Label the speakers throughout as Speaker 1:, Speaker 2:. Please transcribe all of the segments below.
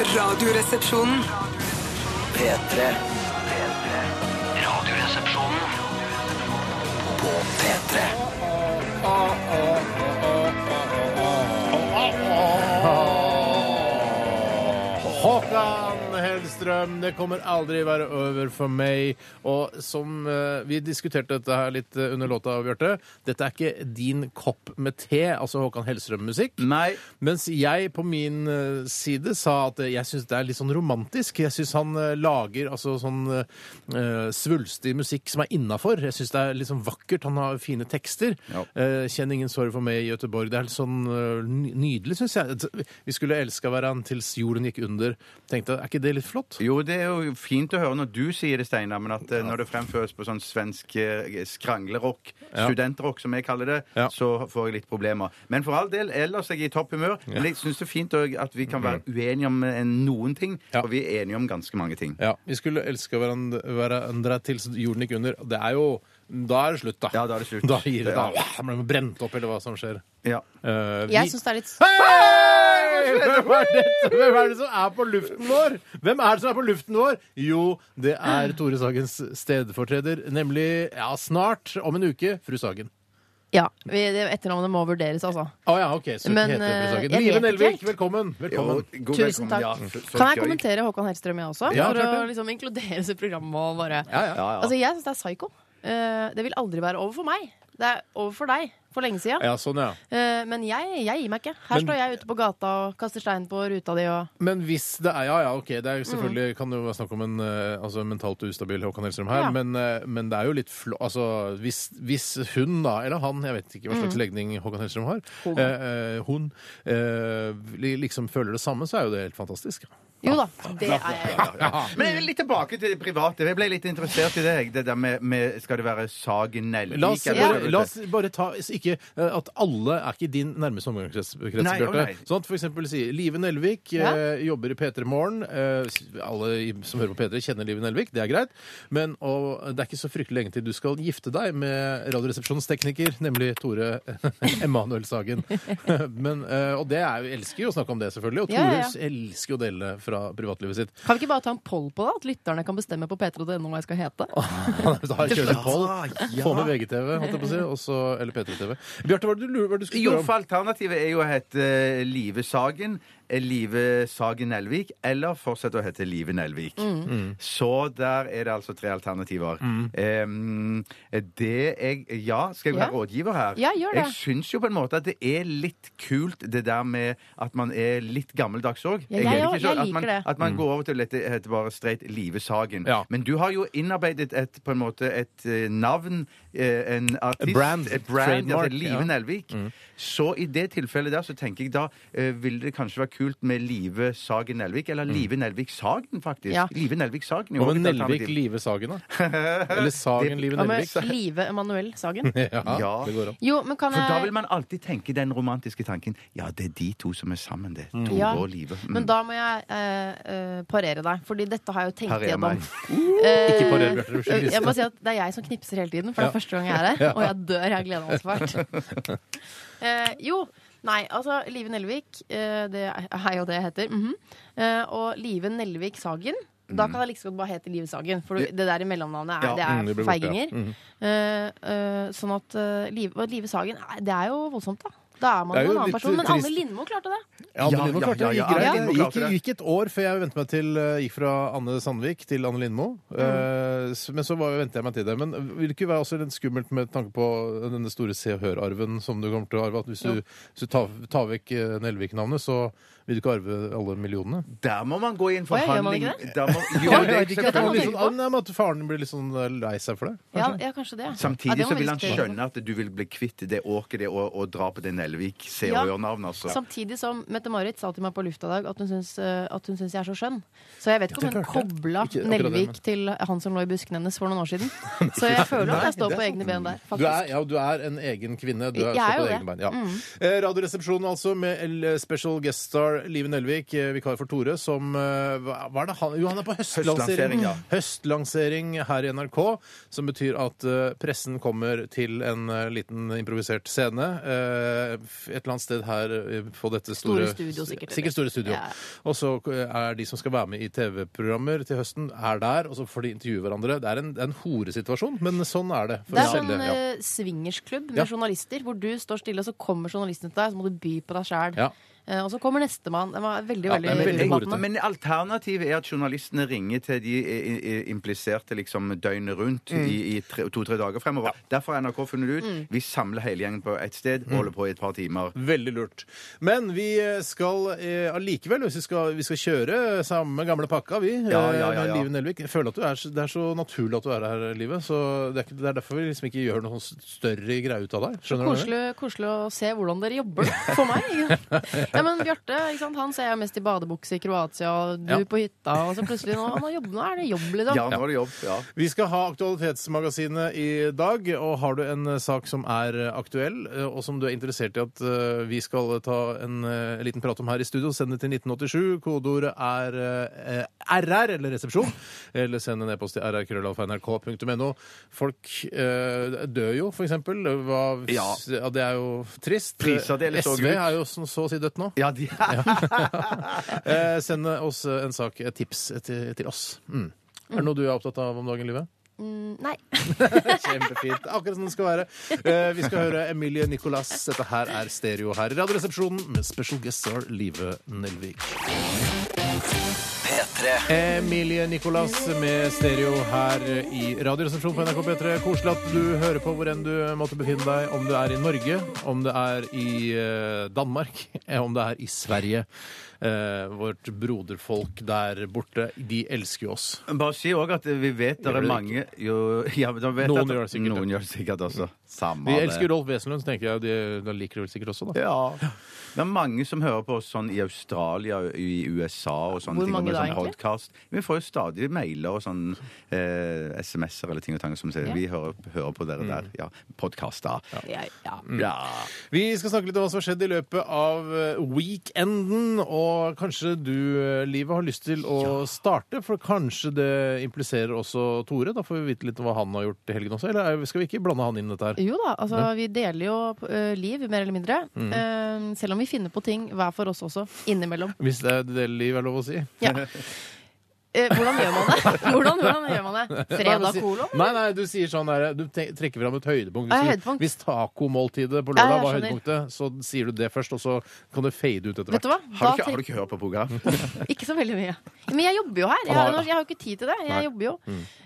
Speaker 1: Radioresepsjonen.
Speaker 2: P3. Radioresepsjonen på P3.
Speaker 3: Håkan Hellstrøm, det kommer aldri være over for meg. Og som eh, vi diskuterte dette her litt eh, under låta, Bjarte, dette er ikke din kopp med te, altså Håkan Hellstrøm-musikk.
Speaker 4: Nei.
Speaker 3: Mens jeg på min eh, side sa at eh, jeg syns det er litt sånn romantisk. Jeg syns han eh, lager altså sånn eh, eh, svulstig musikk som er innafor. Jeg syns det er litt sånn vakkert. Han har fine tekster.
Speaker 4: Ja.
Speaker 3: Eh, Kjenn ingen sorg for meg i Göteborg. Det er litt sånn eh, ny- nydelig, syns jeg. Altså, Vi skulle elska hverandre til jorden gikk under. Tenkte, Er ikke det litt flott?
Speaker 4: Jo, det er jo fint å høre når du sier det, Steinar, men at eh, når det fremføres på sånn svensk eh, skranglerock,
Speaker 3: Ja.
Speaker 4: studentrock som jeg kaller det,
Speaker 3: Ja.
Speaker 4: så får jeg litt problemer. Men for all del, ellers er jeg i topp humør. Men jeg syns det er fint også at vi kan være uenige om eh, noen ting,
Speaker 3: Mm. Ja.
Speaker 4: og vi er enige om ganske mange ting.
Speaker 3: Ja, Vi skulle elska hverandre, hverandre til jorden gikk under. Det er jo Da er det slutt, da.
Speaker 4: Ja, da er det slutt.
Speaker 3: Da gir det, da.
Speaker 4: Ja.
Speaker 3: Man blir brent opp, eller hva som skjer.
Speaker 4: Ja.
Speaker 3: Eh, vi-
Speaker 5: Jeg syns det er litt
Speaker 3: Hei! Hvem er, dette? Hvem er det som er på luften vår? Hvem er det som er på luften vår? Jo, det er Tore Sagens stedfortreder, nemlig ja, snart, om en uke, fru Sagen.
Speaker 5: Ja. vi- det- Etternavnet må vurderes, altså.
Speaker 3: Å ja, ok, så
Speaker 5: Men,
Speaker 3: heter det fru
Speaker 5: eh,
Speaker 3: Sagen.
Speaker 5: jeg
Speaker 3: Live
Speaker 5: vet
Speaker 3: Nelvik,
Speaker 5: ikke helt.
Speaker 3: velkommen. velkommen.
Speaker 4: Jo, god
Speaker 5: Tusen
Speaker 4: velkommen.
Speaker 5: takk.
Speaker 4: Ja, så- så
Speaker 5: Kan jeg
Speaker 4: gøy.
Speaker 5: kommentere Håkan Hellstrøm, jeg også?
Speaker 3: Ja,
Speaker 5: for
Speaker 3: klart
Speaker 5: å
Speaker 3: det.
Speaker 5: liksom inkluderes i programmet og bare
Speaker 3: Ja, ja.
Speaker 4: Ja, ja.
Speaker 5: Altså, jeg syns det er psycho. Eh, det vil aldri være over for meg. Det er over for deg for lenge siden.
Speaker 3: ja, sånn ja.
Speaker 5: Eh, men jeg, jeg gir meg ikke. Her
Speaker 3: Men-
Speaker 5: står jeg ute på gata og kaster stein på ruta di og
Speaker 3: Men hvis det er Ja, ja, ok, det er
Speaker 5: Mm.
Speaker 3: jo selvfølgelig kan det jo være snakk om en eh, altså, mentalt ustabil Håkan Hellstrøm her,
Speaker 5: Ja.
Speaker 3: men, eh, men det er jo litt flå... Altså, hvis, hvis hun, da, eller han, jeg vet ikke hva slags legning Håkan Hellstrøm har,
Speaker 5: Mm. Hun.
Speaker 3: eh, eh, hun eh, li- liksom føler det samme, så er jo det helt fantastisk.
Speaker 5: Jo da, det er jeg.
Speaker 4: Men jeg vil litt tilbake til det private. Jeg ble litt interessert i det. jeg. Det der med, med Skal det være Sagen Nelvik?
Speaker 3: La oss,
Speaker 4: eller-
Speaker 3: bare, la oss bare ta s- ikke eh, at alle er ikke din nærmeste omgangskrets, krets,
Speaker 4: Nei, å
Speaker 3: Bjarte.
Speaker 4: nei.
Speaker 3: Sånn at for eksempel si Live Nelvik
Speaker 5: Ja.
Speaker 3: eh, jobber i P3 Morgen. Eh, s- alle i- som hører på P3, kjenner Live Nelvik, det er greit. Men og, det er ikke så fryktelig lenge til du skal gifte deg med Radioresepsjonens tekniker, nemlig Tore Emanuel Sagen. Men, eh, og det er, jo- elsker jo å snakke om det, selvfølgelig. Og Tore
Speaker 5: Ja, ja, ja.
Speaker 3: elsker jo å dele fra privatlivet sitt.
Speaker 5: Kan vi ikke bare ta en poll på det? At lytterne kan bestemme på p3.no hva jeg skal hete?
Speaker 3: Da kjører vi poll.
Speaker 4: Ja,
Speaker 3: Få med VGTV, holdt jeg på å si. og så- eller P3TV. Bjarte, hva var det du, lur- hva var det du skulle
Speaker 4: Jo,
Speaker 3: spørre om?
Speaker 4: for alternativet er jo å hete eh, Live Sagen, eh, Live Sagen Nelvik, eller fortsette å hete Live Nelvik.
Speaker 5: Mm.
Speaker 3: Mm.
Speaker 4: Så der er det altså tre alternativer. Eh, det jeg Ja, skal jeg være
Speaker 5: Ja.
Speaker 4: rådgiver her?
Speaker 5: Ja, gjør det.
Speaker 4: Jeg syns jo på en måte at det er litt kult det der med at man er litt gammeldags òg.
Speaker 5: Ja, jeg òg. Jeg
Speaker 4: at man,
Speaker 5: liker det.
Speaker 4: at man går over til å hete- hete bare streit Live Sagen.
Speaker 3: Mm. Ja.
Speaker 4: Men du har jo innarbeidet et, på en måte, et eh, navn, eh, en artist
Speaker 3: brand.
Speaker 4: Et brand ja,
Speaker 3: Trademark,
Speaker 4: det er Live
Speaker 3: ja.
Speaker 4: Nelvik.
Speaker 3: Mm.
Speaker 4: Så i det tilfellet der, så tenker jeg da eh, ville det kanskje være kult med Live Sagen Nelvik. Eller Live Nelvik Sagen, faktisk.
Speaker 5: Ja.
Speaker 4: Live Nelvik Sagen. er jo
Speaker 3: Mm. Hva med
Speaker 4: et alternativ.
Speaker 3: Nelvik Live Sagen, da? Eller Sagen Live
Speaker 5: Hva med
Speaker 3: Nelvik?
Speaker 5: Live Emanuel Sagen?
Speaker 3: Ja,
Speaker 4: Ja.
Speaker 3: det går an.
Speaker 5: Jo, men kan
Speaker 4: For da vil
Speaker 5: jeg
Speaker 4: man alltid tenke den romantiske tanken Ja, det er de to som er sammen, det. Tore
Speaker 5: Ja.
Speaker 4: og Live. Mm.
Speaker 5: Men da må jeg eh, eh, parere deg, Fordi dette har jeg jo tenkt
Speaker 4: Parere
Speaker 5: gjennom.
Speaker 4: meg.
Speaker 5: Eh,
Speaker 3: Ikke parer, Bjarte, du skylder.
Speaker 5: jeg må si at Det er jeg som knipser hele tiden, for det er første gang jeg er her. Og jeg dør. Jeg gleder meg svært. Eh, jo. Nei, altså Live Nelvik, eh, det er jo det jeg heter. mhm. Eh, og Live Nelvik Sagen. Da kan jeg like så godt bare hete Live Sagen, for det der i mellomnavnet er,
Speaker 4: Ja,
Speaker 5: det
Speaker 3: mm,
Speaker 5: er
Speaker 3: det blir borte, Mm. ja.
Speaker 5: feiginger. Eh, eh, sånn at eh, Live, og Live Sagen eh, Det er jo voldsomt, da. Da er man
Speaker 3: Det er
Speaker 5: jo en
Speaker 3: jo
Speaker 5: annen
Speaker 3: litt
Speaker 5: person. Men
Speaker 3: trist.
Speaker 5: Anne Lindmo klarte det.
Speaker 3: Ja, Anne
Speaker 4: Ja,
Speaker 3: Lindmo
Speaker 4: ja,
Speaker 3: klarte det.
Speaker 4: ja,
Speaker 3: Gikk
Speaker 4: ja,
Speaker 3: greit.
Speaker 4: Anne Lindmo
Speaker 3: Det
Speaker 4: klarte
Speaker 3: Gikk, gikk et år før jeg ventet meg til eh, Gikk fra Anne Sandvik til Anne Lindmo. Eh, s- Men så var- ventet jeg meg til det. Men vil det ikke være også litt skummelt med tanke på eh, denne store Se og Hør-arven som du kommer til å arve? At hvis du, hvis du tar, tar vekk eh, Nelvik-navnet, så vil du ikke arve alle millionene?
Speaker 4: der må man gå i en
Speaker 5: Å, ja, gjør man
Speaker 4: forhandling.
Speaker 5: ikke
Speaker 4: Der må, jo,
Speaker 3: Ja,
Speaker 4: det
Speaker 3: jeg vet ikke, at,
Speaker 5: det
Speaker 3: han
Speaker 5: må
Speaker 3: blir
Speaker 5: tenke
Speaker 3: sånn,
Speaker 5: på.
Speaker 3: Nei, men at faren blir litt sånn eh, lei seg for det?
Speaker 5: Ja, ja, kanskje det. Ja,
Speaker 4: Samtidig
Speaker 5: det må
Speaker 4: så
Speaker 5: vi
Speaker 4: vil han
Speaker 5: diskutere.
Speaker 4: skjønne at du vil bli kvitt det åket det å, å dra på det Nelvik se
Speaker 5: Ja.
Speaker 4: og gjør-navnet, altså.
Speaker 5: Samtidig som Mette-Marit sa til meg på lufta i dag at hun syns, eh, at hun syns jeg er så skjønn. Så jeg vet ikke om hun kobla
Speaker 3: Ikke akkurat det,
Speaker 5: Nelvik
Speaker 3: men-
Speaker 5: til han som lå i buskene hennes for noen år siden. Så jeg føler at jeg står på egne ben der,
Speaker 3: Du er,
Speaker 5: faktisk.
Speaker 3: ja, du er en egen kvinne. Du er,
Speaker 5: Jeg er
Speaker 3: står på
Speaker 5: jo det. Mm.
Speaker 3: egne bein. Ja. Eh, Radioresepsjonen altså, med L- special guest star Live Nelvik, eh, vikar for Tore, som eh, hva hva er det han, Jo, han er på høstlansering. Mm.
Speaker 4: Høstlansering, ja.
Speaker 3: Høstlansering her i NRK, som betyr at eh, pressen kommer til en eh, liten improvisert scene. Eh, f- et eller annet sted her eh, på dette
Speaker 5: Store
Speaker 3: store,
Speaker 5: studio, sikkert, eller?
Speaker 3: Sikkert store studio.
Speaker 5: Ja.
Speaker 3: Og så eh, er de som skal være med i TV-programmer til høsten, er der, og så får de intervjue hverandre. Det er en, det er en horesituasjon, men sånn er det. for
Speaker 5: Det
Speaker 3: å
Speaker 5: er sånn
Speaker 3: selge, ja.
Speaker 5: eh, swingersklubb med
Speaker 3: Ja.
Speaker 5: journalister, hvor du står stille, og så kommer journalisten til deg, så må du by på deg sjæl.
Speaker 3: Ja.
Speaker 5: og så kommer nestemann. Det var veldig,
Speaker 3: Ja, det er
Speaker 5: veldig,
Speaker 3: veldig
Speaker 5: udebattende.
Speaker 3: horete.
Speaker 4: Men alternativet er at journalistene ringer til de i- i- impliserte liksom døgnet rundt
Speaker 3: Mm.
Speaker 4: i, i tre- to-tre dager fremover. Derfor har NRK funnet ut vi samler hele gjengen på ett sted
Speaker 3: Mm.
Speaker 4: og holder på i et par timer.
Speaker 3: Veldig lurt. Men vi skal eh, allikevel, hvis vi skal, vi skal kjøre samme gamle pakka, vi,
Speaker 4: Ja, ja, ja,
Speaker 3: eh,
Speaker 4: ja.
Speaker 3: med Live Nelvik. Jeg føler at du er, så- det er så naturlig at du er her, Live. Så det er, ikke, det er derfor vi liksom ikke gjør noe sånn større greie ut av deg. Skjønner du? hva jeg mener?
Speaker 5: Koselig, koselig å se hvordan dere jobber for meg. ikke sant? Ja, men Bjarte ikke sant? han ser jeg mest i badebukse i Kroatia, og du
Speaker 3: Ja. på
Speaker 5: på hytta. Og så plutselig nå, er det jobb, liksom.
Speaker 4: Ja, nå er det jobb. Ja.
Speaker 3: Vi skal ha Aktualitetsmagasinet i dag, og har du en eh, sak som er eh, aktuell, eh, og som du er interessert i at eh, vi skal eh, ta en eh, liten prat om her i studio, send det til 1987. Kodeordet er eh, RR, eller resepsjon, eller send en e-post til rrkrøllalfa.nrk.no. Folk eh, dør jo, for eksempel. Hva, ja.
Speaker 4: Ja.
Speaker 3: Det er jo trist.
Speaker 4: Priser deles også
Speaker 3: SV
Speaker 4: ut.
Speaker 3: er jo sånn så å si dødt nå.
Speaker 4: Ja, de,
Speaker 3: Eh, Send oss eh, en sak, et tips eh, til, til oss. Mm. Er det noe du er opptatt av om dagen, Livet?
Speaker 5: Mm, Nei.
Speaker 3: Kjempefint. Akkurat som det skal være. Eh, vi skal høre Emilie Nicolas. Dette her er Stereo her i Radioresepsjonen med special guest star Live Nelvik.
Speaker 2: P3
Speaker 3: Emilie Nicolas med Stereo her i Radioresepsjonen på NRK P3. Koselig at du hører på hvor enn du måtte befinne deg. Om du er i Norge, om det er i eh, Danmark, eh, om det er i Sverige. Eh, vårt broderfolk der borte, de elsker jo oss.
Speaker 4: Bare si òg at vi vet det
Speaker 3: Gjør
Speaker 4: er
Speaker 3: det
Speaker 4: mange jo, ja, men da vet
Speaker 3: Noen
Speaker 4: at,
Speaker 3: gjør det sikkert, ja.
Speaker 4: Noen gjør det sikkert også. Samme
Speaker 3: De
Speaker 4: det.
Speaker 3: elsker Rolf Wesenlund, så tenker jeg. De, de liker det vel sikkert også, da.
Speaker 4: Ja. Det er mange som hører på oss sånn i Australia i USA og sånne
Speaker 5: Hvor
Speaker 4: ting.
Speaker 5: mange
Speaker 4: med
Speaker 5: da,
Speaker 4: sånn
Speaker 5: egentlig?
Speaker 4: podcast. Vi får jo stadig mailer og sånn eh, SMS-er eller ting og tang som sier
Speaker 5: Ja.
Speaker 4: vi hører, hører på dere der. Ja, podkaster.
Speaker 5: Jeg, ja.
Speaker 4: Ja.
Speaker 3: Vi skal snakke litt om hva som har skjedd i løpet av eh, weekenden. Og kanskje du, eh, Livet, har lyst til å starte? For kanskje det impliserer også Tore? Da får vi vite litt om hva han har gjort i helgen også. Eller er- skal vi ikke blande han inn i dette her?
Speaker 5: Jo da, altså vi deler jo eh, liv, mer eller mindre. Eh, selv om vi finner på ting hver for oss også, innimellom.
Speaker 3: Hvis det er det Liv er lov å si.
Speaker 5: Ja. Eh, hvordan gjør man det? Hvordan, hvordan gjør man det?
Speaker 3: Nei, men
Speaker 5: Fredag
Speaker 3: si-
Speaker 5: kolon?
Speaker 3: Nei, nei, du sier sånn der, du te- trekker fram et høydepunkt. Hvis,
Speaker 5: Ja,
Speaker 3: du-
Speaker 5: høydepunkt.
Speaker 3: hvis tacomåltidet på
Speaker 5: Ja,
Speaker 3: lørdag
Speaker 5: jeg
Speaker 3: var
Speaker 5: skjønner.
Speaker 3: høydepunktet, så sier du det først, og så kan det fade ut etter
Speaker 5: Vet
Speaker 3: hvert.
Speaker 5: du hva?
Speaker 4: Har, du ikke,
Speaker 5: Da
Speaker 4: har
Speaker 5: tenk-
Speaker 4: du ikke hørt på program?
Speaker 5: Ikke så veldig mye. Men jeg jobber jo her. Jeg, har- jeg har jo ikke tid til det. Jeg jobber jo.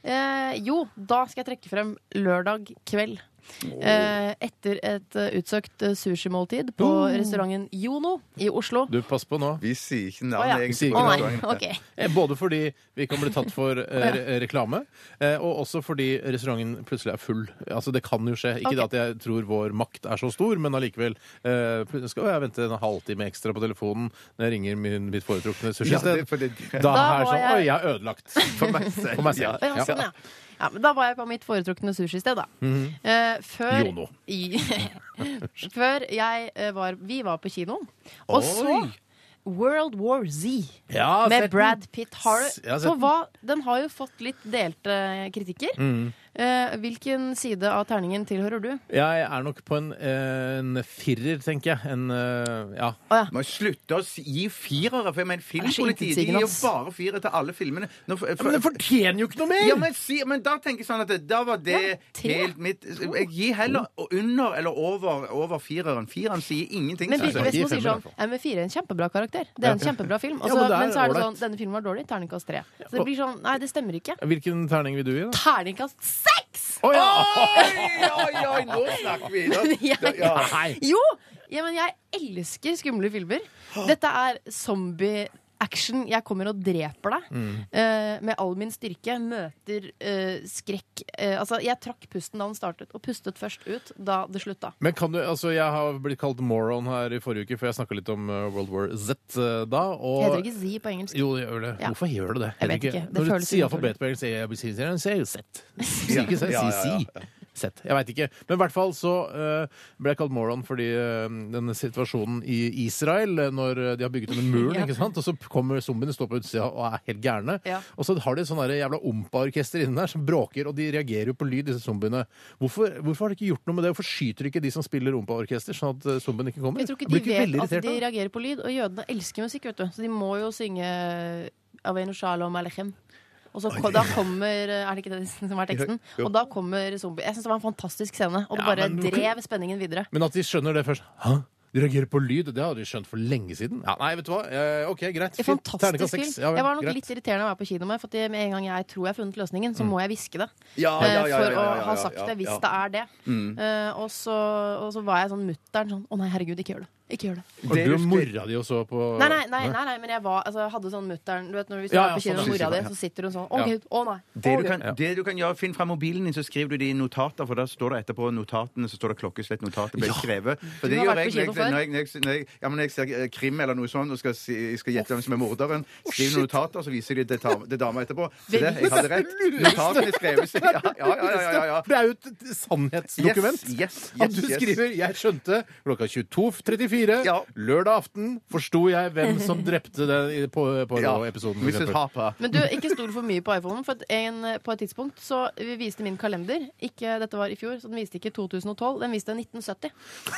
Speaker 5: Eh, jo, da skal jeg trekke frem lørdag kveld. Eh, etter et eh, utsøkt eh, sushimåltid på restauranten Jono i Oslo.
Speaker 3: Du, pass på nå.
Speaker 4: Vi sier ikke
Speaker 5: Å
Speaker 4: navn,
Speaker 5: ja.
Speaker 4: egentlig.
Speaker 3: Vi sier
Speaker 5: Å
Speaker 3: ikke
Speaker 5: nei, ok.
Speaker 3: Eh, Både fordi vi kan bli tatt for eh, re reklame, eh, og også fordi restauranten plutselig er full. Altså, det kan jo skje. Ikke
Speaker 5: Ok.
Speaker 3: det at jeg tror vår makt er så stor, men allikevel eh, pl- skal jeg vente en halvtime ekstra på telefonen når jeg ringer min, mitt foretrukne
Speaker 4: Ja, det
Speaker 3: sushisted.
Speaker 4: er fordi,
Speaker 3: da er
Speaker 5: Da
Speaker 3: det
Speaker 5: var
Speaker 3: sånn
Speaker 5: jeg-
Speaker 3: Oi, jeg er ødelagt.
Speaker 4: for meg selv.
Speaker 3: For meg selv.
Speaker 5: Å, Ja, sånn, ja. Ja, men da var jeg på mitt foretrukne sushisted, da. eh, før
Speaker 3: Mhm. Jono.
Speaker 5: I, før jeg eh, var Vi var på kino, og så
Speaker 4: Oi.
Speaker 5: World War Z.
Speaker 3: Ja,
Speaker 5: med
Speaker 3: sett den.
Speaker 5: Brad Pitt. Har du,
Speaker 3: Jeg har sett
Speaker 5: for hva, den har jo fått litt delte kritikker.
Speaker 3: Mhm.
Speaker 5: Eh, hvilken side av terningen tilhører du?
Speaker 3: Jeg er nok på en, eh, en firer, tenker jeg. En eh, ja.
Speaker 4: Må slutte å si- gi firere, for jeg mener filmpolitiet de
Speaker 5: intetsigende,
Speaker 4: gir jo
Speaker 5: ass.
Speaker 4: bare firere til alle filmene. Nå, for, for,
Speaker 3: fortjener jo ikke noe
Speaker 4: Ja, men, si, men da tenker jeg sånn at det, da var det
Speaker 5: Ja, tre,
Speaker 4: helt mitt Jeg gir heller under eller over, over fireren. Fireren sier ingenting.
Speaker 5: Men
Speaker 4: synes
Speaker 5: hvis,
Speaker 3: altså,
Speaker 4: jeg.
Speaker 5: hvis
Speaker 3: de
Speaker 5: man sier
Speaker 3: filmer
Speaker 5: sånn
Speaker 3: i hvert
Speaker 5: ja, men Fire er en kjempebra karakter. Det er en kjempebra film. Og
Speaker 3: Ja,
Speaker 5: så-
Speaker 3: men det er
Speaker 5: men så er det
Speaker 3: ålreit.
Speaker 5: sånn Denne filmen var dårlig. Terningkast tre. Så det blir sånn Nei, det stemmer ikke.
Speaker 3: Hvilken terning vil du gi, da?
Speaker 5: Terningkast seks!
Speaker 3: Å, ja.
Speaker 4: Oi, oi, oi, nå snakker vi! Da, da, ja.
Speaker 3: Nei.
Speaker 5: Jo! Ja, men jeg elsker skumle filmer. Dette er zombie Action, Jeg kommer og dreper deg
Speaker 3: Mm.
Speaker 5: eh, med all min styrke. Møter eh, skrekk. Eh, altså, jeg trakk pusten da den startet, og pustet først ut da det slutta.
Speaker 3: Men kan du, altså Jeg har blitt kalt moron her i forrige uke, for jeg snakka litt om eh, World War Z eh, da. Og
Speaker 5: Heter det ikke Z på engelsk?
Speaker 3: Jo, det gjør det.
Speaker 5: Ja.
Speaker 3: Hvorfor gjør du det?
Speaker 5: Jeg vet
Speaker 3: Heter
Speaker 5: ikke. Det
Speaker 3: Når du
Speaker 5: føles
Speaker 3: sier
Speaker 5: unaturlig.
Speaker 3: alfabet på engelsk, sier jeg- jeg sier- sier- sier Z. Sier ikke
Speaker 4: Ja, ja, ja.
Speaker 3: Z, sett. Jeg veit ikke. Men i hvert fall så eh, ble jeg kalt moron fordi eh, denne situasjonen i Israel, eh, når de har bygget denne muren,
Speaker 5: Ja.
Speaker 3: ikke sant? og så kommer zombiene står på utsida og er helt gærne.
Speaker 5: Ja.
Speaker 3: Og så har de et sånn der jævla ompa-orkester inne der som bråker, og de reagerer jo på lyd, disse zombiene. Hvorfor, hvorfor har de ikke gjort noe med det? Hvorfor skyter de ikke de som spiller ompa-orkester, sånn at eh, zombiene ikke kommer?
Speaker 5: Jeg tror ikke
Speaker 3: blir
Speaker 5: de vet
Speaker 3: veldig
Speaker 5: at
Speaker 3: irritert
Speaker 5: de
Speaker 3: av det?
Speaker 5: reagerer på lyd. Og jødene elsker musikk, vet du. Så de må jo synge eh, Aveinu Shalom Alechem. Og så, da kommer eh, Er det ikke det som er teksten?
Speaker 3: Jo.
Speaker 5: Og da kommer zombie. Jeg syns det var en fantastisk scene. Og det
Speaker 3: Ja,
Speaker 5: bare
Speaker 3: men-
Speaker 5: drev spenningen videre.
Speaker 3: Men at de skjønner det først Hæ? De reagerer på lyd? Det hadde de skjønt for lenge siden. Ja, nei, vet du hva? Eh, ok, greit.
Speaker 5: En
Speaker 3: Fint.
Speaker 5: Fantastisk
Speaker 3: Terningkast
Speaker 5: film.
Speaker 3: seks. Ja, vel,
Speaker 5: jeg var nok
Speaker 3: greit.
Speaker 5: litt irriterende å være på kino med, for at med en gang jeg tror jeg har funnet løsningen, så må jeg hviske det.
Speaker 4: Ja, ja,
Speaker 5: Eh,
Speaker 4: ja,
Speaker 5: for
Speaker 4: ja, ja, ja,
Speaker 5: å ha
Speaker 4: ja,
Speaker 5: sagt
Speaker 4: ja,
Speaker 5: det, hvis
Speaker 4: ja.
Speaker 5: det er det. Eh, og, så, og så var jeg sånn mutter'n sånn Å nei, herregud, ikke gjør det. Ikke gjør det.
Speaker 3: Og
Speaker 4: Det
Speaker 3: du og
Speaker 4: husker-
Speaker 3: mora di også på
Speaker 5: Nei, nei, nei, nei, nei men jeg var, altså, jeg hadde sånn mutter'n Du vet når
Speaker 3: Ja,
Speaker 5: vi står
Speaker 3: ja,
Speaker 5: på kino
Speaker 3: sånn,
Speaker 5: med
Speaker 3: ja.
Speaker 5: mora di, så sitter hun sånn Å,
Speaker 3: Ja.
Speaker 5: Gud, å nei. Å,
Speaker 4: Det du,
Speaker 5: Gud.
Speaker 4: kan, det du kan gjøre, Finn fram mobilen din, så skriver du det i notater. For da står det etterpå notatene, så står det klokkeslett notatet ble skrevet. For
Speaker 5: Du
Speaker 4: det
Speaker 5: har
Speaker 4: gjør
Speaker 5: vært
Speaker 4: jeg når jeg,
Speaker 5: på kino før.
Speaker 4: når jeg, når jeg, når jeg, ja, men når jeg ser eh, krim eller noe sånt og skal, si, skal gjette hvem som er morderen. Skriver notater, så viser de det ta- det dama etterpå. Så det, jeg hadde rett. Notatene skreves. Ja, ja, ja. ja, ja, ja.
Speaker 3: Det er jo et et sannhetsdokument.
Speaker 4: Yes, yes,
Speaker 3: At du
Speaker 4: yes, yes.
Speaker 3: skriver 'Jeg skjønte' klokka 22.34
Speaker 4: Ja.
Speaker 3: lørdag aften forsto jeg hvem som drepte den i- på, på
Speaker 4: Ja.
Speaker 3: episoden. for
Speaker 4: Mrs.
Speaker 3: eksempel.
Speaker 4: Harper.
Speaker 5: Men du, ikke stol for mye på iPhonen. For at en, eh, på et tidspunkt så viste min kalender ikke, Dette var i fjor, så den viste ikke 2012. Den viste 1970.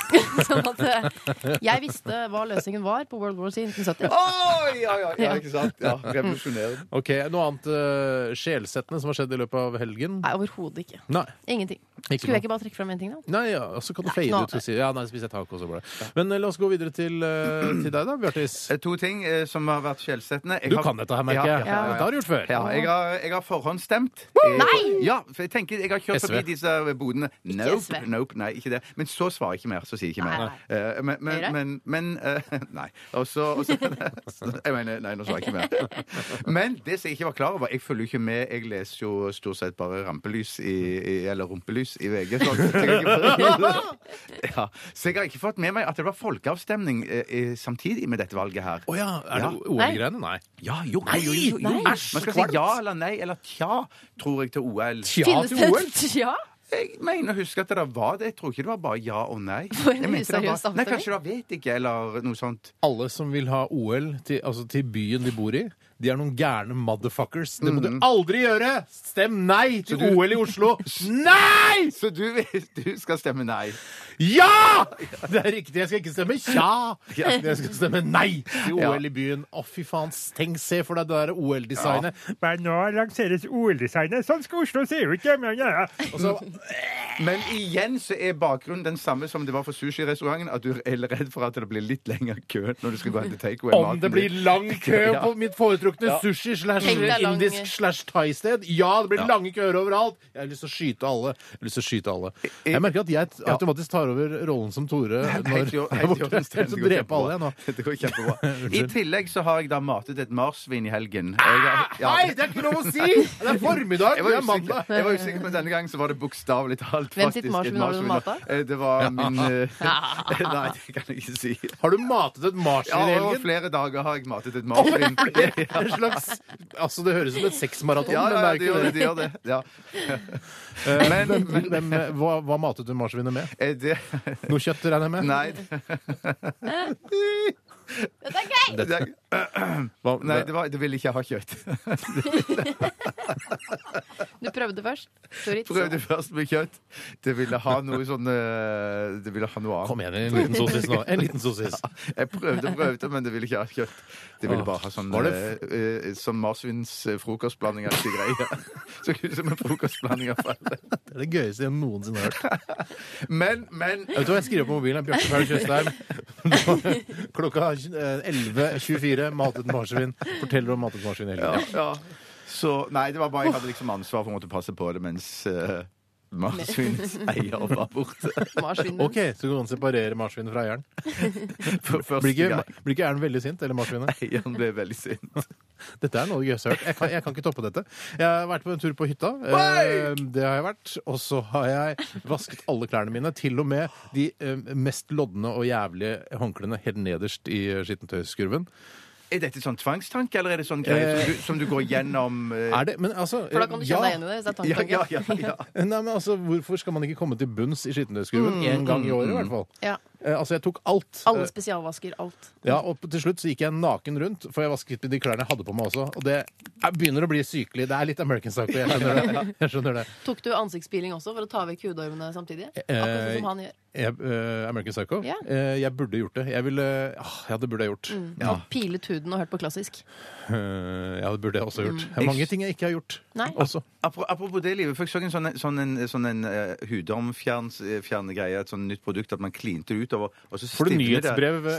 Speaker 5: sånn at eh, jeg visste hva løsningen var på World War C i 1970.
Speaker 4: Oi, ja, ja, ja, ikke sant? Ja, Revolusjonerende.
Speaker 3: Ok, Noe annet eh, sjelsettende som har skjedd i løpet av helgen?
Speaker 5: Nei, overhodet ikke.
Speaker 3: Nei.
Speaker 5: Ingenting.
Speaker 3: Ikke
Speaker 5: Skulle
Speaker 3: noe.
Speaker 5: jeg ikke bare trekke fram en ting, da?
Speaker 3: Nei, ja, og Så kan du
Speaker 5: Nei,
Speaker 3: fade
Speaker 5: nå-
Speaker 3: ut og si Ja, nei, spiser jeg taco, så går det. Men eh, la oss gå videre til, eh, til deg, da, Bjartis.
Speaker 4: Eh, To ting eh, som har vært skjellsettende. Jeg
Speaker 3: Du
Speaker 4: har-
Speaker 3: kan dette her, merker
Speaker 4: Ja,
Speaker 3: jeg.
Speaker 4: ja, ja, ja.
Speaker 3: Dette har du gjort før.
Speaker 4: Ja, jeg har, jeg har forhåndsstemt. Eh,
Speaker 5: Nei!
Speaker 4: Ja, for jeg tenker, jeg har kjørt
Speaker 3: SV.
Speaker 4: forbi disse bodene.
Speaker 5: SV.
Speaker 4: Nope, nope, nei, ikke det. Men så svarer jeg ikke mer, så sier jeg ikke mer.
Speaker 5: Nei,
Speaker 4: Eh, men, men,
Speaker 5: Høyre?
Speaker 4: men, men eh, Nei. Og så og så- Jeg mener, nei, nå svarer jeg ikke mer. Men det som jeg ikke var klar over Jeg følger jo ikke med. Jeg leser jo stort sett bare rampelys i, i, eller rumpelys i VG. Så jeg, har ikke, ja, så jeg har ikke fått med meg at det var folkeavstemning eh, eh, samtidig med dette valget her.
Speaker 3: Å ja. Er det
Speaker 4: Ja.
Speaker 3: OL-greiene? Nei.
Speaker 4: Ja, jo, nei, jo, jo, jo,
Speaker 5: Nei.
Speaker 4: Man skal si ja eller nei eller tja, tror jeg, til OL.
Speaker 3: Tja
Speaker 5: Finnes
Speaker 3: til OL?
Speaker 5: det Ja?
Speaker 4: Jeg mener å huske at det var det. Jeg tror ikke det var bare ja og nei.
Speaker 5: For en
Speaker 4: Jeg mente det var-
Speaker 5: useriøs
Speaker 4: Nei,
Speaker 5: avstemning.
Speaker 4: kanskje det var vet ikke, eller noe sånt.
Speaker 3: alle som vil ha OL til, altså til byen de bor i, de er noen gærne motherfuckers. Det må du aldri gjøre! Stem nei til
Speaker 4: Mm. du-
Speaker 3: OL i Oslo! Nei!
Speaker 4: Så du, du skal stemme nei.
Speaker 3: Ja! Det er riktig. Jeg skal ikke stemme tja. Jeg skal stemme nei til
Speaker 4: Ja.
Speaker 3: OL i byen. Å, fy faen. Tenk, se for deg det der OL-designet.
Speaker 1: Men nå lanseres OL-designet. Sånn skal Oslo se ut hjemme. Ja.
Speaker 3: Og så
Speaker 4: Men igjen så er bakgrunnen den samme som det var for sushirestauranten. At du er redd for at det blir litt lengre kø når du skal gå og hente takeaway.
Speaker 3: Om det blir lang kø
Speaker 4: Ja.
Speaker 3: på mitt foretrukne sushi slash
Speaker 5: Tenk deg lang-
Speaker 3: indisk slash thai-sted Ja, det blir lange køer overalt. Jeg har lyst til å skyte alle. Jeg har lyst til å skyte alle. Jeg merker at jeg automatisk tar over rollen som Tore når
Speaker 4: Helt i
Speaker 3: jeg
Speaker 4: orden,
Speaker 3: er
Speaker 4: helt i orden,
Speaker 3: borte.
Speaker 4: Sten.
Speaker 3: Så
Speaker 4: Det går
Speaker 3: dreper alle jeg nå.
Speaker 4: kjempebra. Det går kjempebra. I tillegg så har jeg da matet et marsvin i helgen. Jeg har-
Speaker 3: Nei,
Speaker 4: ja.
Speaker 3: Ah! det er ikke lov å si! Det er formiddag,
Speaker 4: Jeg
Speaker 3: det
Speaker 4: var
Speaker 3: er
Speaker 4: usikker,
Speaker 3: mandag.
Speaker 4: jeg var usikker men denne gangen så var det bokstavelig talt
Speaker 5: Hvem sitt
Speaker 4: faktisk et
Speaker 5: marsvin var det du
Speaker 4: marsvin.
Speaker 5: matet?
Speaker 4: Eh, Det var min eh, Nei, det kan jeg ikke si.
Speaker 3: Har du matet et
Speaker 4: Ja,
Speaker 3: marsvin i
Speaker 4: over
Speaker 3: helgen?
Speaker 4: flere dager har jeg matet et marsvin.
Speaker 3: En slags, altså Det høres ut som et sexmaraton,
Speaker 4: Ja,
Speaker 3: men det
Speaker 4: ja,
Speaker 3: er
Speaker 4: det
Speaker 3: jo
Speaker 4: gjør det.
Speaker 3: ikke det.
Speaker 4: det, gjør det. Ja.
Speaker 3: Eh,
Speaker 4: Men-
Speaker 3: hvem- hvem- hva, hva matet du marsvinet med?
Speaker 4: Eh, det
Speaker 3: Noe kjøtt, regner jeg med?
Speaker 4: Nei.
Speaker 5: Dette er gøy!
Speaker 4: Det,
Speaker 3: Hva-
Speaker 4: nei, det, var, det ville ikke ha kjøtt.
Speaker 5: Du prøvde først. Sorry.
Speaker 4: Prøvde først med kjøtt. Det ville ha noe sånn eh, Det ville ha noe annet.
Speaker 3: Kom igjen, en liten sosis nå. En liten sosis.
Speaker 4: Jeg prøvde og prøvde, men det ville ikke ha kjøtt. Det ville
Speaker 3: Åh,
Speaker 4: bare ha sånn,
Speaker 3: var det
Speaker 4: eh, eh, sånn marsvins eh, frokostblanding av disse greier. Så ut som en frokostblanding av alle.
Speaker 3: Det er det gøyeste jeg noensinne har hørt.
Speaker 4: Men, men
Speaker 3: Vet du hva jeg skriver på mobilen? Bjarte Paul Tjøstheim. Klokka eh, 11.24. Matet marsvin. Forteller om matet marsvin i
Speaker 4: ja,
Speaker 3: helgen.
Speaker 4: ja. Så Nei, det var bare jeg hadde liksom ansvar for å måtte passe på det mens uh, marsvinets eier var borte.
Speaker 5: Marsvinmunn.
Speaker 3: OK, så kan man separere marsvinet fra eieren.
Speaker 4: For første
Speaker 3: Blir ikke,
Speaker 4: gang.
Speaker 3: blir ikke eieren veldig sint? Eller marsvinet?
Speaker 4: Eieren ble veldig sint.
Speaker 3: Dette er noe av det gøyeste jeg har hørt. Jeg kan, jeg kan ikke toppe dette. Jeg har vært på en tur på hytta.
Speaker 4: Oi!
Speaker 3: Eh, Det har jeg vært. Og så har jeg vasket alle klærne mine, til og med de eh, mest lodne og jævlige håndklærne helt nederst i eh, skittentøyskurven.
Speaker 4: Er dette sånn tvangstanke, eller er det sånn greie som, du, som du går gjennom eh,
Speaker 3: Eh. Er sånn det, men altså
Speaker 5: For da kan du kjenne deg igjen i det. hvis det er
Speaker 4: ja,
Speaker 5: tanketanke.
Speaker 4: ja, ja, ja.
Speaker 3: Nei, men altså, Hvorfor skal man ikke komme til bunns i skittentøyskurven én gang i året? i hvert fall?
Speaker 5: Ja.
Speaker 3: Eh, altså, jeg tok alt.
Speaker 5: Mm, Alle
Speaker 3: Eh,
Speaker 5: spesialvasker alt.
Speaker 3: Ja, og til slutt så gikk jeg naken rundt, for jeg vasket de klærne jeg hadde på meg også. Og det jeg begynner å bli sykelig. Det er litt American Psycho, jeg skjønner det. Jeg skjønder det.
Speaker 5: Tok du ansiktspeeling også for å ta vekk hudormene samtidig?
Speaker 3: Eh,
Speaker 5: Akkurat sånn som han gjør.
Speaker 3: Jeg, eh, American Psycho?
Speaker 5: Ja. Mm.
Speaker 3: Eh, jeg burde gjort det. Jeg ville ah, Ja, det burde jeg gjort.
Speaker 4: Ja.
Speaker 5: Pilet huden og hørt på klassisk.
Speaker 3: Eh, ja, det burde jeg også gjort. Det er mange ting jeg ikke har gjort
Speaker 5: Mm. Nei.
Speaker 3: også.
Speaker 4: Apro- Apropos det, livet, for jeg så en sånn, sånn, en, sånn en eh, hudomfjerns- eh, fjerne greie, et sånn nytt produkt, at man klinte det utover, og så
Speaker 3: Får du
Speaker 4: stivner det.
Speaker 3: nyhetsbrev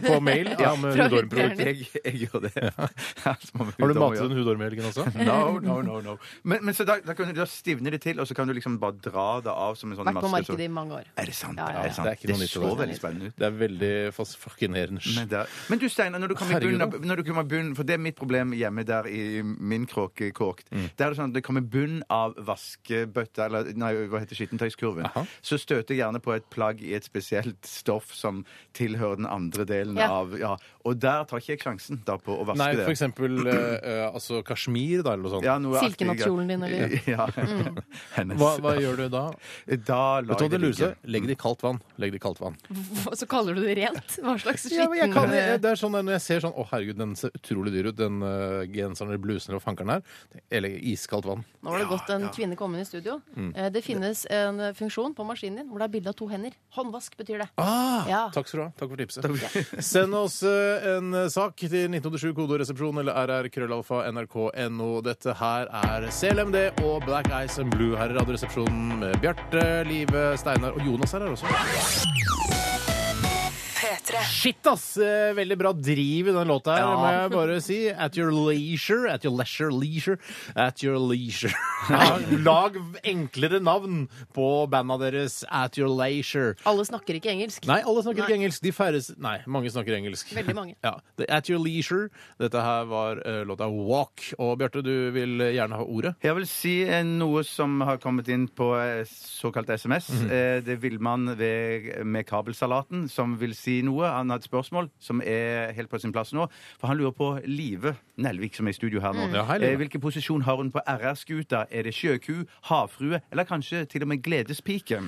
Speaker 3: eh, på mail ja, med
Speaker 5: Fra
Speaker 3: hudormprodukter?
Speaker 4: Jeg, jeg gjør det.
Speaker 3: Har du matet den hudormhelgen også?
Speaker 4: No, no, no. no. Men, men så da, da, kan du, da stivner det til, og så kan du liksom bare dra det av som en sånn
Speaker 5: Vært på
Speaker 4: maske.
Speaker 5: markedet i mange år.
Speaker 4: så- Er det sant?
Speaker 5: Ja, ja, ja.
Speaker 4: Er det, sant?
Speaker 3: Det er ikke noe nytt
Speaker 4: så
Speaker 3: over det.
Speaker 4: veldig spennende ut.
Speaker 3: Det er veldig fas- fascinerende.
Speaker 4: Men, det- men du, Steinar, når du kommer i
Speaker 3: Herregud,
Speaker 4: bunn, når du kommer i bunn, for det er mitt problem hjemme der i min kråkekåk
Speaker 3: Mm.
Speaker 4: Der er det sånn at det kommer bunn av vaskebøtta, eller nei, hva heter skittentøyskurven.
Speaker 3: Aha.
Speaker 4: Så støter jeg gjerne på et plagg i et spesielt stoff som tilhører den andre delen
Speaker 5: Ja.
Speaker 4: av ja, Og der tar ikke jeg sjansen da på å vaske
Speaker 3: Nei,
Speaker 4: det.
Speaker 3: for eksempel eh, eh, altså Kashmir, da, eller noe sånt.
Speaker 4: Ja, noe artig
Speaker 5: Silkenattkjolen din,
Speaker 4: greier.
Speaker 5: eller? Mm.
Speaker 4: Ja. Hennes.
Speaker 3: Hva, hva gjør du da?
Speaker 4: Da
Speaker 3: Vet
Speaker 4: lar
Speaker 3: du hva
Speaker 4: jeg
Speaker 3: det
Speaker 4: det ligge.
Speaker 3: lureste? Legg det i kaldt vann. Legg det i kaldt vann.
Speaker 5: Hva- Så kaller du det rent? Hva slags skitten
Speaker 3: Ja, men jeg kan, jeg, det er sånn der Når jeg ser sånn Å, herregud, den ser utrolig dyr ut, den eh, genseren eller blusen eller fankeren her. Eller iskaldt vann.
Speaker 5: Nå var det
Speaker 4: Ja,
Speaker 5: godt en
Speaker 4: ja.
Speaker 5: kvinne kom inn i studio.
Speaker 3: Mm.
Speaker 5: Eh, Det finnes en funksjon på maskinen din hvor det er bilde av to hender. Håndvask betyr det. Ah. Ja.
Speaker 3: Ah, Takk skal du ha. Takk for tipset. Send oss eh, en eh, sak til 1987 kodoresepsjon eller rrkrøllalfa nrk.no. Dette her er CLMD og Black Eyes and Blue her i Radioresepsjonen med Bjarte, Live, Steinar og Jonas er her også. Shit, ass! Eh, Veldig bra driv i den låta her, må jeg bare si. At your leisure, at your leisure, leisure, at your leisure. Ja, Lag enklere navn på banda deres, at your leisure.
Speaker 5: Alle snakker ikke engelsk.
Speaker 3: Nei, alle snakker ikke
Speaker 5: Nei.
Speaker 3: engelsk. De færreste Nei, mange snakker engelsk.
Speaker 5: Veldig mange.
Speaker 3: Ja. The At Your Leisure. Dette her var eh, låta Walk. Og Bjarte, du vil gjerne ha ordet?
Speaker 4: Jeg vil si eh, noe som har kommet inn på eh, såkalt SMS.
Speaker 3: Mhm.
Speaker 4: Eh, Det er Villmann ved- med kabelsalaten som vil si noe. Han har et spørsmål som er helt på sin plass nå. For han lurer på Live Nelvik, som er i studio her nå.
Speaker 3: Mm. Ja, hei, Live.
Speaker 4: Eh, Hvilken posisjon har hun på RR-skuta? Er det sjøku, havfrue eller kanskje til og med gledespike?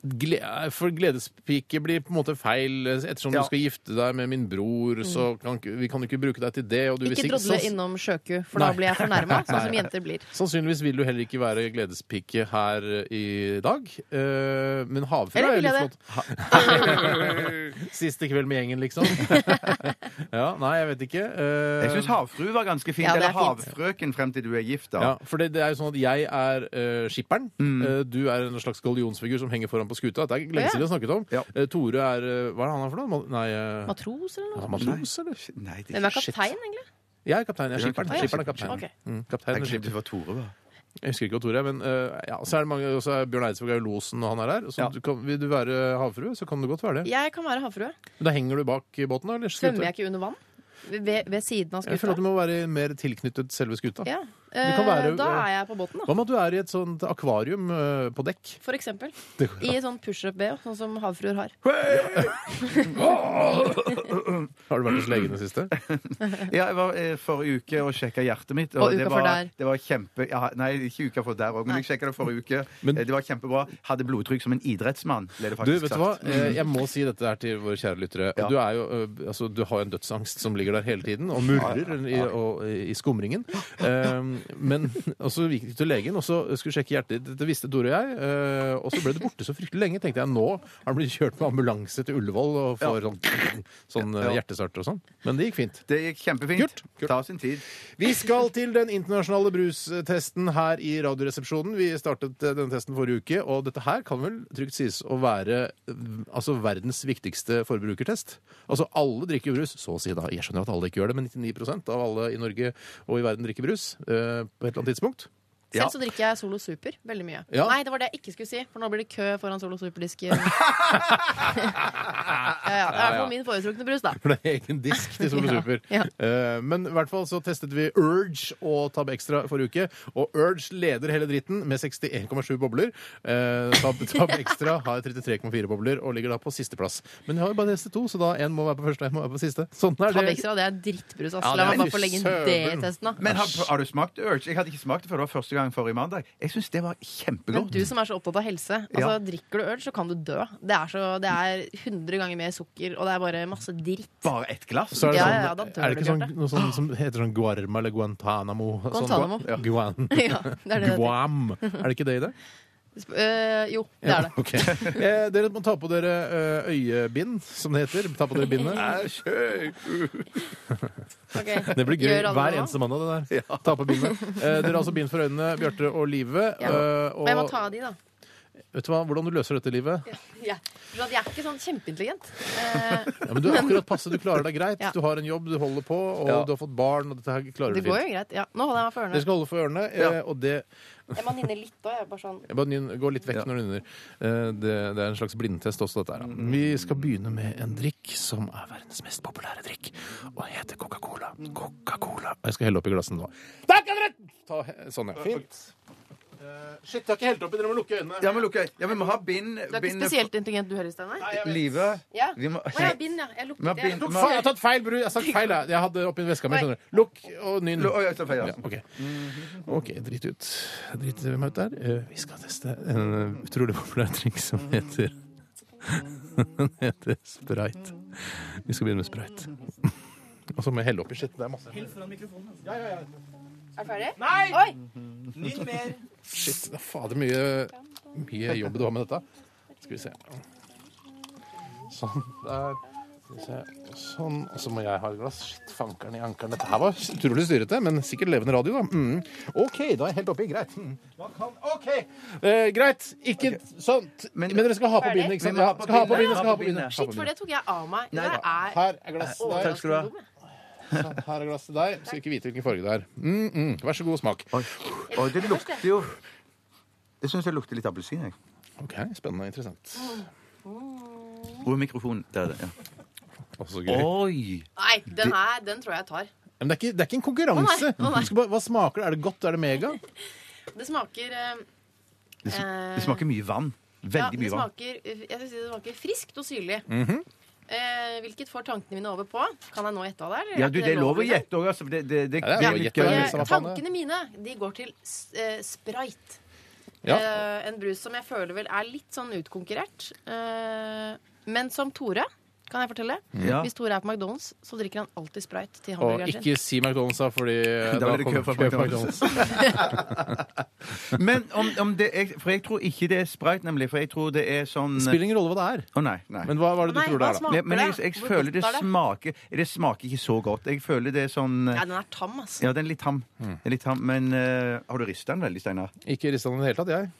Speaker 3: Gle for gledespike blir på en måte feil. Ettersom
Speaker 4: Ja.
Speaker 3: du skal gifte deg med min bror, så kan ikke- vi kan jo ikke bruke deg til det. Og du vil
Speaker 5: Mm. Ikke
Speaker 3: sikkert-
Speaker 5: drodle
Speaker 3: sanns-
Speaker 5: innom sjøku, for
Speaker 3: Nei.
Speaker 5: da blir jeg fornærma, sånn som
Speaker 3: Nei.
Speaker 5: jenter blir.
Speaker 3: Sannsynligvis vil du heller ikke være gledespike her i dag. Eh, men havfrue
Speaker 5: Eller
Speaker 3: er jo
Speaker 5: vil
Speaker 3: litt
Speaker 5: jeg
Speaker 3: flott. Ha- Siste kveld med gjengen, liksom. ja, nei, jeg vet ikke. Eh,
Speaker 4: Jeg syns havfrue var ganske fint.
Speaker 5: Ja, det er
Speaker 4: eller havfrøken frem til du er gift, da.
Speaker 3: Ja, for det, det er jo sånn at jeg er eh, skipperen.
Speaker 4: Mm.
Speaker 3: Eh, du er en slags gallionsfigur som henger foran på skuta. Det er lenge siden vi har snakket om.
Speaker 4: Ja.
Speaker 3: Eh, Tore er eh, Hva er han her for noe? Ma- Nei, eh,
Speaker 5: Matros eller
Speaker 3: ja,
Speaker 5: noe?
Speaker 3: matros, eller?
Speaker 4: Nei, det
Speaker 5: Hvem er
Speaker 4: shit.
Speaker 5: kaptein, egentlig?
Speaker 3: Jeg er kaptein. Jeg er
Speaker 4: Du er
Speaker 3: skipperen.
Speaker 4: kaptein.
Speaker 3: Skipperen er kaptein.
Speaker 5: Ok.
Speaker 3: Mm, kaptein
Speaker 4: Jeg
Speaker 3: er
Speaker 4: glemte
Speaker 3: skipper.
Speaker 4: det var Tore, hva?
Speaker 3: Jeg husker ikke hva Tore er, men eh, ja, så er det mange så er Bjørn Eidsvåg er jo losen når han er her. Så
Speaker 4: Ja.
Speaker 3: du kan, vil du være havfrue, så kan du godt være det.
Speaker 5: Jeg kan være havfrue.
Speaker 3: Men da henger du bak i båten, da? Eller
Speaker 5: Svømmer
Speaker 3: skuta?
Speaker 5: jeg ikke under vann? Ved, ved siden av
Speaker 3: Jeg føler at
Speaker 5: skuta?
Speaker 3: du må være mer tilknyttet selve skuta.
Speaker 5: Ja.
Speaker 3: kan være-
Speaker 5: Eh, Da er jeg på båten, da.
Speaker 3: Hva med at du er i et sånt akvarium eh, på dekk?
Speaker 5: For eksempel. I sånn pushup-BH, sånn som havfruer har.
Speaker 3: Har du vært hos legen i det siste?
Speaker 4: Ja, jeg var eh, forrige uke og sjekka hjertet mitt.
Speaker 5: Og uka
Speaker 4: det
Speaker 5: for
Speaker 4: var,
Speaker 5: der.
Speaker 4: Det var kjempe... Ja, nei, ikke uka for der òg, men jeg sjekka det forrige uke.
Speaker 3: Men-
Speaker 4: Eh, det var kjempebra. Hadde blodtrykk som en idrettsmann, ble det
Speaker 3: Du,
Speaker 4: faktisk
Speaker 3: vet du hva?
Speaker 4: sagt.
Speaker 3: Eh, Jeg må si dette her til våre kjære lyttere.
Speaker 4: Ja.
Speaker 3: Du, er jo, eh, altså, du har jo en dødsangst som ligger der hele tiden og murrer I, og, i skumringen. Um, men og så gikk du til legen og så skulle sjekke hjertet ditt. Det visste Tore og jeg. eh, Og så ble det borte så fryktelig lenge. Tenkte jeg nå har han blitt kjørt med ambulanse til Ullevål og får sånn, sånn eh,
Speaker 4: Ja.
Speaker 3: hjertestarter og sånn. Men det gikk fint.
Speaker 4: Det gikk kjempefint.
Speaker 3: Kult, kult.
Speaker 4: Ta sin tid.
Speaker 3: Vi skal til den internasjonale brustesten her i Radioresepsjonen. Vi startet eh, denne testen forrige uke, og dette her kan vel trygt sies å være eh, altså, verdens viktigste forbrukertest. Altså alle drikker jo brus, så å si da. Jeg skjønner at alle ikke gjør det, men 99 av alle i Norge og i verden drikker brus eh, på et eller annet tidspunkt.
Speaker 4: Ja.
Speaker 5: Selv så drikker jeg Solo Super veldig mye.
Speaker 3: Ja.
Speaker 5: Nei, det var det jeg ikke skulle si, for nå blir det kø foran Solo Super-disk. ja, ja, det er i hvert fall min foretrukne brus, da.
Speaker 3: For det er egen disk til Solo
Speaker 5: Ja,
Speaker 3: Super.
Speaker 5: ja.
Speaker 3: Eh, men i hvert fall så testet vi Urge og Tab Extra forrige uke. Og Urge leder hele dritten med 61,7 bobler. Eh, Tab, Tab Extra har 33,4 bobler og ligger da på sisteplass. Men vi har jo bare testet to, så da én må være på første og én må være på siste. Sånn er
Speaker 5: Tab
Speaker 3: det.
Speaker 5: Extra, det er drittbrus, ass.
Speaker 3: Ja,
Speaker 5: La
Speaker 3: det er
Speaker 5: meg bare få legge inn det i
Speaker 3: søren.
Speaker 5: testen, da.
Speaker 4: Men har, har du smakt Urge? Jeg hadde ikke smakt det før det var første gang forrige mandag. Jeg syns det var
Speaker 5: Men
Speaker 4: kjempegodt.
Speaker 5: du som er så opptatt av helse, altså
Speaker 4: Ja.
Speaker 5: drikker du øl, så kan du dø. Det er, så, det er 100 ganger mer sukker, og det er bare masse dritt.
Speaker 4: Bare ett glass?
Speaker 3: Så er det,
Speaker 5: Ja,
Speaker 3: sånn,
Speaker 5: ja, ja, da dør
Speaker 3: er det ikke
Speaker 5: du,
Speaker 3: sånn, noe sånn som heter sånn Guarma eller Guantánamo?
Speaker 5: Guantánamo.
Speaker 3: Sånn, Gua- Guan.
Speaker 5: Ja, det er det det heter.
Speaker 3: Guam. Er det ikke det i det?
Speaker 5: Sp- øh, jo, det er det.
Speaker 3: Ok. Eh, dere må ta på dere eh, øyebind, som det heter. Ta på dere bindet.
Speaker 5: Ok.
Speaker 3: Det blir gøy
Speaker 5: Gjør alle
Speaker 3: hver
Speaker 5: det nå?
Speaker 3: eneste mandag, det der. Ta på bindet. Eh, dere har altså bind for øynene, Bjarte og Live.
Speaker 5: Ja.
Speaker 3: eh,
Speaker 5: Men jeg må
Speaker 3: og
Speaker 5: ta av de, da.
Speaker 3: vet du hva, hvordan du løser dette livet?
Speaker 5: Ja. For at jeg er ikke sånn kjempeintelligent. Eh,
Speaker 3: Ja, men du er akkurat passe, du klarer deg greit.
Speaker 5: Ja.
Speaker 3: Du har en jobb, du holder på, og
Speaker 4: Ja.
Speaker 3: du har fått barn, og dette her klarer
Speaker 5: det
Speaker 3: du
Speaker 5: går
Speaker 3: fint.
Speaker 5: jo greit. Ja. Nå holder jeg meg for
Speaker 3: Dere
Speaker 5: ørene.
Speaker 3: skal holde for ørene, eh,
Speaker 4: Ja.
Speaker 3: og det
Speaker 5: Jeg må nynne litt òg, jeg. Bare sånn.
Speaker 3: jeg bare nyn- Gå litt vekk
Speaker 4: Ja.
Speaker 3: når du nynner. Eh, Det, det er en slags blindtest også, dette her. da. Vi skal begynne med en drikk som er verdens mest populære drikk, og heter Coca-Cola. Coca-Cola. Jeg skal helle oppi glassene nå. Der kan dere ta he- Sånn, ja. Fint. Eh, Shit, jeg har ikke helt oppi. Dere må lukke øynene.
Speaker 4: Ja, men lukk øynene. Ja, vi må ha bind.
Speaker 5: Du er ikke
Speaker 4: bind-
Speaker 5: spesielt intelligent du, Høyre Steinar?
Speaker 3: jeg vet.
Speaker 4: Live.
Speaker 5: Ja.
Speaker 4: Vi må
Speaker 5: Å, jeg har bind, ja. Jeg
Speaker 4: Vi må
Speaker 5: lukket
Speaker 4: ha
Speaker 5: det.
Speaker 4: bind.
Speaker 3: Lukk, faen, jeg har tatt feil, bru. Jeg har sagt feil. Jeg, jeg hadde oppi veska mi. skjønner du. Lukk og nynn.
Speaker 4: Lu- oi, jeg tar feil, ja.
Speaker 3: Ja, ok. OK, drit ut. Drit hvem ut der. Eh, Vi skal teste en eh, utrolig populær drink som heter Den heter sprite. Vi skal begynne med sprite. Og så må jeg helle oppi shit. Det er masse.
Speaker 5: Er du ferdig? Nei! Oi!
Speaker 3: Shit, det er fader mye, mye jobb du har med dette. Skal vi se. Sånn der. Skal vi se. Sånn. Og så må jeg ha et glass. Shit, fankeren i ankeren. Dette her var utrolig styrete, men sikkert levende radio, da. Mm. OK, da er jeg helt oppi. Greit. Mm. OK! Eh, greit. Ikke sånt. Men,
Speaker 4: Men-
Speaker 3: dere skal ha på
Speaker 5: Ferdig?
Speaker 3: bindet, ikke
Speaker 4: Vi
Speaker 3: sant?
Speaker 4: må
Speaker 3: Ja,
Speaker 4: ha på
Speaker 3: skal ha på
Speaker 4: bindet.
Speaker 3: bindet. Skal ha på
Speaker 4: Shit,
Speaker 3: bindet.
Speaker 5: Shit, for det tok jeg av meg. Det
Speaker 4: Nei,
Speaker 5: der er
Speaker 3: Her er glasset der.
Speaker 4: Takk skal du ha.
Speaker 5: overraskende dum, jeg.
Speaker 3: Sånn, Her er glasset der. Skal ikke vite hvilken farge det er. Mm, mm. Vær så god, smak.
Speaker 4: Oi, det lukter jo Jeg syns det lukter litt appelsin. jeg.
Speaker 3: OK, spennende og interessant.
Speaker 4: Hvor er mikrofonen? Der er det. Ja.
Speaker 3: Også gøy.
Speaker 4: Oi!
Speaker 5: Nei, den her den tror jeg jeg tar.
Speaker 3: Ja, Men det er ikke, det er ikke en konkurranse.
Speaker 5: Å, nei. Å, nei.
Speaker 3: Du skal bare, hva smaker det? Er det godt? Er det mega?
Speaker 5: Det smaker eh,
Speaker 4: Det, sm
Speaker 5: Eh.
Speaker 4: det smaker mye vann.
Speaker 5: Ja,
Speaker 4: Veldig
Speaker 5: det
Speaker 4: mye vann. Mhm.
Speaker 5: smaker, eh, jeg vil si det smaker friskt og syrlig. eh, hvilket får tankene mine over på? Kan jeg nå gjette av det? eller er
Speaker 4: Ja,
Speaker 5: ikke
Speaker 4: du, det er lov å
Speaker 5: liksom?
Speaker 4: gjette òg, altså. Det, det, det,
Speaker 3: Ja, det er lov å
Speaker 4: litt
Speaker 3: gjette. Ja,
Speaker 4: gøy.
Speaker 5: Eh,
Speaker 3: samme faen, det.
Speaker 5: tankene mine de går til s- eh, sprite.
Speaker 3: Ja.
Speaker 5: Eh, en brus som jeg føler vel er litt sånn utkonkurrert. Eh, men som Tore, kan jeg fortelle.
Speaker 4: Ja.
Speaker 5: Hvis Tore er på McDonald's, så drikker han alltid sprite til
Speaker 3: Mm. Og
Speaker 5: hamburgeren sin.
Speaker 3: ikke si McDonald's, da, fordi eh,
Speaker 4: Da blir det
Speaker 3: kommer
Speaker 4: kø for McDonald's. Men om, om det er, For jeg tror ikke det er sprite, nemlig. For jeg tror det er sånn Å,
Speaker 3: Spiller ingen rolle hva det er.
Speaker 4: nei. nei.
Speaker 3: Men hva var det du
Speaker 5: Nei,
Speaker 3: tror det
Speaker 5: hva
Speaker 3: er, da?
Speaker 5: smaker
Speaker 4: Nei, men jeg,
Speaker 5: det?
Speaker 4: jeg
Speaker 5: Hvor
Speaker 4: føler
Speaker 5: godt
Speaker 4: det
Speaker 5: er det?
Speaker 4: smaker Det smaker ikke så godt. Jeg føler det er sånn
Speaker 5: Ja, den er tam, altså.
Speaker 4: Ja, den er litt tam.
Speaker 3: Mm.
Speaker 4: Den er Litt tam men eh, har du rista den veldig, Steinar?
Speaker 3: Ikke rista den i det hele tatt, jeg.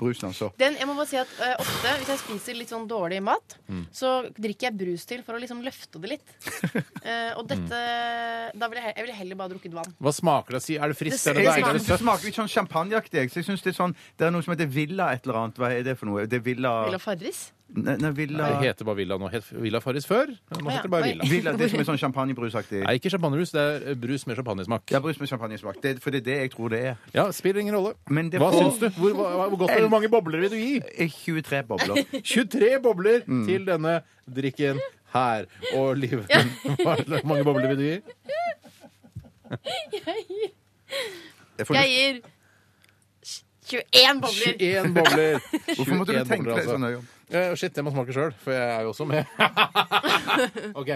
Speaker 4: Brusen, altså.
Speaker 5: Den, jeg må bare si at eh, ofte Hvis jeg spiser litt sånn dårlig mat,
Speaker 3: Mm.
Speaker 5: så drikker jeg brus til for å liksom løfte det litt. Eh, og dette
Speaker 3: Mm.
Speaker 5: Da ville jeg, he- jeg ville heller bare drukket vann.
Speaker 3: Hva smaker det? Si, er det friskt?
Speaker 5: Det
Speaker 3: Er det
Speaker 4: Jeg
Speaker 3: deilig? Er
Speaker 5: smaker-
Speaker 4: synes
Speaker 3: det
Speaker 4: det
Speaker 3: søtt?
Speaker 4: smaker litt sånn champagneaktig. jeg. Så jeg synes det er sånn Det er noe som heter Villa et eller annet. Hva er det for noe? Det er Villa
Speaker 5: Ville Farris.
Speaker 4: Nei, nei, Villa
Speaker 3: Det heter bare Villa nå. Het Villa Farris før. Nå
Speaker 5: ja.
Speaker 3: heter det bare
Speaker 5: Oi.
Speaker 3: Villa.
Speaker 4: Villa, det som er sånn champagnebrusaktig.
Speaker 3: Nei, ikke champagnerus. Det er eh, brus med champagnesmak.
Speaker 4: Ja, brus med champagnesmak. Det, for det er det jeg tror det er.
Speaker 3: Ja, spiller ingen rolle.
Speaker 4: Men det
Speaker 3: Hva
Speaker 4: får-
Speaker 3: syns du? Hvor, hva, hvor godt er det? Hvor mange bobler vil du gi?
Speaker 4: Eh, 23 bobler.
Speaker 3: 23 bobler til denne drikken her. Og Liv, hva- hvor mange bobler vil du gi?
Speaker 4: Jeg får
Speaker 5: Jeg gir 21 bobler.
Speaker 3: 21 bobler.
Speaker 4: Hvorfor måtte du
Speaker 3: 21
Speaker 4: tenke
Speaker 3: bobler,
Speaker 4: deg
Speaker 3: altså.
Speaker 4: sånn? Øyonn?
Speaker 3: Eh, shit, jeg må smake sjøl, for jeg er jo også med. ok.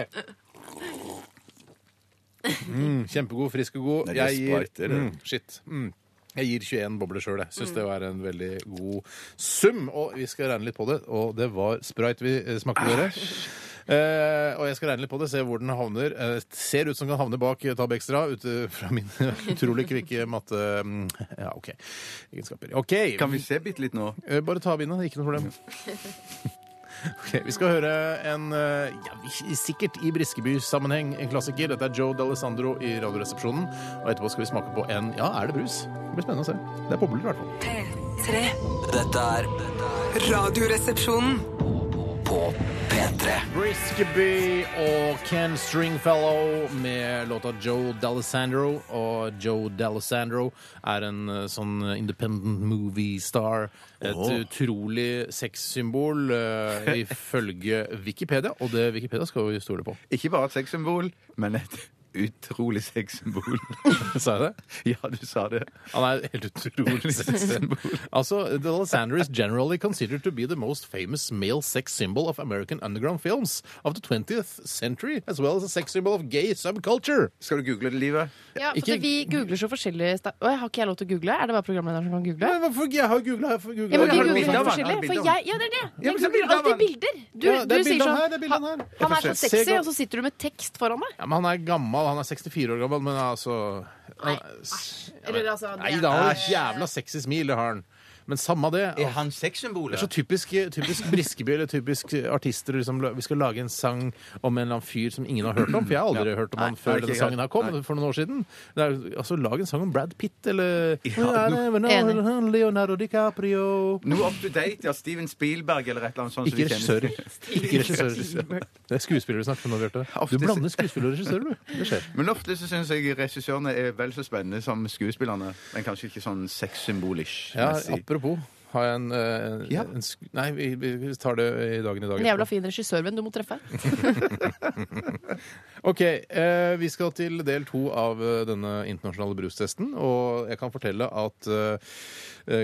Speaker 3: Mm, kjempegod, frisk og god.
Speaker 4: Nei, det er
Speaker 3: Jeg gir,
Speaker 4: sprite, eller?
Speaker 3: mm, shit. Mm. Jeg gir 21 bobler sjøl. Jeg syns det var en veldig god sum. Og vi skal regne litt på det, og det var sprite vi eh, smakte, dere. Eh, og jeg skal regne litt på det, se hvor den havner. Eh, ser ut som den kan havne bak eh, Tab Extra, ut eh, fra min utrolig kvikke matte... mm, Ja, OK. Egenskaper. OK.
Speaker 4: Kan vi se bitte litt nå?
Speaker 3: Eh, Bare ta bindet, ikke noe problem. Ok, vi skal høre en eh, ja, vi- sikkert i Briskeby-sammenheng en klassiker. Dette er Joe D'Alessandro i Radioresepsjonen. Og etterpå skal vi smake på en Ja, er det brus? Det blir spennende å se. Det er bobler, i hvert fall.
Speaker 6: P3.
Speaker 2: Dette er dette er
Speaker 6: Radioresepsjonen.
Speaker 2: på P3.
Speaker 3: Briskeby og Ken Stringfellow med låta Joe D'Alessandro. Og Joe D'Alessandro er en eh, sånn independent movie star. Et utrolig sexsymbol eh, ifølge Wikipedia, og det Wikipedia skal vi stole på.
Speaker 4: Ikke bare et sexsymbol, men et utrolig sexsymbol.
Speaker 3: Sa jeg det?
Speaker 4: ja, du sa det.
Speaker 3: Han er helt utrolig sexsymbol. altså, D'Alessandro is generally considered to be the most famous male sex symbol of American underground films of the 20th century, as well as a sex symbol of gay subculture.
Speaker 4: Skal du google det, Livet?
Speaker 5: Ja, for
Speaker 3: Ikke-
Speaker 5: det- Vi googler så forskjellig sta- Å, Har ikke jeg lov til å google? Er det bare programlederen som kan google?
Speaker 3: Men hvorfor ikke? Jeg har googla. Jeg har
Speaker 5: Ja, men
Speaker 4: Har
Speaker 5: vi
Speaker 4: du
Speaker 5: googler
Speaker 4: bilde
Speaker 5: så
Speaker 4: av han? Har
Speaker 5: forskjellig.
Speaker 4: du bilde
Speaker 5: For
Speaker 4: av han?
Speaker 5: jeg, ja, det er det.
Speaker 4: Ja,
Speaker 5: Jeg
Speaker 4: men så
Speaker 5: googler
Speaker 4: bilde av
Speaker 5: alltid
Speaker 4: han.
Speaker 5: bilder. Du,
Speaker 3: Ja, det er
Speaker 5: du sier
Speaker 3: bilde av
Speaker 5: sånn
Speaker 3: han her, det er bilde av han her.
Speaker 5: Han
Speaker 4: Jeg
Speaker 5: er så
Speaker 4: forstår.
Speaker 3: Se
Speaker 5: sexy,
Speaker 3: godt.
Speaker 5: og så sitter du med tekst foran deg.
Speaker 3: Ja, men han er gammel. Han er 64 år gammel, men altså
Speaker 5: Nei,
Speaker 3: æsj.
Speaker 5: Eller, altså, det
Speaker 3: Nei
Speaker 5: er-
Speaker 3: da, han har et jævla sexy smil, det har han. Men samme det.
Speaker 4: Er
Speaker 3: Det
Speaker 4: han sexsymbolet?
Speaker 3: er så typisk, typisk Briskeby eller typisk artister. Liksom, vi skal lage en sang om en eller annen fyr som ingen har hørt om. For jeg har aldri hørt om han
Speaker 4: Nei,
Speaker 3: før
Speaker 4: ikke
Speaker 3: denne
Speaker 4: jeg.
Speaker 3: sangen her kom for noen år siden. Det er, altså, Lag en sang om Brad Pitt eller
Speaker 5: Enig.
Speaker 3: Leonardo DiCaprio.
Speaker 4: Noe up to date, ja. Steven Spielberg eller et eller annet sånt. som
Speaker 3: Ikke
Speaker 4: vi kjenner.
Speaker 3: regissører. Ikke regissører. Det er skuespillere vi snakker om nå, Bjarte.
Speaker 4: Ofte
Speaker 3: Du
Speaker 4: så-
Speaker 3: blander skuespiller og regissør, du. Det skjer.
Speaker 4: Men ofte så syns jeg regissørene er vel så spennende som skuespillerne. Men kanskje ikke sånn sexsymbolish.
Speaker 3: Ja,
Speaker 4: messig.
Speaker 3: apropos. Har jeg en, eh,
Speaker 4: Ja.
Speaker 3: en sk Nei, vi, vi tar det i dagen i dag.
Speaker 5: En jævla fin regissørvenn du må treffe.
Speaker 3: Ok, eh, Vi skal til del to av eh, denne internasjonale brustesten. Og jeg kan fortelle at eh,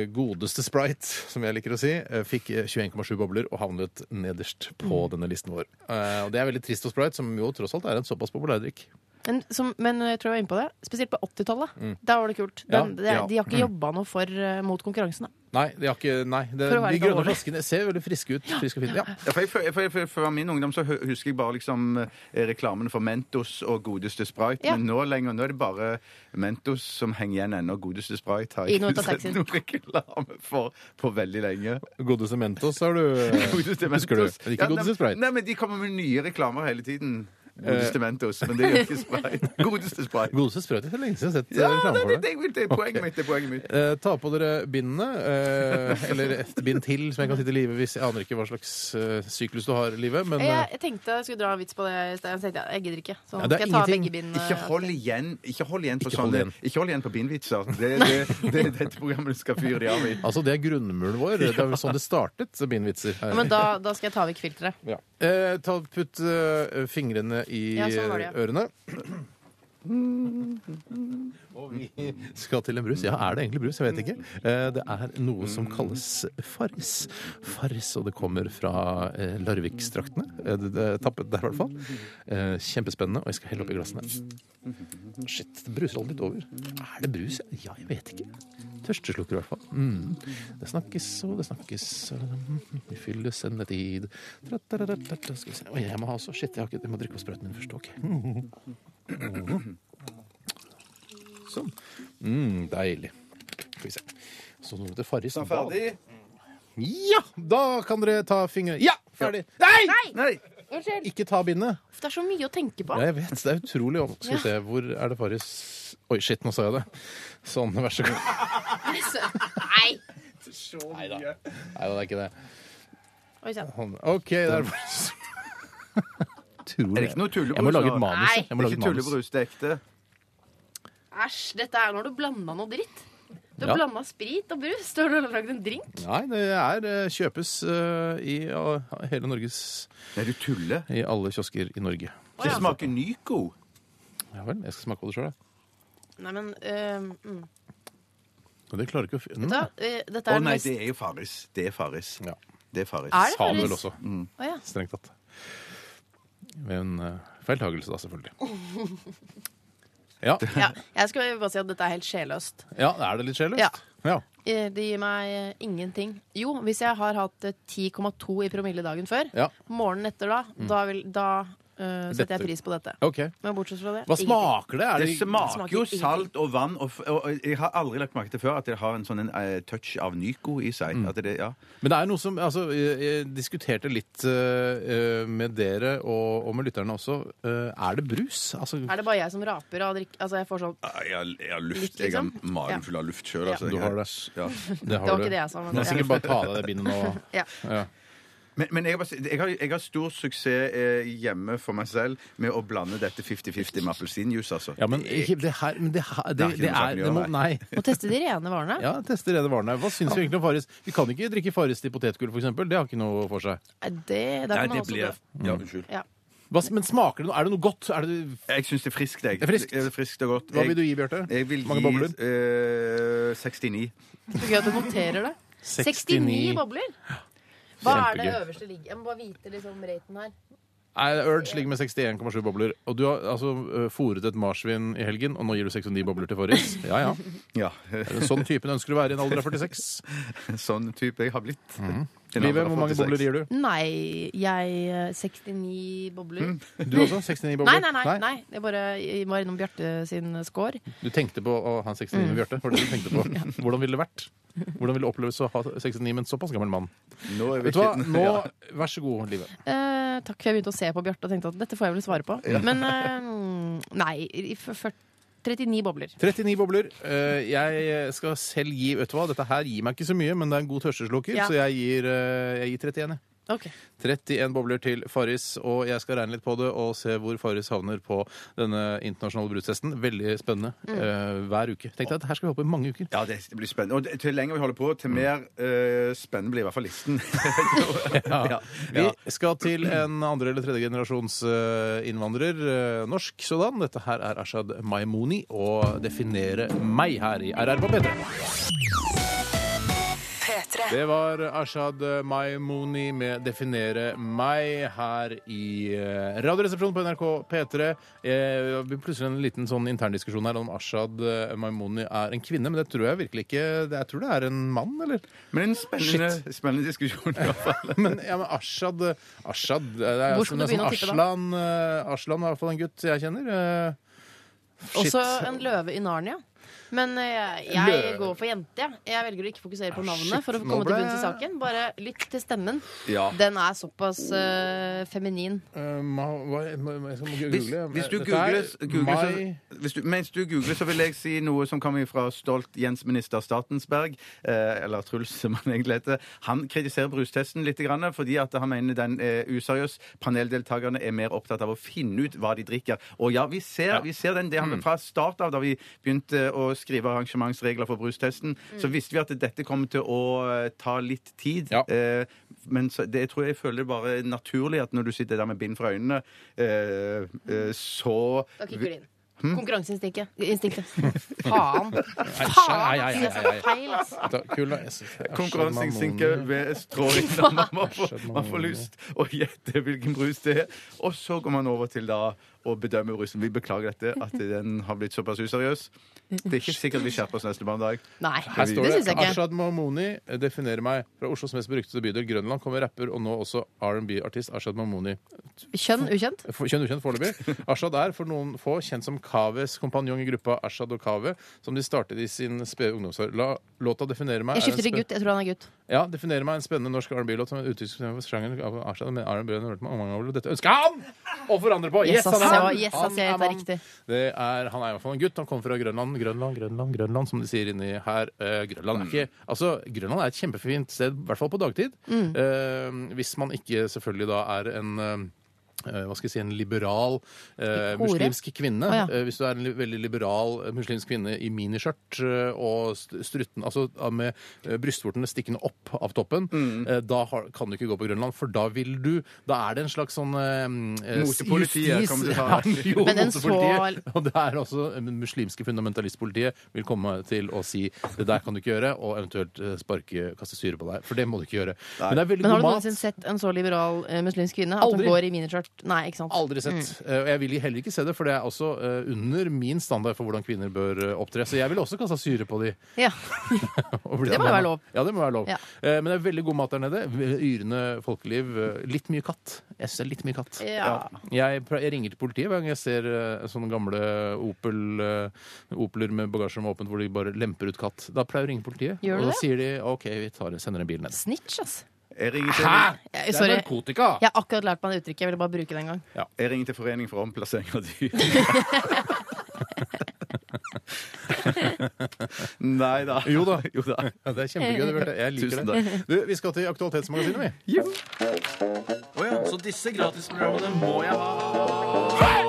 Speaker 3: godeste Sprite, som jeg liker å si, eh, fikk eh, 21,7 bobler og havnet nederst på denne listen vår. Eh, og Det er veldig trist for Sprite, som jo tross alt er en såpass populær drikk.
Speaker 5: Men, som, men jeg tror jeg var inne på det. Spesielt på 80-tallet. Da var det kult.
Speaker 3: Ja,
Speaker 5: Den, det,
Speaker 3: ja.
Speaker 5: De har ikke jobba noe for, eh, mot konkurransen. Da.
Speaker 3: Nei, de, har ikke, nei, det,
Speaker 5: For å være
Speaker 3: de
Speaker 5: litt
Speaker 3: grønne
Speaker 5: alvorlig.
Speaker 3: flaskene ser veldig friske ut. Friske og fine. Ja.
Speaker 4: Ja, for, jeg, for, for, for, for min ungdom så hu- husker jeg bare liksom eh, reklamen for Mentos og godeste Sprite.
Speaker 5: Ja.
Speaker 4: Men nå lenger, nå er det bare Mentos som henger igjen ennå. Godeste Sprite har
Speaker 5: I
Speaker 4: jeg
Speaker 5: noen
Speaker 4: ikke
Speaker 5: av
Speaker 4: sett
Speaker 5: taxiene.
Speaker 4: noen reklame for på veldig lenge.
Speaker 3: Godeste Mentos har du.
Speaker 4: Godeste
Speaker 3: Husker du?
Speaker 4: Mentos.
Speaker 3: Men
Speaker 4: Ja,
Speaker 3: ikke Godeste Sprite. Eh.
Speaker 4: Nei, nei, men de kommer med nye reklamer hele tiden. Godeste Mentos, men det gjør ikke Sprite. Godeste Sprite.
Speaker 3: Godeste sprøyte så lenge siden jeg har sett eh,
Speaker 4: Ja,
Speaker 3: reklame
Speaker 4: nei,
Speaker 3: for
Speaker 4: det,
Speaker 3: det.
Speaker 4: det, det er poenget mitt. Det er poenget mitt.
Speaker 3: Eh, ta på dere bindene, eh, eller et bind til som jeg kan sitte i live hvis jeg aner ikke hva slags eh, syklus du har i livet. Men
Speaker 5: Jeg,
Speaker 3: eh,
Speaker 5: jeg tenkte jeg skulle dra en vits på det i sted. Jeg tenkte jeg, jeg gidder ikke. Så
Speaker 3: Ja,
Speaker 5: nå
Speaker 3: det er
Speaker 5: skal jeg ta
Speaker 3: ingenting.
Speaker 5: begge bind. eh,
Speaker 4: Ikke hold igjen, ikke hold igjen på
Speaker 3: Ikke hold
Speaker 4: sånne
Speaker 3: igjen.
Speaker 4: Ikke hold igjen på bindvitser. Det er det, det, er dette programmet du skal fyre de av i.
Speaker 3: altså, det er grunnmuren vår. Det er vel sånn det startet, så bindvitser.
Speaker 5: Ja, men da, da skal jeg ta vekk filteret.
Speaker 3: Ja. Eh, ta, putt eh, fingrene i
Speaker 5: Ja, sånn var det, ja.
Speaker 3: ørene. Og vi skal til en brus. Ja, er det egentlig brus? Jeg vet ikke. Eh, det er noe som kalles farris. Farris, og det kommer fra eh, Larviksdraktene. Eh, det, det er tappet der, i hvert fall. Eh, kjempespennende, og jeg skal helle oppi glassene. Shit, det bruser aldri litt over. Er det brus? Ja, jeg vet ikke. Tørsteslukker, i hvert fall. Mm. Det snakkes og det snakkes. og Vi fyller sendetid Tra-ta-ra-ta-ta, Skal vi se. Oi, jeg må ha også. Shit, jeg, har ikke, jeg må drikke opp sprøyten min først. Ok. Sånn. Mm, deilig. Skal vi se. Så noe til Farris.
Speaker 4: Ferdig?
Speaker 3: Ja! Da kan dere ta fingre... Ja! Ferdig. Nei!
Speaker 4: Nei!
Speaker 5: Unnskyld.
Speaker 3: Ikke ta bindet.
Speaker 5: Det er så mye å tenke på.
Speaker 3: Ja, jeg vet. Det er utrolig om. Skal vi se, hvor er det Farris Oi, shit, nå sa jeg det. Sånn, vær så god.
Speaker 5: Nei!
Speaker 3: Nei, det er ikke det.
Speaker 5: Oi sånn. sann.
Speaker 3: Hånd- OK, det er bare Tror
Speaker 4: Er det ikke noe tullebrus
Speaker 3: Jeg må lage
Speaker 4: nå?
Speaker 3: et manus.
Speaker 5: Nei.
Speaker 3: Jeg
Speaker 4: Det
Speaker 3: må
Speaker 4: er
Speaker 3: lage
Speaker 4: ikke
Speaker 3: et manus.
Speaker 4: tullebrus, det er ekte.
Speaker 5: Æsj, dette er når du blanda noe dritt. Du
Speaker 3: Ja.
Speaker 5: har blanda sprit og brus. Du har lagd en drink.
Speaker 3: Nei, det er eh, kjøpes eh, i eh, hele Norges
Speaker 4: Nei, du tuller.
Speaker 3: I alle kiosker i Norge.
Speaker 5: Å,
Speaker 4: Det
Speaker 5: ja.
Speaker 4: smaker Nyco.
Speaker 3: Ja vel, jeg skal smake på det sjøl, jeg.
Speaker 5: Nei, men øhm, mm.
Speaker 3: Men det klarer ikke å fi-
Speaker 5: da,
Speaker 3: mm.
Speaker 5: øh, Dette
Speaker 4: Å
Speaker 5: er den
Speaker 4: nei,
Speaker 5: mest-
Speaker 4: det er jo Farris. Det er Farris.
Speaker 3: Ja.
Speaker 4: Det er Farris.
Speaker 5: Er det
Speaker 3: Sa det
Speaker 5: Farris?
Speaker 3: vel også.
Speaker 5: Å, ja.
Speaker 3: Strengt tatt. Ved en uh, feiltagelse, da, selvfølgelig. Ja.
Speaker 5: Ja, jeg skal bare si at dette er helt sjelløst.
Speaker 3: ja, er det litt sjeløst?
Speaker 5: Ja.
Speaker 3: ja.
Speaker 5: Eh, Det gir meg eh, ingenting. Jo, hvis jeg har hatt eh, 10,2 i promille dagen før,
Speaker 3: Ja. Mm.
Speaker 5: morgenen etter da, da, vil, da eh,
Speaker 3: Dette-
Speaker 5: setter jeg pris på dette.
Speaker 3: Ok.
Speaker 5: Men bortsett fra det
Speaker 3: Hva
Speaker 5: ingenting.
Speaker 3: smaker det? Er
Speaker 4: Det
Speaker 3: det
Speaker 4: smaker jo
Speaker 5: ingenting.
Speaker 4: salt og vann, og, f- og, og jeg har aldri lagt merke til før at det har en sånn en, eh, touch av Nyco i seg.
Speaker 3: Mm.
Speaker 4: At det, ja.
Speaker 3: Men det er noe som altså, jeg, jeg diskuterte litt eh, eh, med dere og, og med lytterne også. Eh, er det brus? Altså,
Speaker 5: Er det bare jeg som raper av drikke? Altså, jeg får sånn
Speaker 4: Ah, Jeg, har, jeg har luft.
Speaker 5: Litt,
Speaker 4: Jeg har
Speaker 5: liksom? Ja.
Speaker 4: magen full av luft sjøl.
Speaker 5: Ja.
Speaker 4: Altså.
Speaker 3: Du
Speaker 4: Jeg-
Speaker 3: har det.
Speaker 4: Ja.
Speaker 3: det
Speaker 5: var ikke det jeg sa, men-
Speaker 3: Du kan sikkert bare ta av deg det bindet nå.
Speaker 5: Ja.
Speaker 3: Ja.
Speaker 4: Men, men jeg, har, bare si- jeg, har, jeg har stor suksess eh, hjemme for meg selv med å blande dette 50-50 med appelsinjuice, altså.
Speaker 3: Ja, men ikke- det her men det, her,
Speaker 4: Det er
Speaker 3: det,
Speaker 4: ikke
Speaker 3: det
Speaker 4: noe
Speaker 3: er
Speaker 4: saklig å
Speaker 3: det må,
Speaker 4: være.
Speaker 3: Nei.
Speaker 5: Må teste de rene varene.
Speaker 3: Ja, teste rene varene. Hva syns vi egentlig om Farris? Vi kan ikke drikke Farris til potetgull, f.eks. Det har ikke noe for seg.
Speaker 5: Nei, Det, der
Speaker 4: Nei,
Speaker 5: kan man
Speaker 4: det
Speaker 5: også
Speaker 4: blir
Speaker 5: dø.
Speaker 4: Ja, unnskyld.
Speaker 5: Ja.
Speaker 3: Hva, men smaker det noe? Er det noe godt? Er det,
Speaker 4: Jeg syns det er friskt, jeg.
Speaker 3: Det er friskt.
Speaker 4: friskt og godt.
Speaker 3: hva vil du
Speaker 4: Jeg,
Speaker 3: gi, Bjarte?
Speaker 4: jeg vil
Speaker 3: Mange
Speaker 4: gi
Speaker 3: bobler?
Speaker 4: eh, 69.
Speaker 5: Så gøy at du noterer det. 69 bobler! Hva er det
Speaker 3: Kjempegøy.
Speaker 5: øverste ligget? Jeg må bare vite liksom raten her.
Speaker 3: Nei, Urge ligger med 61,7 bobler. Og du har altså eh, fôret et marsvin i helgen, og nå gir du 69 bobler til Farris? Ja ja.
Speaker 4: Ja,
Speaker 3: Er det Sånn typen ønsker du å være i en alder av 46.
Speaker 4: sånn type jeg har blitt. En alder
Speaker 3: Live,
Speaker 4: av
Speaker 3: Mhm. hvor mange
Speaker 4: 46.
Speaker 3: bobler gir du?
Speaker 5: Nei, jeg eh, 69 bobler.
Speaker 3: Du også? 69
Speaker 5: Nei,
Speaker 3: Mm, bobler?
Speaker 5: nei, nei. nei. Jeg bare jeg var innom Bjarte sin score.
Speaker 3: Du tenkte på å ha en 69
Speaker 4: Mm.
Speaker 3: med Bjarte? Var det det du tenkte på? Hvordan ville det vært? Hvordan ville det oppleves å ha 69 med en såpass gammel mann?
Speaker 4: Nå er vi
Speaker 3: Vet du hva?
Speaker 4: ikke-
Speaker 3: Nå,
Speaker 4: Ja.
Speaker 3: Vær så god, Live.
Speaker 5: Eh, takk for jeg begynte å se på Bjarte og tenkte at dette får jeg vel svare på. Men eh, nei, i f- fyrt- 39 bobler.
Speaker 3: 39 bobler. Eh, Jeg skal selv gi Vet du hva, dette her gir meg ikke så mye, men det er en god tørseslukker,
Speaker 5: Ja.
Speaker 3: så jeg gir, eh, jeg gir 31. jeg.
Speaker 5: Ok.
Speaker 3: 31 bobler til Farris, og jeg skal regne litt på det og se hvor Farris havner på denne internasjonale brustesten. Veldig spennende. eh, Hver uke. Tenk deg at her skal vi holde på i mange uker.
Speaker 4: Ja, det blir spennende. Og til lenger vi holder på,
Speaker 3: Mm.
Speaker 4: til mer eh, spennende blir i hvert fall listen. ja. Ja.
Speaker 3: Vi skal til en andre- eller tredjegenerasjons eh, innvandrer, eh, norsk sådan. Dette her er Ashad Maimoni og 'Definere meg' her i RR på P3.
Speaker 6: P3.
Speaker 3: Det var Ashad Maimoni med 'Definere meg' her i eh, Radioresepsjonen på NRK P3. Eh, vi har plutselig en liten sånn interndiskusjon her om Ashad eh, Maimoni er en kvinne, men det tror jeg virkelig ikke det- Jeg tror det er en mann, eller?
Speaker 4: Men en spennende, spennende diskusjon i hvert fall.
Speaker 3: Men, ja, men Ashad, Ashad det er,
Speaker 5: Hvor skal
Speaker 3: det er
Speaker 5: du begynne å tippe, da?
Speaker 3: Aslan, eh, Aslan er i hvert fall en gutt jeg kjenner. eh, Shit.
Speaker 5: Også en løve i Narnia. Men eh, jeg
Speaker 3: Løve.
Speaker 5: går for jente. jeg. Jeg velger å ikke fokusere på
Speaker 3: Ah, shit,
Speaker 5: navnet. for å
Speaker 3: nå
Speaker 5: komme til
Speaker 3: ble
Speaker 5: bunns i
Speaker 3: jeg-
Speaker 5: saken. Bare lytt til stemmen.
Speaker 4: Ja.
Speaker 5: Den er såpass eh, feminin.
Speaker 3: Eh, ma- hva- ma- ma- jeg skal google.
Speaker 4: Hvis, hvis du
Speaker 3: Dette er
Speaker 4: googler, googler
Speaker 3: Mai-
Speaker 4: så, hvis du, Mens du googler, så vil jeg si noe som kommer fra stolt Jens-minister Statensberg, eh, eller Truls, som han egentlig heter. Han kritiserer brustesten litt, grann, fordi at han mener den er useriøs. Paneldeltakerne er mer opptatt av å finne ut hva de drikker. Og ja, vi ser, vi ser den. Det, fra start av, da vi begynte å skrive arrangementsregler for brustesten, så visste vi at dette kom til å eh, ta litt tid.
Speaker 3: Ja.
Speaker 4: Eh, men så, det, jeg tror jeg føler det bare er naturlig at når du sitter der med bind for øynene, eh, eh, så
Speaker 5: Da kicker det inn.
Speaker 3: Hm?
Speaker 5: Konkurranseinstinktet. Instinktet. Faen! Faen!
Speaker 3: nei, nei, nei,
Speaker 5: ass, Jeg
Speaker 3: nei,
Speaker 5: skal ta feil, ass.
Speaker 3: Da, kul, jeg synes- Ashad
Speaker 4: Konkurranseinstinktet
Speaker 3: Maimoni.
Speaker 4: ved stråling. da Man, man, får,
Speaker 3: Skjønner
Speaker 4: man får
Speaker 3: man.
Speaker 4: lyst å gjette hvilken brus det er. Og så går man over til da å bedømme brusen. Vi beklager dette, at den har blitt såpass useriøs. Det er ikke sikkert vi skjerper oss neste mandag.
Speaker 5: Nei,
Speaker 3: Her
Speaker 5: det
Speaker 3: står det,
Speaker 5: syns jeg ikke.
Speaker 3: Ashad Mahmouni eh, definerer meg. Fra Oslos mest beryktede bydel Grønland kommer rapper og nå også R&B-artist Ashad Mahmouni.
Speaker 5: Kjønn ukjent?
Speaker 3: For- Kjønn ukjent foreløpig. Ashad er for noen få kjent som Kaves kompanjong i gruppa Ashad og Kave, som de startet i sin spede ungdomsår. La låta 'Definere meg'
Speaker 5: Jeg skifter til
Speaker 3: er en,
Speaker 5: gutt. Jeg tror han er gutt.
Speaker 3: ja, definerer meg er en spennende norsk R&B-låt som er uttrykk for sjangeren av Ashad med R&B. og Norwegian mange ganger. Dette ønsker han å forandre på!
Speaker 5: Yes,
Speaker 3: Yes, han er
Speaker 5: ass, jeg
Speaker 3: han!
Speaker 5: var- yes, ass,
Speaker 3: Han er
Speaker 5: jeg vet det er
Speaker 3: mann.
Speaker 5: riktig.
Speaker 3: Det er, han er i hvert fall en gutt. Han kommer fra Grønland, Grønland, Grønland, Grønland som de sier inni her. Eh, Grønland, er ikke, altså, Grønland er et kjempefint sted, i hvert fall på dagtid.
Speaker 5: Mm.
Speaker 3: Eh, hvis man ikke selvfølgelig da er en eh, hva skal jeg si, En liberal eh,
Speaker 5: Hore.
Speaker 3: muslimsk kvinne.
Speaker 5: Å, ja.
Speaker 3: Eh, hvis du er en li veldig liberal eh, muslimsk kvinne i miniskjørt eh, og st- strutten, altså ah, med eh, brystvortene stikkende opp av toppen, eh, da har, kan du ikke gå på Grønland, for da vil du Da er det en slags sånn eh, eh,
Speaker 4: Motepolitiet kommer til å ta-
Speaker 3: justis- Ja, jo,
Speaker 5: Men en
Speaker 3: motepolitiet.
Speaker 5: så-
Speaker 3: Og det er også eh, muslimske fundamentalistpolitiet vil komme til å si det der kan du ikke gjøre, og eventuelt eh, sparke, kaste syre på deg. For det må du ikke gjøre. Men det er veldig
Speaker 5: Men har
Speaker 3: god
Speaker 5: du
Speaker 3: mat.
Speaker 5: noensinne sett en så liberal eh, muslimsk kvinne? At hun
Speaker 3: Aldri.
Speaker 5: går i miniskjørt? først. Nei, ikke sant.
Speaker 3: Aldri sett.
Speaker 5: Mm.
Speaker 3: Eh, Og jeg vil heller ikke se det, for det er også eh, under min standard for hvordan kvinner bør eh, opptre. Så jeg ville også kasta syre på de.
Speaker 5: Ja.
Speaker 3: og bli
Speaker 5: Det må jo
Speaker 3: forbanna.
Speaker 5: være lov.
Speaker 3: Ja, det må være lov.
Speaker 5: Ja.
Speaker 3: Eh, Men det er veldig god mat der nede. Yrende folkeliv. eh, Litt mye katt. Jeg syns det er litt mye katt.
Speaker 5: Ja.
Speaker 3: Jeg, pra- jeg ringer til politiet hver gang jeg ser eh, sånne gamle Opel, eh, Opeler med bagasjerom åpent hvor de bare lemper ut katt. Da pleier jeg å ringe politiet.
Speaker 5: Gjør du
Speaker 3: og da
Speaker 5: det?
Speaker 3: sier de OK, vi tar, sender en bil ned.
Speaker 5: Snitch, ass.
Speaker 4: Jeg ringer til,
Speaker 3: Hæ?!
Speaker 5: Jeg-
Speaker 3: Det
Speaker 5: sorry.
Speaker 3: er narkotika!
Speaker 5: Jeg har akkurat lært meg det uttrykket. Jeg ville bare bruke det en gang.
Speaker 4: jeg ringer til Foreningen for omplassering av dyr. Nei da.
Speaker 3: Jo da.
Speaker 4: Jo da.
Speaker 3: Ja, det er kjempegøy. det Bjarte. Jeg liker
Speaker 4: Tusen
Speaker 3: det. Du, vi skal til Aktualitetsmagasinet, vi.
Speaker 4: Så disse gratisprogrammene må jeg ha.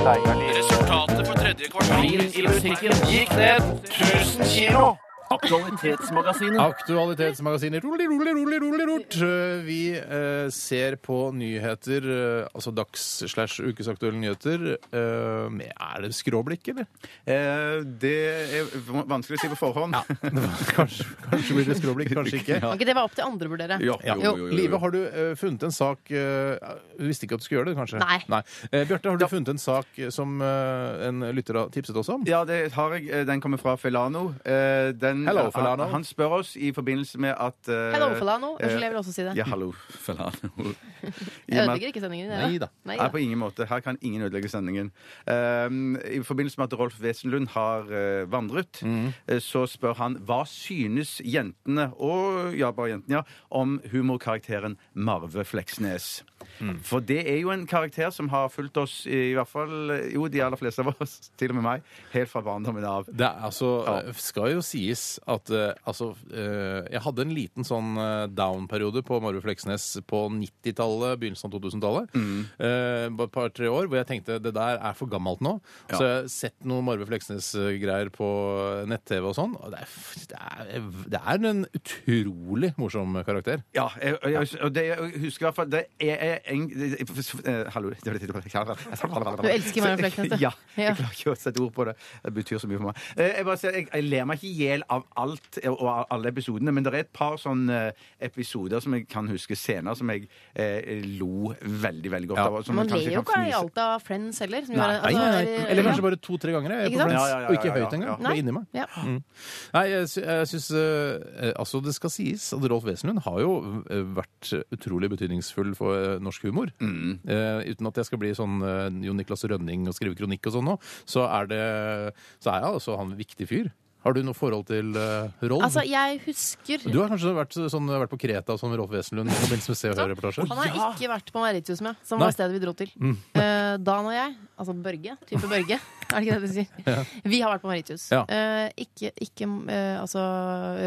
Speaker 7: Resultatet for tredje kvartal i musikken gikk ned 1000 kilo. Aktualitetsmagasinet.
Speaker 3: Aktualitetsmagasinet. Rolig, rolig, rolig, rolig, rort. Eh, Vi eh, ser på nyheter, eh, altså dags-slash-ukesaktuelle nyheter, eh, med Er det skråblikk, eller?
Speaker 4: Eh, det er v- vanskelig å si på forhånd.
Speaker 3: Kanskje, kanskje blir det skråblikk, kanskje ikke.
Speaker 5: Kan ikke det være opp til andre å vurdere?
Speaker 4: Jo, jo, jo, jo, jo.
Speaker 3: Live, har du eh, funnet en sak eh, Du visste ikke at du skulle gjøre det, kanskje?
Speaker 5: Nei.
Speaker 3: Eh, Bjarte, har du funnet en sak som eh, en lytter har tipset oss om?
Speaker 4: Ja, det har jeg. Eh, Den kommer fra Felano. Eh, Den,
Speaker 3: Hello, Felano.
Speaker 4: Han, han spør oss i forbindelse med at eh,
Speaker 5: Hello, Falano.
Speaker 4: eh,
Speaker 5: Unnskyld, jeg vil også si det.
Speaker 4: Ja, hallo, Felano. I og med
Speaker 5: Jeg
Speaker 4: at-
Speaker 5: ødelegger ikke sendingen.
Speaker 3: Nei da.
Speaker 4: Nei, på ingen måte. Her kan ingen ødelegge sendingen. Ehm, I forbindelse med at Rolf Wesenlund har eh, vandret,
Speaker 3: Mm.
Speaker 4: eh, så spør han hva synes jentene, og ja, bare jentene, ja, om humorkarakteren Marve Fleksnes.
Speaker 3: Mm.
Speaker 4: For det er jo en karakter som har fulgt oss, i hvert fall eh, jo, de aller fleste av oss, til og med meg, helt fra barndommen av.
Speaker 3: Det er, altså,
Speaker 4: Ja.
Speaker 3: skal jo sies at eh, altså, eh, jeg hadde en liten sånn eh, down-periode på Marve Fleksnes på 90-tallet, begynnelsen av 2000-tallet. Eh, Bare et par-tre år hvor jeg tenkte det der er for gammelt nå.
Speaker 4: Ja.
Speaker 3: Så jeg har sett noe Marve Fleksnes-greier på nett-TV og sånn. Og det, er, det, er, det er en utrolig morsom karakter.
Speaker 4: Ja, jeg, jeg, og det, jeg husker i hvert fall Det er, er en eh, Hallo, det var det tittelet på
Speaker 5: Du elsker Marion Fleksnes, du.
Speaker 4: Ja.
Speaker 5: Ja.
Speaker 4: Jeg klarer ikke å sette ord på det. Det betyr så mye for meg. Eh, Jeg, bare, sier, jeg, jeg ler meg ikke i hjel av alt eh, og av alle episodene, men det er et par sånne eh, episoder som jeg kan huske senere, som jeg eh, lo veldig, veldig godt
Speaker 3: Ja.
Speaker 4: av. og som
Speaker 5: Man
Speaker 4: jeg kanskje
Speaker 5: ler jo ikke
Speaker 4: kan
Speaker 5: i
Speaker 4: fnise-
Speaker 5: alt av Friends heller. Som jo
Speaker 3: Nei,
Speaker 5: er- altså, er-
Speaker 3: Eller
Speaker 5: ja.
Speaker 3: kanskje bare to-tre ganger. Jeg,
Speaker 5: Ikke
Speaker 3: på
Speaker 5: sant?
Speaker 3: Friends,
Speaker 4: Ja, ja, ja,
Speaker 3: Og ikke
Speaker 4: ja, ja,
Speaker 3: høyt engang.
Speaker 4: ja.
Speaker 3: Det er inni meg.
Speaker 5: Ja.
Speaker 3: Nei, jeg, sy jeg syns eh, eh, Altså, det skal sies at Rolf Wesenlund har jo eh, vært utrolig betydningsfull for eh, norsk humor. Eh, uten at jeg skal bli sånn eh, Jo Niklas Rønning og skrive kronikk og sånn nå, så er det Så er jeg altså han en viktig fyr. Har du noe forhold til eh, Rolf?
Speaker 5: Altså, jeg husker
Speaker 3: du har kanskje vært, sånn, vært på Kreta som Rolf Wesenlund i forbindelse med Se og Hør-reportasje?
Speaker 5: Han har ikke vært på Mauritius med, som
Speaker 3: Nei. Mm.
Speaker 5: var stedet vi dro til. Eh, Dan og jeg, altså Børge, type Børge, er det ikke det du sier? Vi har vært på Mauritius.
Speaker 3: Ja.
Speaker 5: Eh, ikke ikke eh, altså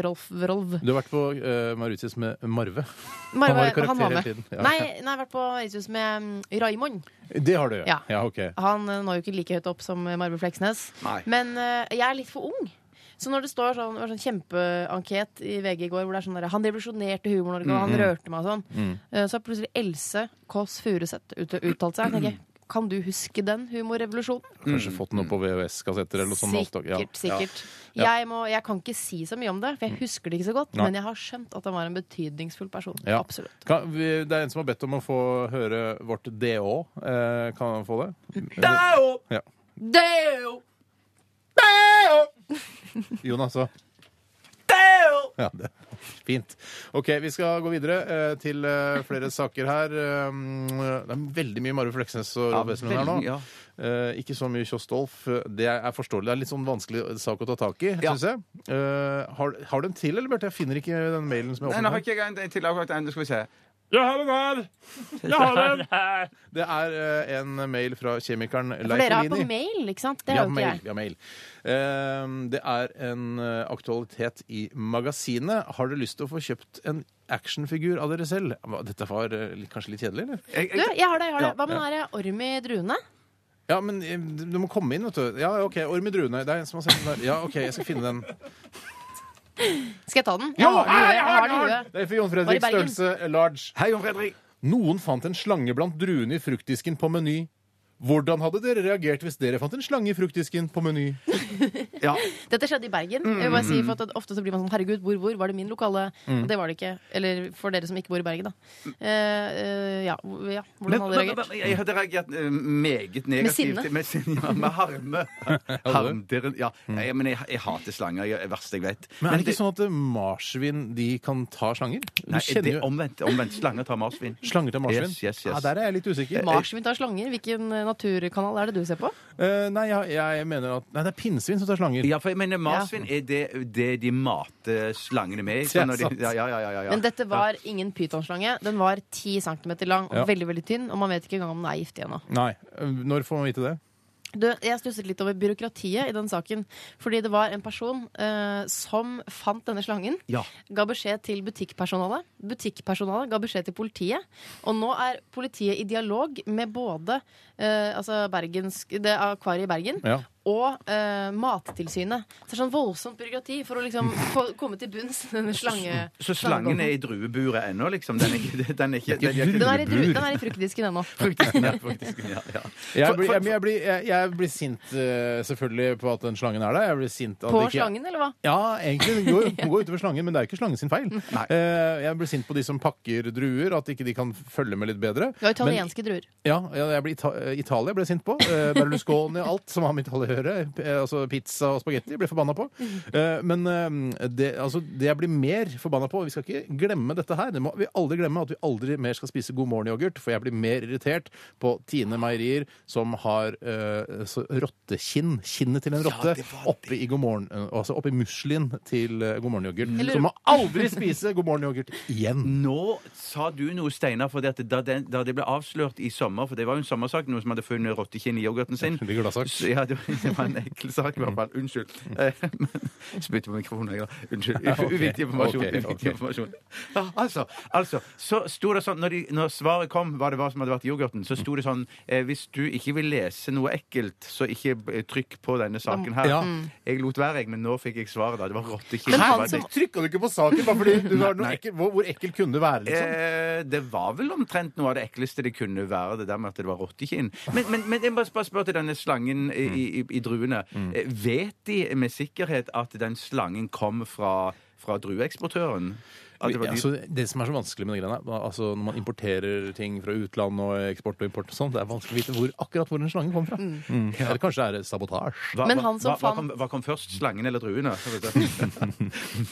Speaker 5: Rolf Rolv.
Speaker 3: Du har vært på eh, Mauritius med Marve.
Speaker 5: Bare-
Speaker 3: var i karakter
Speaker 5: han var
Speaker 3: hele
Speaker 5: med.
Speaker 3: tiden. Ja.
Speaker 5: Nei, nei, jeg har vært på Mauritius med um, Raimond.
Speaker 3: Det har du,
Speaker 5: Ja.
Speaker 3: ja ok.
Speaker 5: Han eh, når jo ikke like høyt opp som eh, Marve Fleksnes.
Speaker 4: Nei.
Speaker 5: Men eh, jeg er litt for ung. Så når det står sånn, det var sånn kjempeanket i VG i går hvor det er sånn der, Han revolusjonerte Humor-Norge,
Speaker 3: Mm,
Speaker 5: og han rørte meg og sånn. eh, Så har plutselig Else Kåss Furuseth ut, uttalt seg. Jeg tenker, kan du huske den humorrevolusjonen?
Speaker 3: Kanskje fått noe på VHS-kassetter eller noe sånt.
Speaker 5: Sikkert.
Speaker 3: Ja.
Speaker 5: sikkert.
Speaker 3: Ja. Mm.
Speaker 5: Jeg, må, jeg kan ikke si så mye om det, for jeg husker det ikke så godt.
Speaker 3: Nei.
Speaker 5: Men jeg har skjønt at han var en betydningsfull person.
Speaker 3: Ja.
Speaker 5: Absolutt.
Speaker 3: Kan, vi, det er en som har bedt om å få høre vårt DÅ. Eh, kan han få det? Ja.
Speaker 5: Deo!
Speaker 3: Jonas så. Ja, det. Fint. OK, vi skal gå videre eh, til eh, flere saker her. Um, det er veldig mye Marve Fleksnes og Rolf Wesenlund her nå.
Speaker 4: veldig, ja.
Speaker 3: Eh, ikke så mye Kjostolf. Det er forståelig. Det er en litt sånn vanskelig sak å ta tak i,
Speaker 4: Ja.
Speaker 3: syns jeg. Eh, har, har du en til, eller, Bjarte? Jeg finner ikke den mailen som
Speaker 4: Nei,
Speaker 3: jeg
Speaker 4: nå har
Speaker 3: åpnet.
Speaker 4: ikke jeg en, en til akkurat en. Skal vi se.
Speaker 1: Jeg har den her! Jeg har den!
Speaker 3: Det er eh, en mail fra kjemikeren Leif
Speaker 5: For dere har på
Speaker 3: Olini.
Speaker 5: mail, ikke sant? Det
Speaker 3: Vi
Speaker 5: har
Speaker 3: har
Speaker 5: jo ikke
Speaker 3: mail.
Speaker 5: jeg.
Speaker 3: Vi har mail. Ehm, det er en eh, aktualitet i magasinet. Har dere lyst til å få kjøpt en actionfigur av dere selv? Hva, Dette var eh, litt- kanskje litt kjedelig, eller?
Speaker 4: Jeg,
Speaker 5: Du,
Speaker 4: jeg,
Speaker 5: jeg har det. jeg har det.
Speaker 3: Ja,
Speaker 5: Hva med den her orm i druene?
Speaker 3: Ja, men eh, du du må komme inn, vet du. Ja, OK. Orm i druene. Det er en som har sett den der. Ja, OK, jeg skal finne den.
Speaker 5: Skal jeg ta den? Jeg har den i huet. Jeg har den i huet.
Speaker 3: Det er for Jon
Speaker 5: Var i
Speaker 3: Fredrik
Speaker 5: Bergen.
Speaker 3: størrelse large.
Speaker 4: hei, Jon Fredrik.
Speaker 3: Noen fant en slange blant druene i fruktdisken på Meny. Hvordan hadde dere reagert hvis dere fant en slange i fruktdisken på Meny?
Speaker 4: Ja.
Speaker 5: Dette skjedde i Bergen. Jeg vil bare
Speaker 4: Mm.
Speaker 5: si for at Ofte så blir man sånn Herregud, hvor, hvor? Var det min lokale? Og det var det ikke. Eller for dere som ikke bor i Bergen, da. Eh, eh, ja, hvor- ja.
Speaker 4: Mm. Men,
Speaker 5: Hvordan
Speaker 4: men,
Speaker 5: hadde dere
Speaker 4: men,
Speaker 5: reagert?
Speaker 4: jeg hadde reagert eh, meget negativt.
Speaker 5: sinne.
Speaker 4: Med, sinne, ja, med harme. Harmderen, ja. Nei, men jeg, jeg hater slanger. Jeg- Det verste jeg vet.
Speaker 3: Mm. Men er det
Speaker 4: det-
Speaker 3: ikke sånn at eh, marsvin de kan ta slanger? Du
Speaker 4: Nei, det
Speaker 3: kjenner jo
Speaker 4: er omvendt. Omvendt. Slanger tar marsvin.
Speaker 3: slanger til marsvin.
Speaker 4: Yes, yes, Eh, yes.
Speaker 3: Ja, der er jeg litt usikker.
Speaker 5: Marsvin tar slanger. Hvilken eh, naturkanal er det du ser på?
Speaker 3: Eh, nei, jeg, jeg mener at Nei, det er pinnsvin som tar slanger.
Speaker 4: Ja, for jeg mener marsvin er det, det de mater slangene med.
Speaker 3: Ja,
Speaker 4: Sånn, når de,
Speaker 3: sant.
Speaker 4: ja, ja, ja, ja, ja.
Speaker 5: Men dette var ingen pytonslange. Den var 10 cm lang og
Speaker 3: Ja.
Speaker 5: veldig veldig tynn. Og man vet ikke engang om den er giftig ennå.
Speaker 3: Nei. eh, Når får man vite det?
Speaker 5: Du, jeg stusset litt over byråkratiet i den saken. Fordi det var en person eh, som fant denne slangen.
Speaker 4: Ja.
Speaker 5: Ga beskjed til butikkpersonalet. Butikkpersonalet ga beskjed til politiet. Og nå er politiet i dialog med både eh, altså Bergensk, det akvariet i Bergen
Speaker 3: Ja.
Speaker 5: og eh, Mattilsynet. Så det er sånn voldsomt byråkrati for å liksom få, komme til bunns denne slange...
Speaker 4: Så slangen er i drueburet ennå, liksom? Den er ikke, den er ikke, den er ikke
Speaker 5: den er, i, dru- den er i fruktdisken ennå.
Speaker 4: fruktdisken, ja, fruktdisken, ja, ja.
Speaker 3: Jeg blir, jeg, jeg blir, jeg, jeg blir sint eh, selvfølgelig på at den slangen er der. Jeg blir sint at
Speaker 5: På
Speaker 3: ikke-
Speaker 5: slangen, eller hva?
Speaker 3: Ja, egentlig. Det går, går utover slangen, men det er jo ikke slangen sin feil. Eh, jeg blir sint på de som pakker druer, at ikke de kan følge med litt bedre.
Speaker 5: Det var
Speaker 3: Men,
Speaker 5: italienske druer.
Speaker 3: ja, ja, jeg blir Ita Italia ble jeg sint på. Eh, Berlusconi og alt som har med Italia å gjøre. Eh, altså pizza og spagetti ble jeg forbanna på. Eh, men eh, det, altså, det jeg blir mer forbanna på Vi skal ikke glemme dette her. Det må vi aldri glemme at vi aldri mer skal spise God morgen-yoghurt, for jeg blir mer irritert på Tine Meierier som har eh, så rottekinn, kinnet til en rotte, oppe i God morgen, eh, altså oppe i muslin til eh, God morgen-yoghurt.
Speaker 5: lurer-
Speaker 3: Så må aldri spise God morgen-yoghurt igjen.
Speaker 4: Nå sa du noe, Steinar, fordi at da, den, da det ble avslørt i sommer For det var jo en sommersak, noen som hadde funnet rottekinn i yoghurten sin.
Speaker 3: Veldig glad sak.
Speaker 4: Så, ja, det var, det var en ekkel sak, i hvert fall. Unnskyld. Eh, men- Spytte på mikrofonen, jeg, da. Unnskyld.
Speaker 3: Mm. Ja, ok.
Speaker 4: Uviktig informasjon.
Speaker 3: Ok,
Speaker 4: uviktig
Speaker 3: ok.
Speaker 4: informasjon. Ja, altså, altså, så sto det sånn, når, de, når svaret kom, hva det var som hadde vært i yoghurten, så sto det sånn eh, Hvis du ikke vil lese noe ekkelt, så ikke eh, trykk på denne saken her.
Speaker 3: Ja.
Speaker 4: Jeg lot være, jeg, men nå fikk jeg svaret, da. Det var rottekinn.
Speaker 5: Mm. Men
Speaker 4: Det
Speaker 5: han
Speaker 4: var
Speaker 5: som-
Speaker 4: det.
Speaker 3: Trykka du ikke på saken bare fordi du har noe
Speaker 4: nei.
Speaker 3: ekkel, hvor, hvor ekkel kunne det være? liksom?
Speaker 4: Eh, det var vel omtrent noe av det ekleste det kunne være, det der med at det var rottekinn. Men, men, men jeg må bare spørre til denne slangen i, i, i druene. Eh, Vet de med sikkerhet at den slangen kom fra, fra drueeksportøren? At det var de-
Speaker 3: altså, det som er så vanskelig med de greiene er, altså Når man importerer ting fra utlandet og eksport og import og sånn, det er vanskelig å vite hvor, akkurat hvor den slangen kom fra. Mm. Eller kanskje det er sabotasje.
Speaker 4: hva,
Speaker 5: Men
Speaker 4: hva-
Speaker 5: han som
Speaker 4: hva, hva, kom,
Speaker 5: fant-
Speaker 4: hva kom først, slangen eller druene?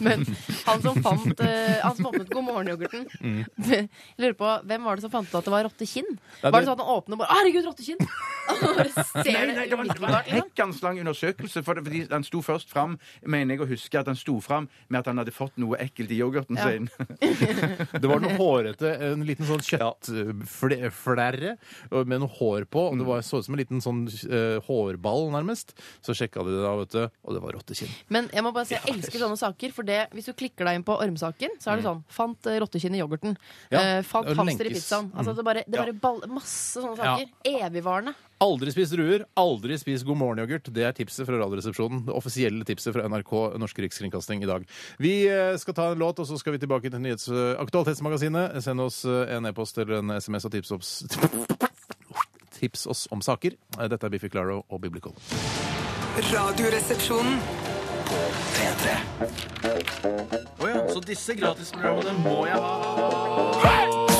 Speaker 5: Men han som fant eh, Han som åpnet God morgen-yoghurten
Speaker 4: Mm.
Speaker 5: Jeg lurer på, Hvem var det som fant ut at det var rottekinn?
Speaker 3: Ja,
Speaker 5: Var
Speaker 3: det-
Speaker 5: det sånn at han åpnet og bare Herregud, rottekinn! Og bare ser
Speaker 4: Nei, nei, det var, det var
Speaker 5: umiddelbart,
Speaker 4: en
Speaker 5: liksom.
Speaker 4: hekkans lang undersøkelse. For det, fordi han sto først fram, mener jeg å huske, at han sto fram med at han hadde fått noe ekkelt i yoghurten
Speaker 5: Ja.
Speaker 4: sin.
Speaker 3: Det var noe hårete, en liten sånn kjøttflerre med noe hår på. Og det var, så ut som en liten sånn eh, hårball, nærmest. Så sjekka de det da, vet du, og det var rottekinn.
Speaker 5: Men jeg må bare si, jeg elsker sånne saker. For det, hvis du klikker deg inn på ormsaken, så er
Speaker 4: Mm.
Speaker 5: det sånn Fant eh, rottekinn i yoghurten.
Speaker 3: Ja,
Speaker 5: eh, fant
Speaker 3: det
Speaker 5: hamster i
Speaker 3: lenkes.
Speaker 5: pizzaen.
Speaker 4: Mm.
Speaker 5: Altså, det bare, det
Speaker 3: Ja.
Speaker 5: bare ball, masse sånne saker. Evigvarende.
Speaker 3: Aldri spis druer, aldri spis God morgen-yoghurt. Det er tipset fra Radioresepsjonen. Det offisielle tipset fra NRK, Norsk Rikskringkasting, i dag. Vi eh, skal ta en låt, og så skal vi tilbake til nyhets- eh, Aktualitetsmagasinet. Send oss eh, en e-post eller en SMS og tips oss Tips oss om saker. Eh, Dette er Biffy Claro og Biblical.
Speaker 6: Radioresepsjonen.
Speaker 2: P3
Speaker 7: Så disse gratisprogrammene må jeg ha.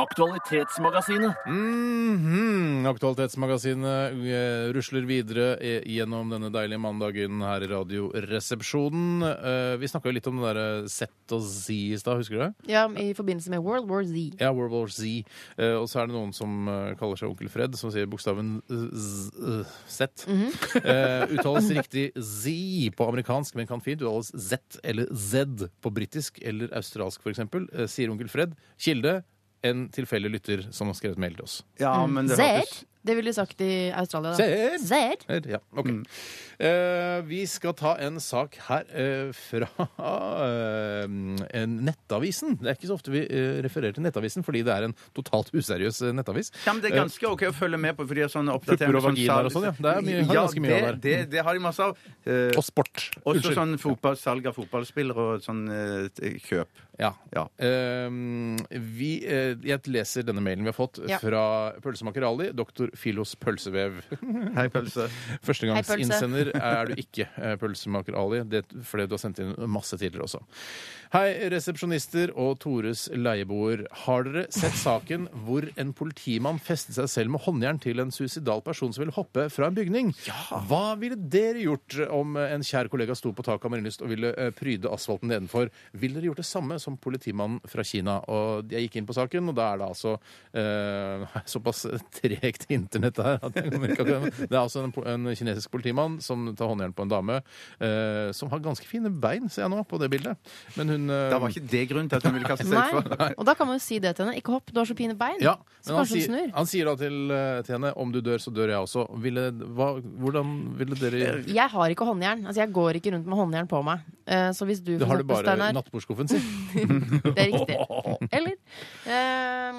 Speaker 7: Aktualitetsmagasinet.
Speaker 3: Mhm. Aktualitetsmagasinet eh, rusler videre eh, gjennom denne deilige mandagen her i Radioresepsjonen. Eh, Vi snakka jo litt om det derre Z og Z i stad, husker du det?
Speaker 5: Ja, I forbindelse med World War Z.
Speaker 3: Ja, World War Z. Eh, og så er det noen som eh, kaller seg Onkel Fred, som sier bokstaven eh, z, eh, Z. Eh, uttales riktig Z på amerikansk, men kan fint uttales Z eller Z på britisk eller australsk, f.eks. Uh, sier Onkel Fred. Kilde en tilfeldig lytter som har skrevet mail til oss.
Speaker 4: Ja, men det
Speaker 5: Zed?
Speaker 4: hørtes
Speaker 5: Det ville de sagt i Australia, da.
Speaker 3: Ser!
Speaker 5: Ser.
Speaker 3: Her, Ja, ok. Eh, vi skal ta en sak her eh, fra eh, en Nettavisen. Det er ikke så ofte vi eh, refererer til Nettavisen, fordi det er en totalt useriøs eh, nettavis.
Speaker 4: Ja, men det er ganske OK å følge med på, for de har sånne oppdateringer
Speaker 3: Pupper og
Speaker 4: sånn
Speaker 3: vaginaer og
Speaker 4: salg-
Speaker 3: sånn, ja. Det er mye- har ganske mye
Speaker 4: det,
Speaker 3: av det
Speaker 4: det, det har de masse av. Eh,
Speaker 3: Og sport.
Speaker 4: også
Speaker 3: Unnskyld.
Speaker 4: sånn fotball, salg av fotballspillere og sånn eh, t- kjøp.
Speaker 3: Ja.
Speaker 4: Ja.
Speaker 3: Ehm, vi, eh, jeg leser denne mailen vi har fått
Speaker 5: Ja.
Speaker 3: fra pølsemaker Ali, doktor Filos pølsevev.
Speaker 4: Hei, pølse.
Speaker 3: Førstegangsinnsender er du ikke, eh, pølsemaker Ali, det, fordi du har sendt inn masse tidligere også. Hei, resepsjonister og Tores leieboer. Har dere sett saken hvor en politimann festet seg selv med håndjern til en suicidal person som ville hoppe fra en bygning? Hva ville dere gjort om en kjær kollega sto på taket av Marienlyst og ville eh, pryde asfalten nedenfor? Ville dere gjort det samme som politimannen fra Kina? Og jeg gikk inn på saken, og da er det altså eh, såpass tregt internett her at jeg kommer ikke akkurat Det er altså en, po- en kinesisk politimann som tar håndjern på en dame eh, som har ganske fine bein, ser jeg nå på det bildet. Men hun eh,
Speaker 4: Da var ikke det grunnen til at hun ville kaste seg utfor.
Speaker 5: Nei. Og da kan man jo si det til henne. Ikke hopp, du har så fine bein.
Speaker 3: Ja,
Speaker 5: så
Speaker 3: men han
Speaker 5: kanskje hun
Speaker 3: sier,
Speaker 5: snur.
Speaker 3: han sier da til, eh, til henne om du dør, så dør jeg også. Ville, hva, hvordan ville dere
Speaker 5: Jeg har ikke håndjern. Altså, jeg går ikke rundt med håndjern på meg. Eh, Så hvis du,
Speaker 3: Det
Speaker 5: for
Speaker 3: har du
Speaker 5: eksempel,
Speaker 3: bare i
Speaker 5: Steinar
Speaker 3: nattbordskuffen sin.
Speaker 5: Mm. Det er riktig. Eller? Eh,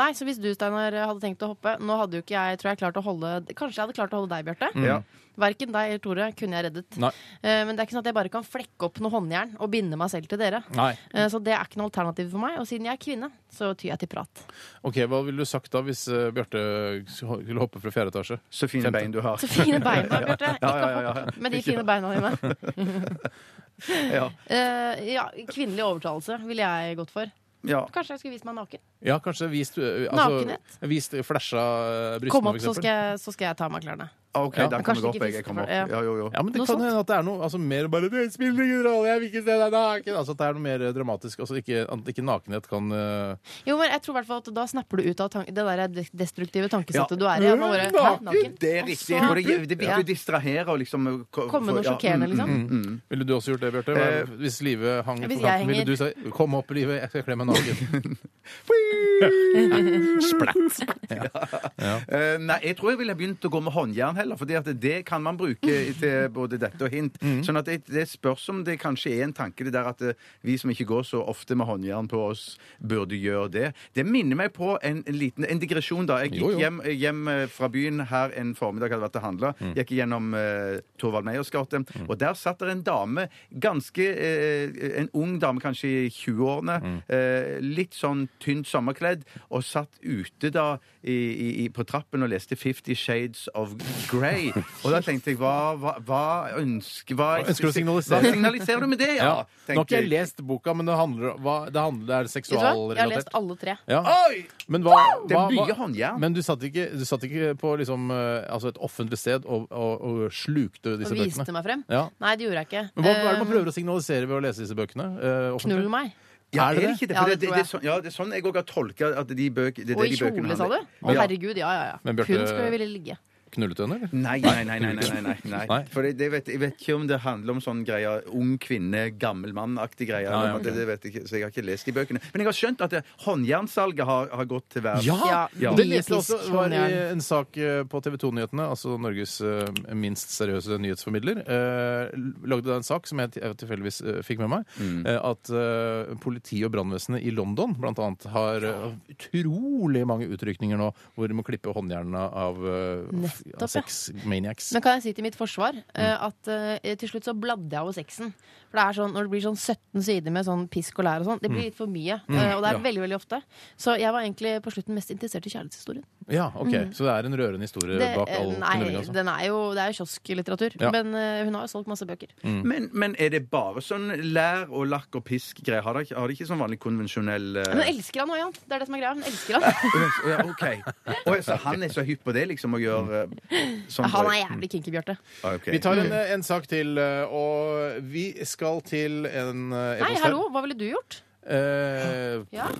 Speaker 5: nei, så hvis du, Steinar, hadde tenkt å hoppe Nå hadde jo ikke jeg, tror jeg, klart å holde Kanskje jeg hadde klart å holde deg, Bjarte.
Speaker 4: Mm.
Speaker 3: Mm.
Speaker 4: Ja.
Speaker 5: Verken deg eller Tore kunne jeg reddet.
Speaker 3: Nei.
Speaker 5: Eh, men det er ikke sånn at jeg bare kan flekke opp noe håndjern og binde meg selv til dere.
Speaker 3: Nei.
Speaker 5: Eh, så det er ikke noe alternativ for meg. Og siden jeg er kvinne, så tyr jeg til prat.
Speaker 3: Ok, Hva ville du sagt da hvis eh, Bjarte skulle hoppe fra fjerde etasje?
Speaker 4: Så fine
Speaker 3: Femte.
Speaker 4: bein du har.
Speaker 5: Så fine bein, da, Bjarte. Ikke
Speaker 4: Ja, ja, ja, ja.
Speaker 5: hopp med de fine beina dine.
Speaker 4: Ja.
Speaker 5: Eh, ja, kvinnelig overtalelse ville jeg gått for.
Speaker 4: Ja.
Speaker 5: Kanskje jeg skulle vist meg naken.
Speaker 3: Ja, kanskje vist, eh,
Speaker 5: Nakenhet?
Speaker 3: vist flasha eh,
Speaker 5: Kom
Speaker 3: brystene, for eksempel.
Speaker 5: opp, så skal, jeg, så skal jeg ta av meg klærne.
Speaker 4: Ah, OK,
Speaker 3: Ja.
Speaker 4: da
Speaker 5: Kanskje
Speaker 4: kommer jeg opp,
Speaker 5: ikke
Speaker 4: jeg. jeg kommer opp.
Speaker 5: fiskefløy, ja.
Speaker 4: Ja, jo, jo.
Speaker 3: Ja, men Det
Speaker 5: Noe
Speaker 3: kan
Speaker 5: sånt.
Speaker 3: hende at det er noe altså, mer bare det spiller ingen rolle, jeg vil ikke se deg naken. Altså, at det er noe mer eh, dramatisk. Altså, ikke, at ikke nakenhet kan eh,
Speaker 5: Jo, men jeg tror i hvert fall at Da snapper du ut av tan- det der de- destruktive tankesettet
Speaker 4: Ja.
Speaker 5: du er
Speaker 3: Mm,
Speaker 5: i. Jeg må bare, Hæ, naken.
Speaker 4: Det er riktig.
Speaker 5: Altså,
Speaker 4: For det, det blir
Speaker 5: ja.
Speaker 4: å distrahere og liksom ko-
Speaker 5: Komme med noe
Speaker 3: mm,
Speaker 4: få- ja, mm,
Speaker 5: sjokkerende, liksom.
Speaker 3: Ville du også gjort det, Bjarte? Hva-
Speaker 4: Eh,
Speaker 3: Hvis Live hang
Speaker 5: hvis
Speaker 3: på
Speaker 5: jeg
Speaker 3: kanten, ville
Speaker 5: henger-
Speaker 3: du sagt 'kom opp, Live, jeg skal kle meg naken'?
Speaker 4: Eh, nei, jeg tror jeg ville begynt å gå med håndjern heller, for det kan man bruke i- til både dette og hint.
Speaker 3: Mm.
Speaker 4: Sånn at det, det spørs om det kanskje er en tanke det der at eh, vi som ikke går så ofte med håndjern på oss, burde gjøre det. Det minner meg på en, en liten en digresjon, da. Jeg
Speaker 3: Jo,
Speaker 4: gikk
Speaker 3: jo.
Speaker 4: hjem, hjem eh, fra byen her en formiddag, hadde vært og handla.
Speaker 3: Mm.
Speaker 4: Gikk gjennom uh, Torvald Meyers gate, og der satt det en dame, ganske eh, En ung dame, kanskje i 20-årene,
Speaker 3: Mm.
Speaker 4: eh, litt sånn tynt sommerkledd, og satt ute da i, i, i- på trappen og leste Fifty Shades of Grey. Og da tenkte jeg hva, hva, hva ønsker hva,
Speaker 3: Hva ønsker du å signalisere?
Speaker 4: Hva signaliserer du med det, ja?
Speaker 3: Ja. Nå har
Speaker 4: tenkte
Speaker 3: ikke jeg lest boka, men det handler, hva, det, handler, det er
Speaker 5: Vet du hva? Jeg har
Speaker 3: seksualrelatert.
Speaker 5: lest alle tre.
Speaker 3: Ja. Men hva,
Speaker 4: Ah, Det
Speaker 3: hva,
Speaker 4: er
Speaker 3: hva
Speaker 4: mye håndjern.
Speaker 3: Men du satt ikke, du satt ikke på liksom, eh, altså et offentlig sted og, og, og slukte
Speaker 5: Og
Speaker 3: disse
Speaker 5: viste
Speaker 3: bøkene?
Speaker 5: meg frem.
Speaker 3: Ja.
Speaker 5: Nei, det gjorde jeg ikke.
Speaker 3: Men hva, hva er det man prøver å signalisere ved å lese disse bøkene? eh,
Speaker 5: Eh,
Speaker 3: offentlig?
Speaker 5: Knull meg.
Speaker 4: Ja,
Speaker 3: Er det det?
Speaker 4: ikke det?
Speaker 5: Ja,
Speaker 4: For
Speaker 5: det
Speaker 4: det, det, det,
Speaker 5: tror jeg.
Speaker 4: er sånn, ja, det er sånn jeg òg har tolka at de bøk, det, er
Speaker 5: Og
Speaker 4: det
Speaker 5: i
Speaker 4: de bøkene
Speaker 5: kjole, sa du?
Speaker 4: handler-
Speaker 5: Å,
Speaker 4: Ja.
Speaker 5: herregud, ja, ja, ja.
Speaker 3: Men
Speaker 5: Hun
Speaker 3: Bjarte-
Speaker 5: skulle jeg ville ligge.
Speaker 3: Knullet du henne, eller?
Speaker 4: Nei, nei, nei. nei, nei, nei, nei.
Speaker 3: Nei.
Speaker 4: For det, det vet, Jeg vet ikke om det handler om sånn greier ung kvinne, gammel mann-aktig greier.
Speaker 3: Ja, ja,
Speaker 4: eller noe, det, det vet jeg ikke, så jeg har ikke lest de bøkene. Men jeg har skjønt at det, håndjernsalget har, har gått til verden.
Speaker 5: Ja,
Speaker 4: ja.
Speaker 3: Det leste jeg også
Speaker 5: Typisk
Speaker 3: var i
Speaker 5: håndjern.
Speaker 3: en sak eh, på TV 2-nyhetene, altså Norges eh, minst seriøse nyhetsformidler. eh, Lagde da en sak som jeg til- jeg tilfeldigvis eh, fikk med meg, eh, at eh, politi og brannvesenet i London blant annet har eh, utrolig mange utrykninger nå hvor de må klippe håndjernene av, eh, f-
Speaker 5: Nettopp, ja.
Speaker 3: av sex maniacs.
Speaker 5: Men kan jeg si til mitt forsvar eh, at eh, til slutt så bladde jeg over sexen. For det er sånn, når det blir sånn 17 sider med sånn pisk og lær og sånn, det
Speaker 3: Mm.
Speaker 5: blir litt for mye. eh, og det er veldig, veldig ofte. Så jeg var egentlig på slutten mest interessert i kjærlighetshistorien.
Speaker 3: Ja, ok, Så det er en rørende historie
Speaker 5: Mm. Det,
Speaker 3: bak all
Speaker 5: eh, nei,
Speaker 3: knulling, altså?
Speaker 5: den er jo, det er jo kiosklitteratur.
Speaker 3: Ja. Mm.
Speaker 5: Men eh, hun har jo solgt masse bøker.
Speaker 4: Men, men er det bare sånn lær og lakk og pisk-greier? Har det ikke- har det ikke sånn vanlig konvensjonell eh,
Speaker 5: Men hun elsker han òg, Jan. Det er det som er greia. Hun elsker han.
Speaker 4: Å, ja, OK. Å, ja, så han er så hypp på det, liksom, å gjøre eh, sånn Ah,
Speaker 5: Han er jævlig kinky, Bjarte.
Speaker 4: Ok.
Speaker 3: Vi tar en, en sak til, eh, og vi skal til en eh,
Speaker 5: Nei,
Speaker 3: e-post her.
Speaker 5: hallo, hva ville du gjort?
Speaker 3: Eh,
Speaker 5: Ja.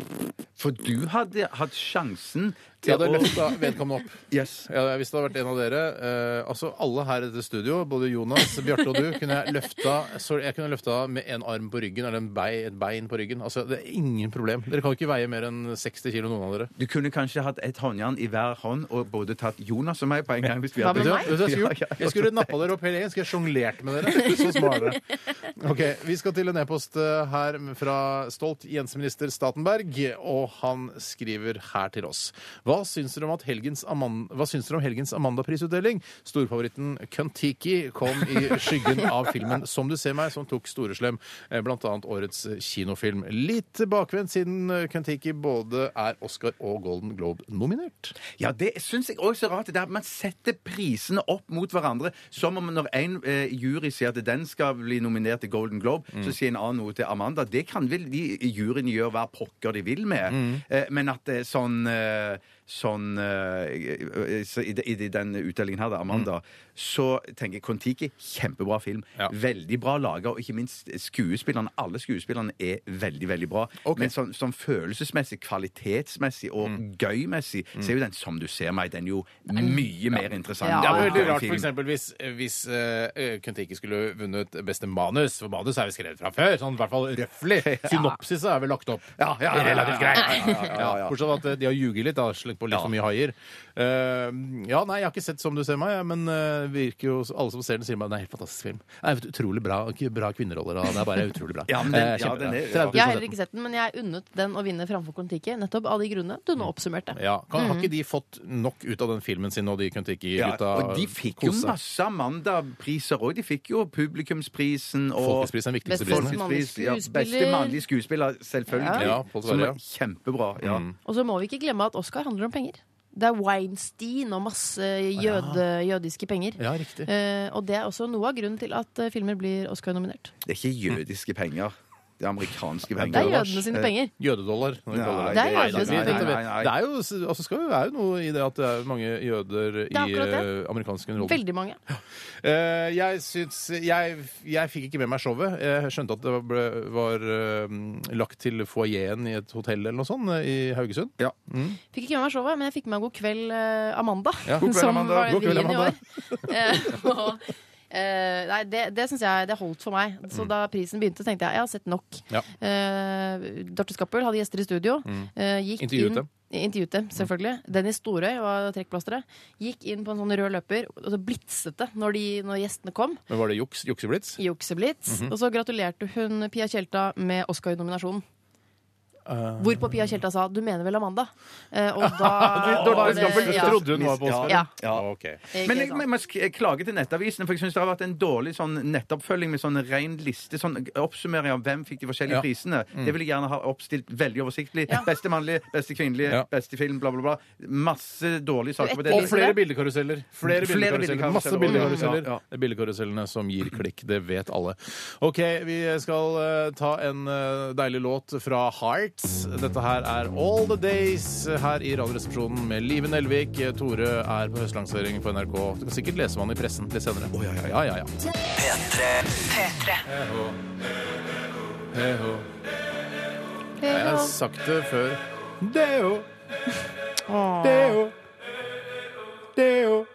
Speaker 4: For du hadde hatt sjansen
Speaker 3: jeg
Speaker 4: til
Speaker 3: hadde
Speaker 4: å
Speaker 3: løfta vedkommende opp.
Speaker 4: Yes.
Speaker 3: Ja, hvis det hadde vært en av dere eh, Altså Alle her i dette studio, både Jonas, Bjarte og du, kunne jeg løfta så jeg kunne løfta med en arm på ryggen eller en bei, et bein på ryggen. Altså Det er ingen problem. Dere kan ikke veie mer enn 60 kilo, noen av dere.
Speaker 4: Du kunne kanskje hatt et håndjern i hver hånd og både tatt Jonas og meg på en gang. hvis vi
Speaker 5: Hva
Speaker 4: hadde
Speaker 3: Vet
Speaker 5: med
Speaker 3: du hva-
Speaker 5: meg?
Speaker 3: vet du hva jeg skulle gjort?
Speaker 4: Ja, ja, ja.
Speaker 3: Jeg skulle nappa dere opp hele gjengen. Skulle jeg sjonglert med dere. Så smart dere. Ok, Vi skal til en e-post eh, her fra stolt Jens-minister Statenberg, og han skriver her til oss. Hva syns dere om, at helgens Aman hva syns dere om helgens Amanda-prisutdeling? Storfavoritten Kon-Tiki kom i skyggen av filmen Som du ser meg, som tok Storeslem, eh, blant annet årets kinofilm. Litt bakvendt, siden eh, Kon-Tiki både er Oscar og Golden Globe-nominert.
Speaker 4: Ja, det syns jeg også er rart. Det er at man setter prisene opp mot hverandre. Som om når en eh, jury sier at den skal bli nominert til Golden Globe, så sier en annen noe til Amanda. Det kan vel de i juryen gjøre hva pokker de vil med. Eh, men at det er sånn eh, Sånn eh, så i, de- I de- den utdelingen her, da, Amanda, så tenker jeg Kon-Tiki kjempebra film.
Speaker 3: Ja.
Speaker 4: Veldig bra laga, og ikke minst skuespillerne. Alle skuespillerne er veldig, veldig bra.
Speaker 3: Ok. Mm.
Speaker 4: Men sånn, sånn følelsesmessig, kvalitetsmessig og gøymessig, så er jo den Som du ser meg, den er jo mye mer interessant.
Speaker 5: Mm. Ja,
Speaker 3: Det
Speaker 5: Ah,
Speaker 3: er veldig
Speaker 4: enn
Speaker 3: rart
Speaker 4: film.
Speaker 3: for eksempel hvis, hvis eh, Kon-Tiki skulle vunnet beste manus, for manus er jo skrevet fra før, sånn i hvert fall røffelig. Synopsis er vel lagt opp.
Speaker 4: Ja, ja, ja, ja, ja,
Speaker 3: Relativt
Speaker 4: ja,
Speaker 3: greit.
Speaker 4: ja, ja, ja, ja, ja.
Speaker 3: Bortsett fra at eh, de har ljuget litt, da, slengt på litt for mye haier. Eh, ja, nei, jeg har ikke sett Som du ser meg, jeg, men eh, virker jo, alle som ser den, sier meg det er en helt fantastisk film. Det er utrolig bra, ikke bra kvinneroller, da. det er bare utrolig bra.
Speaker 4: Ja, men den-
Speaker 3: Eh,
Speaker 4: ja,
Speaker 3: kjempebra.
Speaker 4: den er-
Speaker 3: 30 000
Speaker 5: Jeg har heller ikke sett den, men jeg unnet den å vinne framfor Kon-Tiki. Nettopp av de grunnene du nå oppsummerte.
Speaker 3: Mm. ja, kan, Har ikke de fått nok ut av den filmen sin, og de Kon-Tiki-gutta?
Speaker 4: Mm. Ja, og de fikk jo
Speaker 3: koser seg?
Speaker 4: masse Amanda-priser òg. De fikk jo Publikumsprisen og
Speaker 3: Folkets pris er den
Speaker 5: Beste
Speaker 3: viktigste prisen.
Speaker 4: Folkets
Speaker 5: mann-
Speaker 4: pris, ja,
Speaker 5: Mannlig
Speaker 4: Beste
Speaker 5: skuespiller.
Speaker 4: mannlige skuespiller, selvfølgelig.
Speaker 3: Ja, Pål
Speaker 4: som
Speaker 3: Sverre, ja. Mm.
Speaker 4: er kjempebra. Ja.
Speaker 5: Og så må vi ikke glemme at Oscar handler om penger. Det er Weinstein og masse jøde, jødiske penger.
Speaker 3: Ja, riktig.
Speaker 5: Eh, og det er også noe av grunnen til at eh, filmer blir Oscar-nominert.
Speaker 4: Det er ikke jødiske penger. Det er amerikanske
Speaker 5: Det
Speaker 4: penger. Eh,
Speaker 5: er jødene sine penger.
Speaker 3: Jødedollar. når vi
Speaker 4: Nei,
Speaker 3: kaller
Speaker 5: det er
Speaker 3: Nei, nei, nei,
Speaker 5: jødedollar.
Speaker 4: Nei, nei, nei.
Speaker 3: Det er jo, altså, skal jo være noe i det at det er mange jøder i
Speaker 5: er akkurat det.
Speaker 3: eh, amerikansk underholdning.
Speaker 5: Veldig mange.
Speaker 3: Eh, jeg syns jeg, jeg fikk ikke med meg showet. Jeg skjønte at det ble, var eh, lagt til foajeen i et hotell eller noe sånt eh, i Haugesund.
Speaker 4: Ja.
Speaker 5: Fikk ikke med meg showet, men jeg fikk med meg God kveld eh, Amanda.
Speaker 3: Ja, God kveld,
Speaker 5: som
Speaker 3: Amanda.
Speaker 5: var
Speaker 3: God kveld,
Speaker 5: vinneren i
Speaker 3: Amanda.
Speaker 5: år. Eh, og, eh, nei, det, det syns jeg det holdt for meg. Så da prisen begynte, tenkte jeg jeg har sett nok.
Speaker 3: Mm. Ja. Mm.
Speaker 5: Eh, Dorte Skappel hadde gjester i studio. eh, gikk
Speaker 3: Intervjuet
Speaker 5: inn,
Speaker 3: dem. Mm.
Speaker 5: Intervjuet dem, selvfølgelig. Dennis Storøy var trekkplasteret. Gikk inn på en sånn rød løper, og så blitset det når, de, når gjestene kom.
Speaker 3: Men var det juks? Jukseblitz?
Speaker 5: Jukseblitz.
Speaker 4: Mhm.
Speaker 5: Og så gratulerte hun Pia Tjelta med Oscar-nominasjonen.
Speaker 4: Eh.
Speaker 5: Hvorpå Pia Tjelta sa 'du mener vel Amanda'? Eh, og da var
Speaker 3: Dorte
Speaker 5: det-
Speaker 3: Skampel
Speaker 5: Eh, ja.
Speaker 3: trodde hun var på Oscar.
Speaker 5: Ja.
Speaker 4: Ja.
Speaker 3: ok.
Speaker 5: Ikke
Speaker 4: Men jeg,
Speaker 5: sant.
Speaker 4: men jeg sk- jeg klager til Nettavisen, for jeg syns det har vært en dårlig sånn nettoppfølging med sånn ren liste. Sånn oppsummering av hvem fikk de forskjellige
Speaker 3: Ja.
Speaker 4: prisene. Det vil jeg gjerne ha oppstilt veldig oversiktlig.
Speaker 5: Ja.
Speaker 4: Beste mannlige, beste kvinnelige,
Speaker 3: Ja.
Speaker 4: beste film, bla, bla, bla. Masse dårlige saker på det.
Speaker 5: etterlyser
Speaker 3: Og flere
Speaker 5: det?
Speaker 3: bildekaruseller. Flere
Speaker 4: Flere
Speaker 3: bildekaruseller.
Speaker 4: bildekaruseller.
Speaker 3: Masse bildekaruseller.
Speaker 4: Ja, ja.
Speaker 3: Det er bildekarusellene som gir klikk, det vet alle. OK, vi skal eh, ta en eh, deilig låt fra Hearts. Dette her er All The Days her i Radioresepsjonen med Live Nelvik. Tore er på høstlansering på NRK. Du kan sikkert lese om han i pressen litt senere. ja, ja, ja, ja. Heho. Jeg har sagt det før. Deo. Deo. Deo.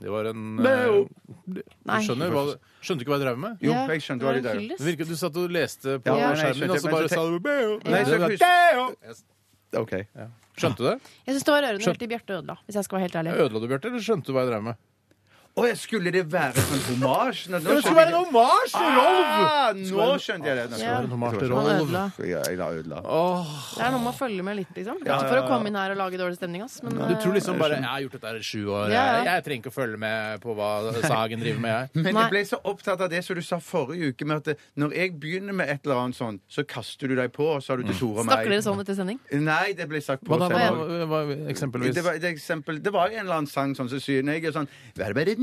Speaker 3: Det var en
Speaker 4: Deo.
Speaker 3: eh, Du
Speaker 5: Nei.
Speaker 3: skjønner, hva, skjønte ikke hva jeg drev med?
Speaker 4: Jo,
Speaker 5: Ja,
Speaker 4: jeg skjønte
Speaker 5: det var
Speaker 4: hva
Speaker 5: en
Speaker 4: du der.
Speaker 5: hyllest.
Speaker 3: Det virket du satt og leste på
Speaker 4: Ja, nei, nei,
Speaker 3: skjermen,
Speaker 4: skjønte,
Speaker 3: og så
Speaker 4: men
Speaker 3: bare
Speaker 4: så
Speaker 3: sa du Deo.
Speaker 4: Nei, så
Speaker 3: Det var
Speaker 4: husk-
Speaker 3: Deo.
Speaker 4: OK.
Speaker 3: Skjønte du det?
Speaker 5: Jeg syns det var rørende helt til Bjarte ødela, hvis jeg skal være helt ærlig.
Speaker 3: Ødela du, Bjarte, eller skjønte du hva jeg drev med?
Speaker 4: Å ja, skulle det være sånn hommage? Nå, nå jeg-
Speaker 3: hommage
Speaker 4: Ah, nå skjønte jeg det. Nå skjønte
Speaker 5: Ja.
Speaker 4: jeg det.
Speaker 3: Marte
Speaker 5: Han
Speaker 3: Rolf.
Speaker 5: ødela.
Speaker 4: Jeg- Jeg la ødela.
Speaker 5: Det er noe med å følge med litt, liksom. Ikke for å komme inn her og lage dårlig stemning, ass, men
Speaker 3: Du tror
Speaker 5: eh,
Speaker 3: liksom bare Jeg har gjort dette her i sju år.
Speaker 5: Ja,
Speaker 3: Jeg,
Speaker 5: ja.
Speaker 3: jeg trenger ikke å følge med på hva Sagen driver med, jeg.
Speaker 4: Men
Speaker 5: Nei.
Speaker 4: jeg ble så opptatt av det som du sa forrige uke, med at det- når jeg begynner med et eller annet sånn, så kaster du deg på, og sa du til Tore og meg.
Speaker 5: Snakker dere sånn etter sending?
Speaker 4: Nei, det ble sagt på
Speaker 3: Hva da? Hva,
Speaker 4: selv.
Speaker 3: hva, hva- eksempelvis?
Speaker 4: Det var, det, eksempel, det var jo en eller annen sang sånn som syner jeg, og sånn bare, bare, der,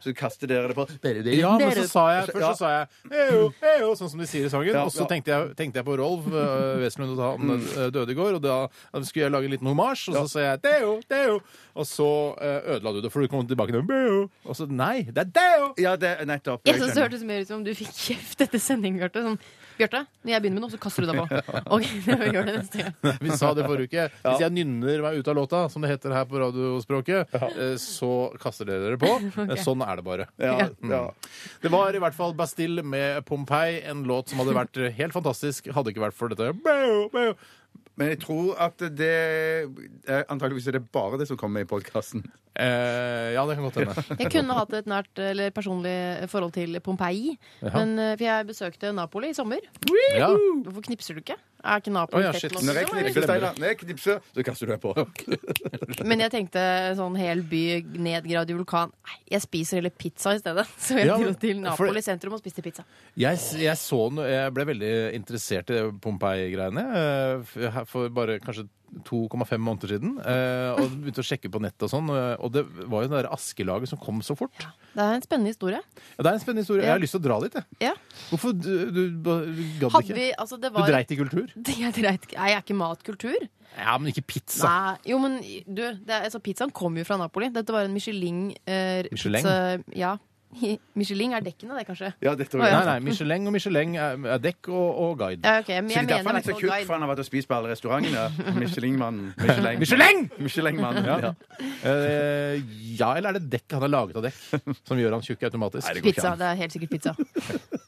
Speaker 4: Så kaster dere det på. Bare, bare,
Speaker 3: Ja, men
Speaker 4: der.
Speaker 3: så sa jeg
Speaker 4: Og
Speaker 3: Først så sa jeg «Eyo, eyo», sånn som de sier i sangen.
Speaker 4: Ja,
Speaker 3: og så
Speaker 4: ja.
Speaker 3: tenkte, jeg, tenkte jeg på Rolf øh, Wesenlund og da han øh, døde i går, og da da skulle jeg lage en liten homasj, og så sa jeg Deo, Deo. Og så øh, ødela du det, for du kom tilbake til Beo. Og så nei, det er Deo!
Speaker 4: Ja, det, nettopp.
Speaker 5: Jeg syns det
Speaker 4: skjønner.
Speaker 5: hørtes mer ut som om du fikk kjeft etter sending, Bjarte. Sånn Bjarte, når jeg begynner med noe, så kaster du deg på. Ok, vi gjør det neste gang.
Speaker 3: Vi sa det forrige uke. Hvis jeg nynner meg ut av låta, som det heter her på radiospråket, eh, så kaster dere dere på. Eh, Sånn er det bare.
Speaker 5: Ja.
Speaker 3: Mm. Det var i hvert fall Bastille med Pompeii, en låt som hadde vært helt fantastisk, hadde ikke vært for dette. Bau, bau.
Speaker 4: Men jeg tror at det eh, Antakeligvis er det bare det som kommer i podkasten.
Speaker 3: Eh, ja, det kan godt hende.
Speaker 5: Jeg kunne hatt et nært eller personlig forhold til Pompeii. Men, eh, for jeg besøkte Napoli i sommer.
Speaker 3: Ja.
Speaker 5: Hvorfor knipser du ikke? Er
Speaker 3: Å,
Speaker 5: ikke Napoli
Speaker 3: ja,
Speaker 5: fett
Speaker 3: shit.
Speaker 5: nok?
Speaker 4: Når jeg
Speaker 5: liksom, eller?
Speaker 4: knipser, Steinar, når jeg knipser, så kaster du deg på.
Speaker 5: Men jeg tenkte sånn hel by, nedgravd i vulkan. Nei, jeg spiser heller pizza i stedet. Så jeg
Speaker 3: Ja,
Speaker 5: dro
Speaker 3: men-
Speaker 5: til
Speaker 3: for-
Speaker 5: Napoli sentrum og spiste pizza.
Speaker 3: Jeg, s- jeg, så, no- jeg ble veldig interessert i Pompeii-greiene eh, f- her for bare kanskje 2,5 måneder siden. eh, Og begynte å sjekke på nettet og sånn. eh, Og det var jo det der askelaget som kom så fort.
Speaker 5: Det er en spennende historie.
Speaker 3: Ja, det er en spennende historie. Jeg har lyst til å dra dit, jeg.
Speaker 5: Ja.
Speaker 3: Hvorfor du, du, du gadd
Speaker 5: Hadde
Speaker 3: ikke?
Speaker 5: vi, altså det
Speaker 3: Du
Speaker 5: var
Speaker 3: dreit i kultur?
Speaker 5: Jeg dreit ikke. Nei, jeg er ikke matkultur.
Speaker 3: Ja, men ikke pizza.
Speaker 5: Nei, jo, men du, det er, altså, pizzaen kom jo fra Napoli. Dette var en Michelin. Eh,
Speaker 3: Michelin?
Speaker 5: pizza- Ja. Michelin er dekkene, det, kanskje.
Speaker 4: Ja, det tror
Speaker 5: Å,
Speaker 4: jeg.
Speaker 5: ja.
Speaker 3: Nei, nei, Michelin og Michelin er er dekk og, og guide.
Speaker 5: Ja, ok, men
Speaker 4: Så
Speaker 5: jeg
Speaker 4: det er derfor han er
Speaker 5: mener
Speaker 4: så
Speaker 5: hvertfall
Speaker 4: tjukk,
Speaker 5: guide.
Speaker 4: for han har vært og spist på alle restaurantene. Michelin-mannen. Michelin.
Speaker 3: Michelin!
Speaker 4: Michelin-mannen, ja.
Speaker 3: Eh, ja, eller er det dekk? Han er laget av dekk, som gjør han tjukk automatisk.
Speaker 4: Nei, det går ikke
Speaker 5: Pizza.
Speaker 4: an.
Speaker 5: Det er helt sikkert pizza.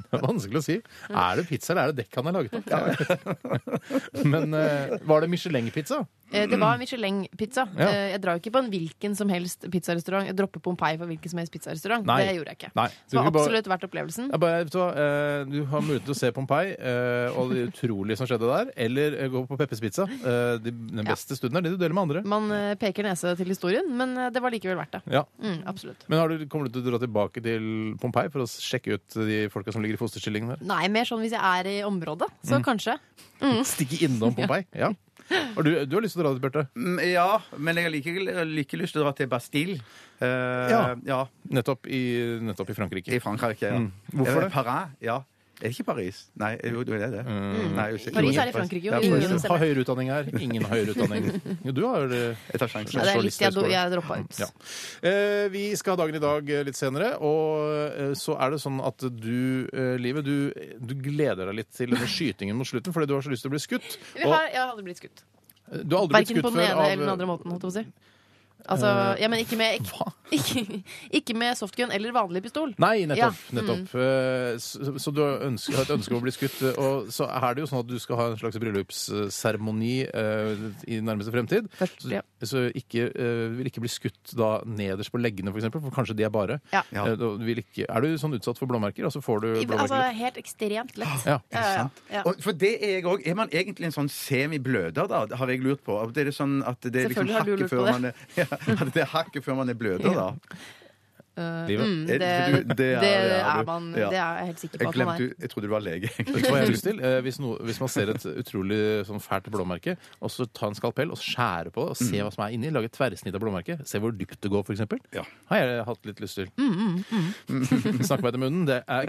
Speaker 3: Det er vanskelig å si. Er det pizza, eller er det dekk han er laget av? Men eh, var det Michelin-pizza?
Speaker 5: Eh, Det var Michelin-pizza.
Speaker 3: Ja.
Speaker 5: Eh, Jeg drar jo ikke på en hvilken som helst pizzarestaurant. Jeg dropper Pompeii for hvilken som helst pizzarestaurant.
Speaker 3: Nei.
Speaker 5: Det gjorde jeg ikke.
Speaker 3: Nei.
Speaker 5: Så det
Speaker 3: Du
Speaker 5: var
Speaker 3: kan bare-
Speaker 5: absolutt verdt opplevelsen.
Speaker 3: Ja, bare, vet du, hva, eh, du har mulighet til å se Pompeii eh, og det utrolige som skjedde der, eller eh, gå på Peppes Pizza. Eh, de, den beste stunden er det du deler med andre.
Speaker 5: Man eh, peker nese til historien, men eh, det var likevel verdt det.
Speaker 3: Ja.
Speaker 5: Mm, absolutt.
Speaker 3: Men har du, kommer du til å dra tilbake til Pompeii for å sjekke ut de folka som ligger i fosterstillingen der?
Speaker 5: Nei, mer sånn hvis jeg er i området, så kanskje. Mm.
Speaker 3: Stikke innom Pompeii? Ja. Og du, du har lyst til å dra dit, Bjarte?
Speaker 4: Mm, ja, men jeg har like, like lyst til å dra til Bastille. Eh,
Speaker 3: Ja.
Speaker 4: ja.
Speaker 3: Nettopp, i- nettopp i Frankrike.
Speaker 4: I Frankrike. Ja.
Speaker 3: Mm. Hvorfor det?
Speaker 4: Eh,
Speaker 3: Mm.
Speaker 4: Paris. Ja. Er det ikke Paris? Nei, jo, det er det. Mm. Nei, jeg husker ikke.
Speaker 5: Paris er i Frankrike, jo.
Speaker 4: Ja,
Speaker 5: Ingen
Speaker 4: Paris.
Speaker 3: Ingen har høyere utdanning her. Ingen har høyere utdanning. Jo, du har eh, det.
Speaker 4: Jeg tar sjansen.
Speaker 5: Ja, det er
Speaker 3: så
Speaker 5: litt jeg,
Speaker 3: listhøyskole.
Speaker 5: jeg droppa ut.
Speaker 3: Ja. Eh, vi skal ha dagen i dag eh, litt senere, og eh, så er det sånn at du, eh, Livet, du, du gleder deg litt til denne skytingen mot slutten fordi du har så lyst til å bli skutt.
Speaker 5: Vi
Speaker 3: Og
Speaker 5: har, jeg hadde blitt skutt.
Speaker 3: eh, du har aldri blitt
Speaker 5: Verken på
Speaker 3: skutt
Speaker 5: den
Speaker 3: før
Speaker 5: ene eller den
Speaker 3: av eh,
Speaker 5: andre måten, holdt jeg på å si. Altså, ja, men ikke med, ikke, ikke, ikke med softgun eller vanlig pistol.
Speaker 3: Nei,
Speaker 5: Ja, Mm.
Speaker 3: nettopp. nettopp. Eh, Så, så du har, ønske, har et ønske om å bli skutt. eh, Og så er det jo sånn at du skal ha en slags bryllupsseremoni eh, i nærmeste fremtid.
Speaker 5: Først,
Speaker 3: Så,
Speaker 5: ja.
Speaker 3: så ikke, eh, vil ikke bli skutt da nederst på leggene, for eksempel, for kanskje de er bare.
Speaker 5: Ja.
Speaker 4: Ja.
Speaker 3: Eh, da vil ikke, er du sånn utsatt for blåmerker, og så får du
Speaker 5: I- Altså,
Speaker 3: blåmerker? litt?
Speaker 5: helt ekstremt lett.
Speaker 3: Ja.
Speaker 5: Ja, ja, ja.
Speaker 4: Og for det er jeg òg. Er man egentlig en sånn semi-bløder, da? Det Har jeg lurt på. Det er det sånn at det er liksom
Speaker 5: Selvfølgelig har du
Speaker 4: hakket
Speaker 5: lurt på
Speaker 4: før
Speaker 5: det.
Speaker 4: man er, ja, at det er hakket før man er bløder, da.
Speaker 3: Livet.
Speaker 5: Mm,
Speaker 4: Er
Speaker 5: det,
Speaker 4: det- for du- det
Speaker 5: det
Speaker 4: er- ja, du-
Speaker 5: er man
Speaker 4: ja.
Speaker 5: Det er jeg helt sikker
Speaker 4: Jeg
Speaker 5: på at man
Speaker 4: glemte
Speaker 5: er.
Speaker 4: Jeg trodde du var lege.
Speaker 3: Vet du hva jeg har lyst til? Eh, hvis, noe- hvis man ser et utrolig sånn fælt blåmerke, og så ta en skalpell og skjære på og se hva som er inni, lage et tverrsnitt av blåmerket, se hvor dypt det går, f.eks.
Speaker 4: Ja.
Speaker 3: Har jeg hatt litt lyst til.
Speaker 5: Mm,
Speaker 3: Snakke meg til munnen, det er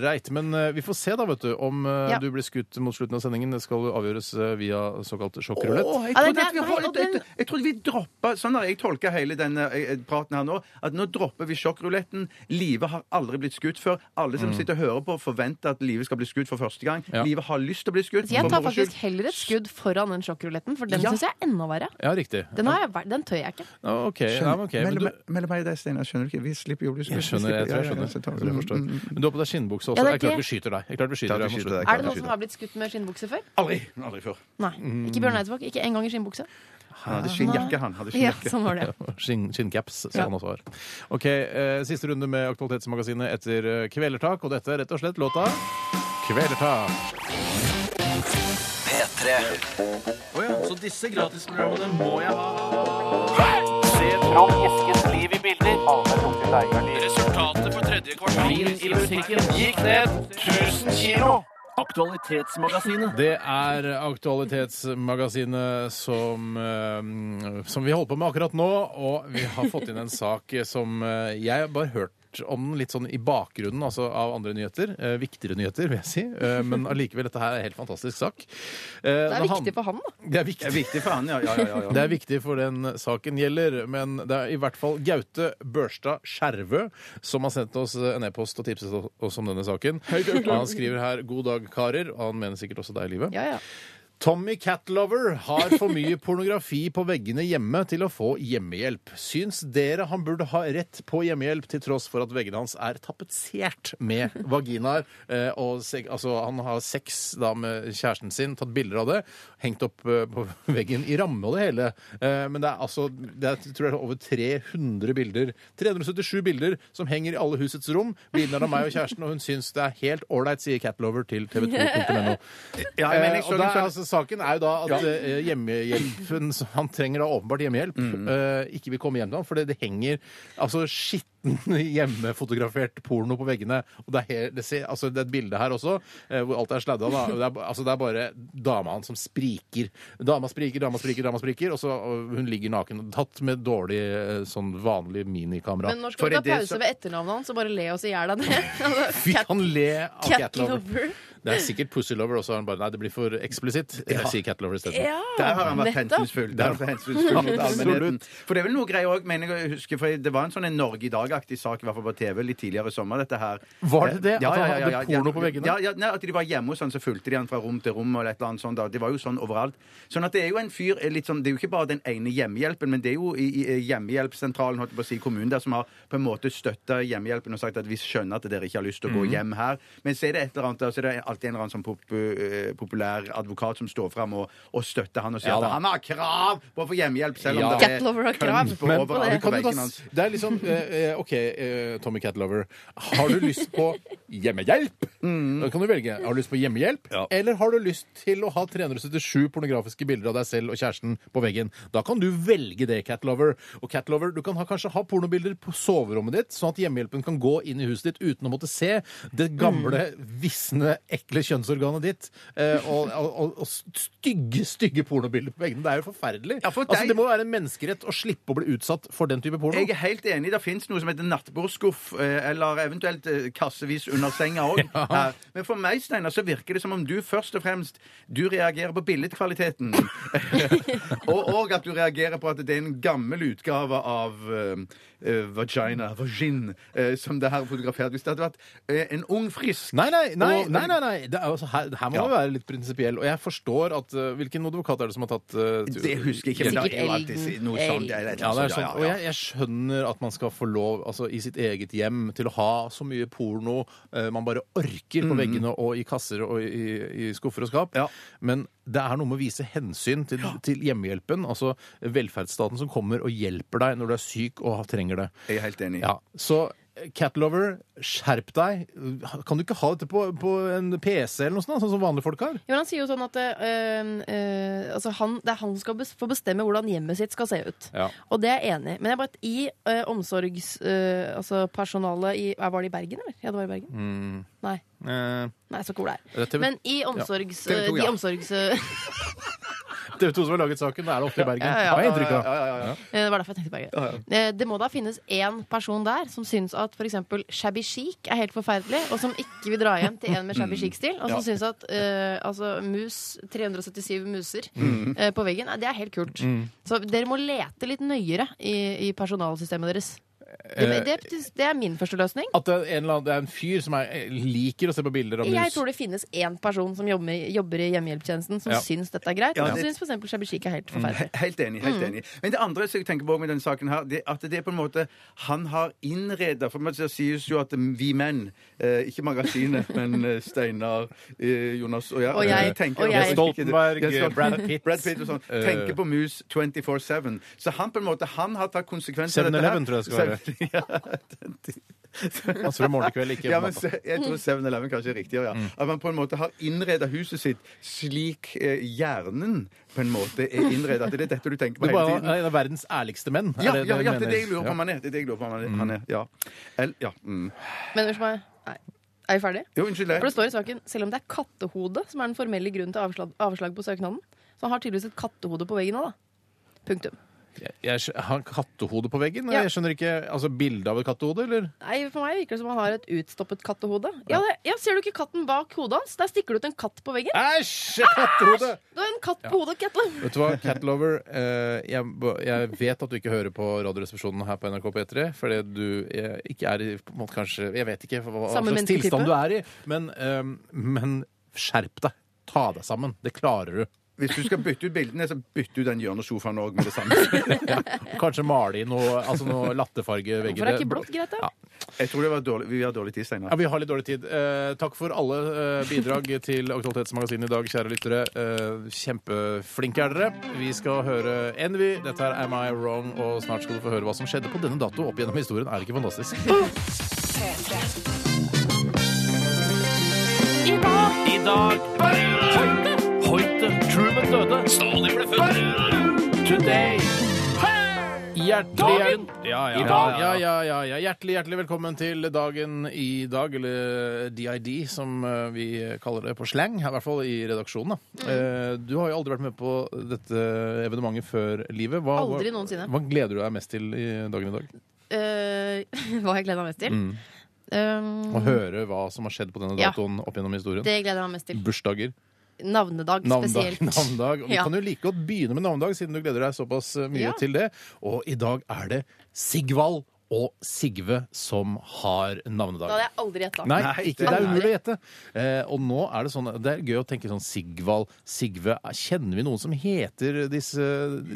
Speaker 3: greit. Men eh, vi får se da, vet du, om eh,
Speaker 5: Ja.
Speaker 3: du blir skutt mot slutten av sendingen. Det skal jo avgjøres eh, via såkalt sjokkrulett.
Speaker 4: Åh, jeg
Speaker 5: Ja, det er
Speaker 4: trodde at vi
Speaker 5: der- nei,
Speaker 4: holdt-
Speaker 5: og den-
Speaker 4: Jeg trodde vi droppa Sånn har jeg tolka hele denne eh, praten her nå. At nå dropper vi sjokkruletten. Live har aldri blitt skutt før. Alle som sitter og hører på, forventer at Live skal bli skutt for første gang.
Speaker 3: Mm. Ja.
Speaker 4: Live har lyst til å bli skutt.
Speaker 5: Så jeg
Speaker 4: for
Speaker 5: tar
Speaker 4: moro
Speaker 5: faktisk
Speaker 4: skyld.
Speaker 5: heller et skudd foran den sjokkruletten, for den
Speaker 4: Ja.
Speaker 5: syns jeg er enda verre.
Speaker 3: Ja, riktig.
Speaker 5: Den, har jeg, vært- den tør jeg ikke.
Speaker 3: Ja, OK. Ja, men
Speaker 4: Skjønner-
Speaker 3: ok. Men
Speaker 4: mellom,
Speaker 3: du,
Speaker 4: mellom meg og deg, Steinar, skjønner du ikke? Vi slipper jo å bli skutt.
Speaker 3: jeg skjønner, jeg tror jeg skjønner. Jeg tror jeg
Speaker 4: Mm,
Speaker 3: forstår. Men du har på deg skinnbukse også.
Speaker 5: Ja,
Speaker 3: Jeg
Speaker 5: det er
Speaker 3: er klart
Speaker 5: det.
Speaker 3: vi skyter deg. Jeg er klart vi skyter
Speaker 4: Klart vi
Speaker 3: deg mot
Speaker 4: skyter
Speaker 3: slutten.
Speaker 4: deg.
Speaker 5: Er det noen som har blitt skutt med skinnbukse før?
Speaker 3: Mm.
Speaker 4: Aldri! Aldri før.
Speaker 5: Nei.
Speaker 4: Mm.
Speaker 5: Ikke Bjørn Eidsvåg. Ikke engang i skinnbukse.
Speaker 4: Han hadde skinnjakke, han. Hadde
Speaker 5: Ja,
Speaker 4: skinnjakke.
Speaker 5: sånn var det.
Speaker 3: Skinn- Skinncaps, som
Speaker 5: Ja.
Speaker 3: han også har. Ok, eh, Siste runde med Aktualitetsmagasinet etter eh, Kvelertak, og dette er rett og slett låta Kvelertak.
Speaker 2: P3
Speaker 7: Så disse gratisprogrammene må jeg ha.
Speaker 8: Fram Eskens liv i bilder.
Speaker 7: Resultatet for tredje kvartal i musikken gikk ned 1000 kilo. Aktualitetsmagasinet.
Speaker 3: Det er Aktualitetsmagasinet som, eh, som vi holder på med akkurat nå, og vi har fått inn en sak som eh, jeg har bare hørt vært om den litt sånn i bakgrunnen altså av andre nyheter. Eh, viktigere nyheter, vil jeg si. Eh, men allikevel, dette her er en helt fantastisk sak. Eh,
Speaker 5: Det er viktig for han, da.
Speaker 3: Det er viktig.
Speaker 4: Det er viktig for han, ja. ja, ja, ja,
Speaker 3: Det
Speaker 4: ja.
Speaker 3: er viktig for den saken gjelder, men det er i hvert fall Gaute Børstad Skjervø som har sendt oss en e-post og tipset oss om denne saken. Han skriver her 'God dag, karer', og han mener sikkert også deg, Live.
Speaker 5: Ja, ja.
Speaker 3: Tommy Catlover har for mye pornografi på veggene hjemme til å få hjemmehjelp. Syns dere han burde ha rett på hjemmehjelp, til tross for at veggene hans er tapetsert med vaginaer? Eh, og seg, altså, han har sex da med kjæresten sin, tatt bilder av det, hengt opp eh, på veggen i ramme og det hele. Eh, men det er altså det er, tror jeg, det er over 300 bilder. 377 bilder som henger i alle husets rom. Bildene er av meg og kjæresten, og hun syns det er helt ålreit, sier Catlover til tv2.no.
Speaker 4: Ja,
Speaker 3: Eh,
Speaker 4: men jeg så
Speaker 3: og
Speaker 4: den,
Speaker 3: der,
Speaker 4: så den.
Speaker 3: altså, saken er jo da at eh, hjemmehjelpen som Han trenger da åpenbart hjemmehjelp.
Speaker 4: Mm.
Speaker 3: eh, ikke vil komme hjem til ham, for det, det henger altså skitten hjemmefotografert porno på veggene. Og det er, he- det ser, altså, det er et bilde her også eh, hvor alt er sladda. Da. Det, er, ba- altså, det er bare dama hans som spriker. Dama spriker, dama spriker, dama spriker. Og så og hun ligger naken. Tatt med dårlig eh, sånn vanlig minikamera.
Speaker 5: Men når
Speaker 4: For
Speaker 5: skal du
Speaker 4: det
Speaker 5: ta
Speaker 4: er det
Speaker 5: pause
Speaker 4: som-
Speaker 5: ved etternavnet hans og bare le oss i hjel av det? Altså,
Speaker 3: Vi
Speaker 5: cat-
Speaker 3: kan le av Catlover.
Speaker 5: Catlover.
Speaker 3: Det er sikkert Pussylover også. Han bare, nei, det blir for eksplisitt. Jeg sier Catlover isteden.
Speaker 5: Ja.
Speaker 4: Der har han vært
Speaker 5: Nettopp.
Speaker 4: hensynsfull. Der har han vært hensynsfull mot allmennheten.
Speaker 3: Absolutt.
Speaker 4: For det er vel noe greier også, mener jeg å huske, for det var en sånn en Norge i dag-aktig sak, i hvert fall på TV litt tidligere i sommer, dette her.
Speaker 3: Var det det? At han hadde porno på veggene?
Speaker 4: Ja, ja, nei, at de var hjemme hos han, så fulgte de han fra rom til rom og et eller annet sånt. da. Det var jo sånn overalt. Sånn at det er jo en fyr eh, litt sånn, Det er jo ikke bare den ene hjemmehjelpen, men det er jo i, i eh, hjemmehjelpssentralen, holdt jeg på å si, kommunen der, som har på en måte støtta hjemmehjelpen og sagt at vi skjønner at dere ikke har lyst til å
Speaker 3: Mhm.
Speaker 4: gå hjem her. Men så er det et eller annet, der, så er det alltid en eller annen sånn pop, eh, populær advokat som står fram og, og støtter han og sier
Speaker 3: Ja, da.
Speaker 4: at han har krav på å få hjemmehjelp, selv om
Speaker 3: Ja.
Speaker 4: det er
Speaker 5: Catlover har krav
Speaker 4: kønt på
Speaker 3: Men
Speaker 5: det.
Speaker 3: kan
Speaker 4: overalt på
Speaker 3: du
Speaker 4: veggene
Speaker 3: da,
Speaker 4: hans.
Speaker 3: det er liksom eh, eh, OK, eh, Tommy Catlover. Har du lyst på hjemmehjelp?
Speaker 4: Mm.
Speaker 3: Da kan du velge. Har du lyst på hjemmehjelp, eller har du lyst til å ha 377 pornografiske bilder av deg selv og kjæresten på veggen? Da kan du velge det, Catlover. Og Catlover, du kan ha, kanskje ha pornobilder på soverommet ditt, sånn at hjemmehjelpen kan gå inn i huset ditt uten å måtte se det gamle,
Speaker 4: Mm.
Speaker 3: visne, ekle kjønnsorganet ditt eh, og, og, og, og stygge, stygge pornobilder på veggene. Det er jo forferdelig.
Speaker 4: Ja, for
Speaker 3: altså,
Speaker 4: deg-
Speaker 3: det må må være en menneskerett å slippe å bli utsatt for den type porno.
Speaker 4: Jeg er helt enig. Det fins noe som heter nattbordskuff, eh, eller eventuelt eh, kassevis under senga òg. Men for meg Steiner, så virker det som om du først og fremst du reagerer på billedkvaliteten. og, og at du reagerer på at det er en gammel utgave av eh, eh, vagina, vagin, eh, som det her er fotografert. Hvis det hadde vært eh, en ung, frisk
Speaker 3: Nei, nei, nei,
Speaker 4: Og-
Speaker 3: nei, nei, nei. Det er, altså, her, her må
Speaker 4: Ja.
Speaker 3: man være litt prinsipiell. Og jeg forstår at eh, Hvilken advokat er det som har tatt eh, tur-
Speaker 4: Det husker jeg ikke. men
Speaker 5: Sikkert
Speaker 4: det er jo alltid si- noe
Speaker 5: Elden.
Speaker 4: sånt, eller et
Speaker 3: Ja, det er
Speaker 4: eller annet sånt,
Speaker 3: sånn.
Speaker 4: ja,
Speaker 3: Og
Speaker 4: ja,
Speaker 3: jeg, jeg skjønner at man skal få lov altså, i sitt eget hjem til å ha så mye porno eh, man bare orker på veggene og i kasser og i, i skuffer og skap.
Speaker 4: Mm. Ja.
Speaker 3: Men det er noe med å vise hensyn til, til hjemmehjelpen, altså velferdsstaten som kommer og hjelper deg når du er syk og trenger det.
Speaker 4: Jeg er helt enig.
Speaker 3: Ja, så Catlover, skjerp deg. Kan du ikke ha dette på, på en PC eller noe sånt, da, sånn som vanlige folk har?
Speaker 5: Ja, men han sier jo sånn at eh, eh, altså han, det er han som skal bes få bestemme hvordan hjemmet sitt skal se ut.
Speaker 3: Ja.
Speaker 5: Og det er jeg enig i. Men jeg bare, i uh, omsorgspersonalet altså personalet i Var det i Bergen, eller? Ja, det var i Bergen. Nei.
Speaker 3: Eh,
Speaker 5: Nei, så cool det er.
Speaker 3: TV,
Speaker 5: Men i omsorgs...
Speaker 4: Ja. TV2,
Speaker 5: eh,
Speaker 4: ja.
Speaker 5: De omsorgs... eh,
Speaker 3: TV 2 som har laget saken, det er det ofte i Bergen.
Speaker 5: Ja, ja, ja.
Speaker 3: Har jeg inntrykk av.
Speaker 5: det var derfor jeg tenkte Bergen. Eh, Det må da finnes én person der som syns at f.eks. shabby chic er helt forferdelig, og som ikke vil dra hjem til en med shabby chic-stil. Og som syns at eh, altså, mus 377 muser eh, på veggen, eh, det er helt kult. Så dere må lete litt nøyere i, i personalsystemet deres. Det, det, det er min første løsning.
Speaker 3: At det er, en eller annen, det er en fyr som er, liker å se på bilder av
Speaker 5: Jeg
Speaker 3: mus.
Speaker 5: tror det finnes én person som jobber, jobber i hjemmehjelpstjenesten som
Speaker 3: Ja.
Speaker 5: syns dette er greit,
Speaker 4: Ja,
Speaker 5: og som
Speaker 4: det-
Speaker 5: syns f.eks. shabby chic er helt forferdelig.
Speaker 4: Helt enig. helt
Speaker 5: Mm.
Speaker 4: enig. Men det andre som jeg tenker på med denne saken her, det, er at det er på en måte han har innreda For det sies jo at vi menn, eh, ikke magasinet, men eh, Steinar, eh, Jonas og jeg,
Speaker 5: Og jeg,
Speaker 4: vi tenker-
Speaker 5: og jeg.
Speaker 3: Stoltenberg, eh,
Speaker 4: Ja, Stoltenberg,
Speaker 3: Brad Pitt.
Speaker 4: Brad Pitt og sånn,
Speaker 3: Eh.
Speaker 4: tenker på mus 24-7. Så han på en måte, han har tatt konsekvenser
Speaker 3: 7-Eleven tror jeg det skal være.
Speaker 4: være.
Speaker 3: Han tror det er morgenkveld, ikke Mm.
Speaker 4: Ja, men
Speaker 3: natta.
Speaker 4: se- jeg
Speaker 5: Mm.
Speaker 4: tror 7-Eleven kanskje er riktigere, ja. At man på en måte har innreda huset sitt slik eh, hjernen på en måte er innreda. Det er dette du
Speaker 3: Det
Speaker 4: tenker på
Speaker 3: er
Speaker 4: hele
Speaker 3: bare
Speaker 4: tiden.
Speaker 3: en av verdens ærligste menn. er
Speaker 4: Ja,
Speaker 3: det,
Speaker 4: ja,
Speaker 3: du
Speaker 4: ja, det er det jeg
Speaker 3: mener?
Speaker 4: lurer på om
Speaker 3: Ja. Mm.
Speaker 4: han er. Det er det jeg lurer på om han er. Han er ja. El, ja. Mm.
Speaker 5: Men unnskyld meg. Nei. Er vi ferdige?
Speaker 4: Jo, unnskyld
Speaker 5: For det
Speaker 4: deg.
Speaker 5: står i saken, Selv om det er kattehode som er den formelle grunnen til avslag, avslag på søknaden, så han har tydeligvis et kattehode på veggen òg, da. Punktum.
Speaker 3: Jeg, jeg skj- har han kattehode på veggen?
Speaker 5: Ja.
Speaker 3: Jeg skjønner ikke, altså Bilde av et kattehode, eller?
Speaker 5: Nei, For meg virker det som han har et utstoppet kattehode. Ja, det, ja, Ser du ikke katten bak hodet hans? Der stikker det ut en katt på veggen.
Speaker 3: Æsj! Kattehode!
Speaker 5: Du har en katt på hodet, Ketle.
Speaker 3: Vet du hva, Catlover, eh, jeg, b- jeg vet at du ikke hører på Radioresepsjonen her på NRK P3, fordi du eh, ikke er i på en måte, kanskje, Jeg vet ikke hva, hva
Speaker 5: Samme
Speaker 3: slags
Speaker 5: mennesketype?
Speaker 3: tilstand du er i, men, eh, men skjerp deg. Ta deg sammen. Det klarer du.
Speaker 4: Hvis du skal bytte ut bildene, så bytte ut den hjørnesofaen òg med det samme.
Speaker 3: Og Kanskje male i noe, altså noe latterfarge i
Speaker 5: For det er ikke
Speaker 3: veggene.
Speaker 5: blått, Grete.
Speaker 3: Ja.
Speaker 4: Jeg tror det var dårlig, vi har dårlig tid, Steinar.
Speaker 3: Ja, Vi har litt dårlig tid. Eh, takk for alle eh, bidrag til Aktualitetsmagasinet i dag, kjære lyttere. Eh, kjempeflinke er dere. Vi skal høre Envy. Dette her er Am I Wrong? Og snart skal du få høre hva som skjedde på denne dato opp gjennom historien. Er det ikke fantastisk?
Speaker 7: I dag Hoite Hoite Truman døde Stalin ble født Today
Speaker 3: Hjertelig,
Speaker 7: Dagen!
Speaker 3: ja, ja,
Speaker 7: I
Speaker 3: ja,
Speaker 7: dag.
Speaker 3: ja, ja, ja, ja. Hjertelig, hjertelig velkommen til dagen i dag, eller DID, som eh, vi kaller det på slang, i hvert fall i redaksjonen. Da. Eh, Du har jo aldri vært med på dette evenementet før livet. Hva, hva-
Speaker 5: Aldri noensinne.
Speaker 3: Hva gleder du deg mest til i dagen i dag?
Speaker 5: Eh, hva har jeg gleda meg mest til? Um,
Speaker 3: Å høre hva som har skjedd på denne
Speaker 5: Ja.
Speaker 3: datoen opp gjennom historien.
Speaker 5: det gleder jeg meg mest til.
Speaker 3: Bursdager,
Speaker 5: Navnedag
Speaker 3: navndag,
Speaker 5: spesielt.
Speaker 3: navndag. Og Vi
Speaker 5: Ja.
Speaker 3: kan jo like godt begynne med navndag, siden du gleder deg såpass eh, mye
Speaker 5: Ja.
Speaker 3: til det. Og i dag er det Sigvald og Sigve som har navnedag.
Speaker 5: Da hadde jeg aldri gjetta.
Speaker 3: Nei,
Speaker 4: Nei,
Speaker 3: ikke,
Speaker 4: det-
Speaker 3: det er umulig å gjette. Eh, og nå er det sånn Det er gøy å tenke sånn Sigvald, Sigve Kjenner vi noen som heter disse,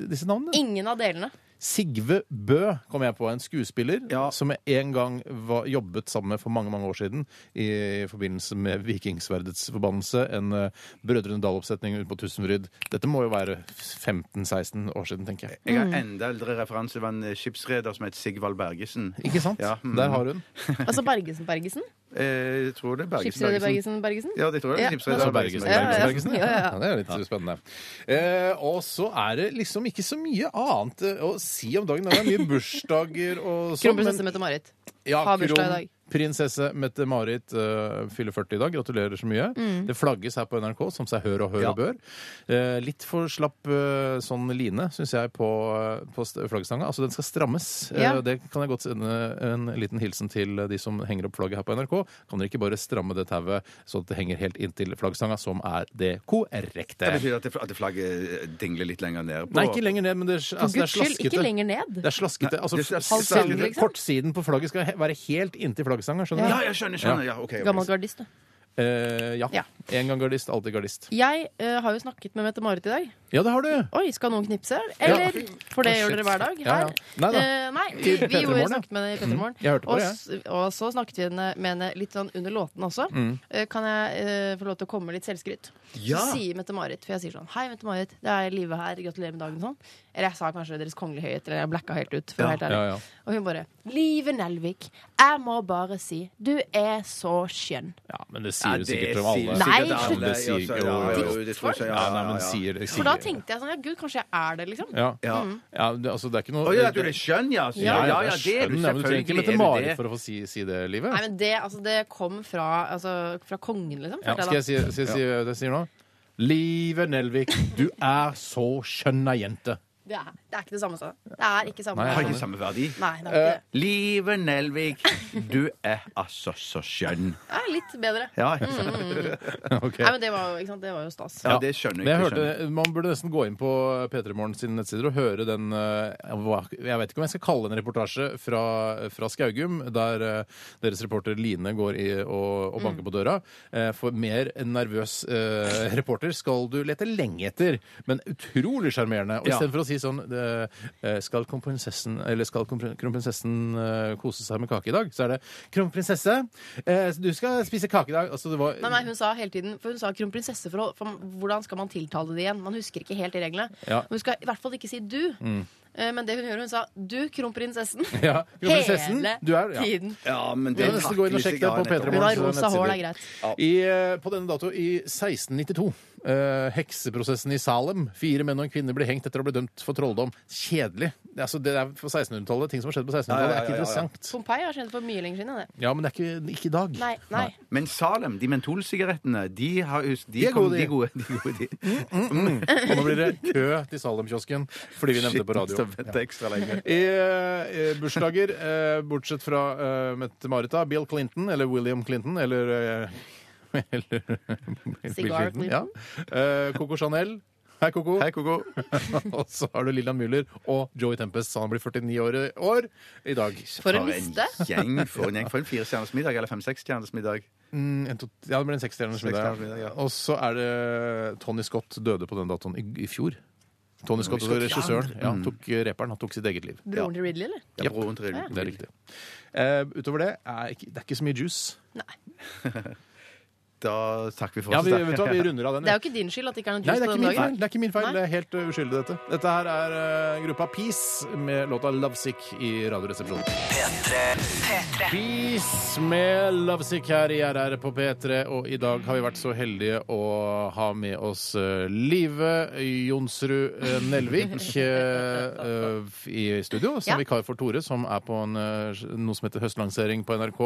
Speaker 3: disse navnene?
Speaker 5: Ingen av delene.
Speaker 3: Sigve Bø kom jeg på, en skuespiller
Speaker 4: Ja.
Speaker 3: som jeg en gang var, jobbet sammen med for mange mange år siden i forbindelse med Vikingsverdets forbannelse, en eh, Brødrene Dal-oppsetning ute på Tusenfryd. Dette må jo være 15-16 år siden, tenker jeg.
Speaker 4: Jeg
Speaker 5: mm.
Speaker 4: har enda eldre referanse. Det var en eh, skipsreder som het Sigvald Bergesen.
Speaker 3: Ikke sant?
Speaker 4: Ja, mm.
Speaker 3: Der har hun.
Speaker 5: Altså Bergesen, Bergesen.
Speaker 4: Eh, jeg tror det er Bergesen.
Speaker 5: Skipsreder Bergesen, Bergesen.
Speaker 4: Ja, det tror jeg.
Speaker 5: Ja.
Speaker 4: Skipsreder
Speaker 3: Altså Bergesen.
Speaker 4: Bergesen.
Speaker 5: Ja, ja, ja.
Speaker 3: Bergesen,
Speaker 5: Ja, ja, ja.
Speaker 3: det er litt spennende. Eh, og så er det liksom ikke så mye annet eh, å si om dagen. Det er mye bursdager og sånn.
Speaker 5: Kronprinsesse
Speaker 3: men-
Speaker 5: Mette-Marit.
Speaker 3: ja,
Speaker 5: har bursdag i
Speaker 3: kron-
Speaker 5: dag.
Speaker 3: Prinsesse Mette-Marit eh, fyller 40 i dag. Gratulerer så mye.
Speaker 5: Mm.
Speaker 3: Det flagges her på NRK som seg hør og hør
Speaker 4: Ja.
Speaker 3: og bør. Eh, litt for slapp eh, sånn line, syns jeg, på, eh, på st- flaggstanga. Altså, den skal strammes. Eh,
Speaker 5: Ja.
Speaker 3: og det kan jeg godt sende en liten hilsen til de som henger opp flagget her på NRK. Kan dere ikke bare stramme det tauet så det henger helt inntil flaggstanga, som er det korrekte?
Speaker 4: Det betyr at, det, at det flagget eh, dingler litt lenger ned på
Speaker 3: Nei, ikke lenger ned, men det, er-
Speaker 5: For
Speaker 3: altså, det er
Speaker 5: guds skyld, ikke
Speaker 3: slaskete.
Speaker 5: lenger ned.
Speaker 3: Det er slaskete.
Speaker 4: Nei,
Speaker 3: Altså,
Speaker 4: det er slaskete.
Speaker 3: selve
Speaker 5: Halvsiden, liksom.
Speaker 3: kortsiden på flagget skal he være helt inntil flaggstanga. Skjønner du?
Speaker 4: Ja, jeg skjønner. skjønner. Ja, ok, ok.
Speaker 5: Gammel gardist, du.
Speaker 3: Eh, ja.
Speaker 5: Ja.
Speaker 3: En gang gardist, alltid gardist.
Speaker 5: Jeg eh, har jo snakket med Mette-Marit i dag.
Speaker 3: Ja, det har du!
Speaker 5: Oi, skal noen knipse? Eller For det
Speaker 3: Å,
Speaker 5: gjør dere
Speaker 3: shit.
Speaker 5: hver dag.
Speaker 3: Ja, ja.
Speaker 5: Her.
Speaker 3: Nei da.
Speaker 5: Eh, nei vi,
Speaker 3: I
Speaker 5: vi
Speaker 3: Petremorgen,
Speaker 5: gjorde,
Speaker 3: ja. Mm.
Speaker 5: snakket med henne i Petter Morgen.
Speaker 3: Jeg hørte på
Speaker 5: og,
Speaker 3: det,
Speaker 5: s- og så snakket vi henne- med henne litt sånn under låten også.
Speaker 3: Mm.
Speaker 5: Eh, kan jeg eh, få lov til å komme med litt selvskryt? Så sier Mette-Marit, for jeg sier sånn Hei, Mette-Marit, det er livet her. Gratulerer med dagen. Sånn. Eller jeg sa kanskje Deres Kongelige Høyhet, eller jeg blacka helt ut. For å være helt ærlig.
Speaker 3: Ja, ja.
Speaker 5: Og hun bare Live Nelvik, jeg må bare si du er så skjønn.
Speaker 3: Ja, men det
Speaker 4: Ja,
Speaker 3: sier du
Speaker 4: det
Speaker 3: sikkert om
Speaker 4: sier-
Speaker 3: alle.
Speaker 5: Nei,
Speaker 4: sikkert alle.
Speaker 3: Det sier ikke
Speaker 4: Ja, ja,
Speaker 3: alle.
Speaker 4: ja, jo, det tror jeg, ja,
Speaker 3: Ja,
Speaker 4: ja,
Speaker 3: nei,
Speaker 4: ja,
Speaker 3: men
Speaker 4: ja.
Speaker 3: sier det.
Speaker 5: For da tenkte jeg sånn Ja, gud, kanskje jeg er det, liksom.
Speaker 3: Ja,
Speaker 4: Ja.
Speaker 3: ja det, altså det er ikke noe
Speaker 4: Å ja, at du er skjønn, ja. sier
Speaker 3: Ja,
Speaker 4: jeg.
Speaker 3: ja,
Speaker 4: ja, ja, det er du
Speaker 3: skjønn, ja, men du trenger ikke
Speaker 4: selvfølgelig.
Speaker 3: Mette
Speaker 4: er du
Speaker 3: Marit
Speaker 4: det.
Speaker 3: for å få si, si det, Livet.
Speaker 5: Nei, men det, altså, det kom fra, altså, fra kongen, liksom.
Speaker 3: Ja,
Speaker 5: følte
Speaker 3: skal
Speaker 5: jeg da.
Speaker 3: jeg si, skal jeg si hva jeg sier nå? Live Nelvik, du er så skjønna jente.
Speaker 5: Det er, det er ikke det samme. Så. Det er ikke samme.
Speaker 3: Nei,
Speaker 4: Har
Speaker 5: Nei,
Speaker 4: ikke samme verdi.
Speaker 5: det er ikke det.
Speaker 4: Live Nelvik, du er altså så skjønn.
Speaker 5: Det er litt bedre.
Speaker 4: Ja,
Speaker 3: Mm.
Speaker 4: ikke sant?
Speaker 3: Ok.
Speaker 5: Nei, men det var, jo- ikke sant? Det var jo stas.
Speaker 4: ja det skjønner
Speaker 3: Men
Speaker 4: jeg.
Speaker 3: jeg
Speaker 4: det skjønner jeg.
Speaker 3: hørte, man burde nesten gå inn på P3 Morgen sine nettsider og høre den eh, hva- Jeg vet ikke om jeg skal kalle det en reportasje fra, fra Skaugum, der eh, deres reporter Line går i og, og banker på døra. Eh, For mer en nervøs eh, reporter skal du lete lenge etter, men utrolig sjarmerende. Og
Speaker 4: Ja.
Speaker 3: istedenfor å si sånn eh, eh, Skal kronprinsessen eller skal kronprin- kronprinsessen eh, kose seg med kake i dag? Så er det Kronprinsesse, eh, du skal spise kake i dag. Altså, det var
Speaker 5: Nei, nei, hun sa hele tiden For hun sa kronprinsesse for, å- for Hvordan skal man tiltale det igjen? Man husker ikke helt de reglene.
Speaker 3: Ja. Mm.
Speaker 5: Men hun skal i hvert fall ikke si du. Eh, Men det hun gjør, hun sa du, kronprinsessen.
Speaker 3: ja, kronprinsessen,
Speaker 5: Hele
Speaker 3: du er, ja.
Speaker 5: tiden.
Speaker 4: Ja, men
Speaker 3: Du
Speaker 4: det
Speaker 3: må nesten gå inn og
Speaker 4: takles
Speaker 3: sjekke
Speaker 4: ikke,
Speaker 3: det på
Speaker 4: ja, nettopp.
Speaker 3: P3
Speaker 5: Hun
Speaker 3: Morgens
Speaker 5: har rosa hår, det er
Speaker 3: nettsider.
Speaker 5: greit.
Speaker 3: I, eh, på denne dato i 1692. eh, hekseprosessen i Salem. Fire menn og en kvinne ble hengt etter å bli dømt for trolldom. Kjedelig. Det er, altså, det er på 1600-tallet. Ting som har skjedd på 1600-tallet, er ikke
Speaker 4: Ja, ja, ja, ja, ja.
Speaker 3: interessant.
Speaker 5: Pompeii har skjedd for mye lenger siden. enn Det.
Speaker 3: Ja, men det er ikke, ikke i dag.
Speaker 5: Nei, nei.
Speaker 4: Men Salem, de mentolsigarettene, de, har, de,
Speaker 3: De er
Speaker 4: kom,
Speaker 3: gode, de.
Speaker 4: de. er gode, de, er gode, de.
Speaker 3: Og nå blir det kø til Salem-kiosken fordi vi nevnte det på radio.
Speaker 4: Så vent ekstra lenge.
Speaker 3: I eh, bursdager, eh, bortsett fra eh, Mette-Marit, da, Bill Clinton eller William Clinton eller eh, Eller Bill
Speaker 5: Cigar
Speaker 3: Ja. Eh, Coco Chanel. Hei, Coco.
Speaker 4: Hei, Koko.
Speaker 3: og så har du Lillian Müller og Joey Tempest. Han blir 49 år i, år i dag.
Speaker 5: For en liste.
Speaker 4: gjeng. For en gjeng. For en firestjerners middag, eller fem-seks stjerners middag.
Speaker 3: Mm, en, to, ja, det blir en sekstjerners middag.
Speaker 4: Sekstjerners middag, ja.
Speaker 3: Og så er det Tony Scott døde på den datoen i, i fjor. Tony Scott,
Speaker 4: Scott, ja.
Speaker 3: regissøren, ja, tok eh, reperen. Han tok sitt eget liv.
Speaker 5: Broren til Ridley, eller?
Speaker 4: Ja, broren til Ridley.
Speaker 3: Det er riktig. Eh, utover det er ikke, det er ikke så mye juice.
Speaker 4: Da takker vi for
Speaker 3: Ja,
Speaker 4: oss.
Speaker 3: vi,
Speaker 4: da.
Speaker 3: vet du hva, vi runder av den.
Speaker 5: Det er jo ikke din skyld at det ikke er noe
Speaker 3: Nei, det er
Speaker 5: juice på
Speaker 3: ikke
Speaker 5: den
Speaker 3: min feil.
Speaker 5: dagen.
Speaker 3: Det er, ikke min feil.
Speaker 5: Nei.
Speaker 3: Det er helt uh, uskyldig, dette. Dette her er uh, gruppa Peace med låta 'Lovesick' i Radioresepsjonen. Peace med 'Lovesick' her i RR på P3, og i dag har vi vært så heldige å ha med oss uh, Live Jonsrud uh, Nelvik uh, uh, i studio, som
Speaker 5: Ja.
Speaker 3: vikar for Tore, som er på en, uh, noe som heter høstlansering på NRK,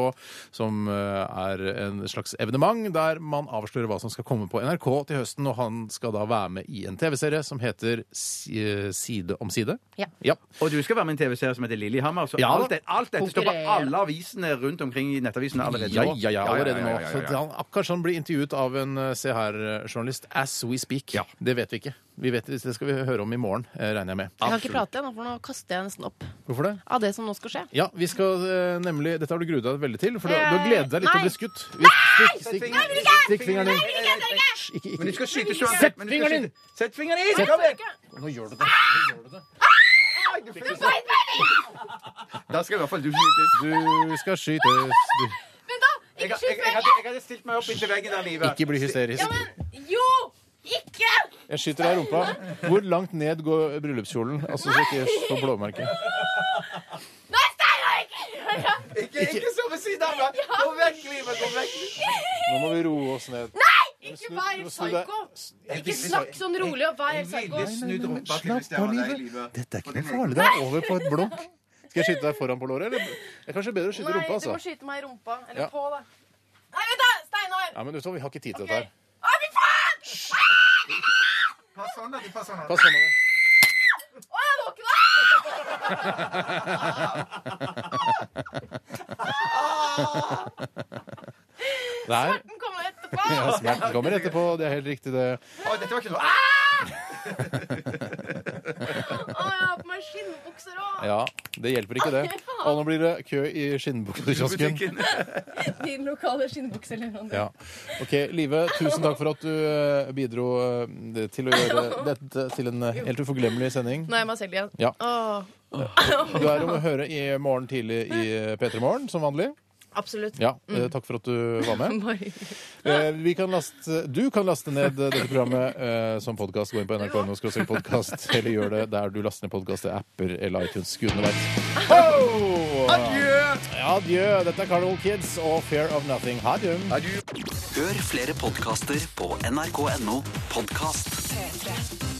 Speaker 3: som uh, er en slags evenement der man avslører hva som skal komme på NRK til høsten, og han skal da være med i en TV-serie som heter Si- uh, Side om side.
Speaker 5: Ja.
Speaker 4: Og du skal være med i en TV-serie som heter Lillehammer. Så
Speaker 3: Ja,
Speaker 4: alt,
Speaker 3: da.
Speaker 4: det, alt dette står på
Speaker 5: Konkurrere.
Speaker 4: alle avisene rundt omkring i nettavisene allerede
Speaker 3: Ja,
Speaker 4: nå.
Speaker 3: ja, ja, allerede nå.
Speaker 4: ja, ja, ja,
Speaker 3: Så
Speaker 4: ja.
Speaker 3: han, akkurat sånn blir intervjuet av en eh, Se her-journalist as we speak.
Speaker 4: Ja.
Speaker 3: Det vet vi ikke. Vi vet, det skal vi høre om i morgen, eh, regner jeg med.
Speaker 5: Jeg kan ikke prate ennå, for nå kaster jeg nesten opp
Speaker 3: Hvorfor det?
Speaker 5: av det som nå skal skje.
Speaker 3: Ja, vi skal eh, nemlig Dette har du gruet deg veldig til, for du,
Speaker 5: Eh,
Speaker 3: du har gledet deg litt til å
Speaker 5: nei.
Speaker 3: bli skutt. Nei! Stikk, stikk,
Speaker 4: Nei, jeg vil ikke!
Speaker 3: stikk fingeren
Speaker 4: Nei, jeg vil ikke, jeg vil
Speaker 3: inn.
Speaker 4: ikke!
Speaker 3: Hysj, ikke,
Speaker 4: Men du
Speaker 3: ikke.
Speaker 4: skal skyte så
Speaker 3: Sett
Speaker 4: men du skal
Speaker 3: fingeren
Speaker 4: skyte- Sett fingeren inn!
Speaker 3: Sett-
Speaker 4: Kom igjen!
Speaker 3: Nå gjør du det. Nå gjør du det.
Speaker 4: Da skal i hvert fall du skytes.
Speaker 3: Du skal skytes. Du,
Speaker 4: Jeg, jeg, jeg, hadde, jeg hadde stilt meg opp inntil veggen der, Live.
Speaker 3: ikke bli hysterisk.
Speaker 5: Jo! Ikke!
Speaker 3: Jeg skyter deg i rumpa. Hvor langt ned går bryllupskjolen? Altså, så ikke jeg får blåmerke.
Speaker 5: Nei, Steinar! Ikke gjør det!
Speaker 4: Ikke, ikke så ved siden av meg! Gå vekk, Live! Gå vekk!
Speaker 3: Nå må vi roe oss ned.
Speaker 5: Ikke
Speaker 3: Snu-
Speaker 5: vær
Speaker 3: du må
Speaker 5: helt
Speaker 3: snu deg.
Speaker 5: psyko! Ikke snakk sånn rolig og vær helt psyko.
Speaker 4: snudd rumpa til hvis det
Speaker 3: av,
Speaker 4: var deg,
Speaker 3: Live.
Speaker 4: Live.
Speaker 3: Dette er ikke noe farlig. Det er over på et blunk. Skal jeg skyte deg foran på låret? Eller? Det er kanskje bedre å skyte i
Speaker 5: Nei,
Speaker 3: rumpa,
Speaker 5: du må
Speaker 3: altså.
Speaker 5: skyte meg i rumpa.
Speaker 3: Ja.
Speaker 5: Eller på, da. Nei, vent, da! Steinar!
Speaker 3: Ja, men vet du hva, vi har ikke tid til dette her.
Speaker 5: Å, fy faen!
Speaker 4: Pass hånda di, pass hånda.
Speaker 3: Pass på nå.
Speaker 5: Å, jeg lå ikke Ah! der!
Speaker 3: Der.
Speaker 5: Den kommer etterpå.
Speaker 3: Ja, smerten kommer etterpå. Det er helt riktig, det.
Speaker 4: Å, dette var ikke noe. Ah!
Speaker 5: Å, jeg har på meg skinnbukser òg.
Speaker 3: Ja, det hjelper ikke, det. Og nå blir det kø i skinnbuksekiosken.
Speaker 5: Din lokale skinnbukseleverandør.
Speaker 3: Ja. OK, Live, tusen takk for at du eh, bidro eh, til å gjøre dette til en eh, helt uforglemmelig sending.
Speaker 5: Nå er jeg meg selv igjen.
Speaker 3: Ja.
Speaker 5: Åh,
Speaker 3: Du er om å høre i morgen tidlig i P3 Morgen, som vanlig.
Speaker 5: absolutt.
Speaker 3: Ja, eh, takk for at du var med.
Speaker 5: Bare-
Speaker 3: Eh, vi kan laste, du kan laste ned eh, dette programmet eh, som podkast. Gå inn på nrk.no podkast, eller gjør det der du laster ned podkast, apper eller iTunes. Gudene veit. Adjø! Adjø. Dette er Carnival Kids og Fear of Nothing. Ha det.
Speaker 2: Hør flere podkaster på nrk.no podkast.
Speaker 6: 3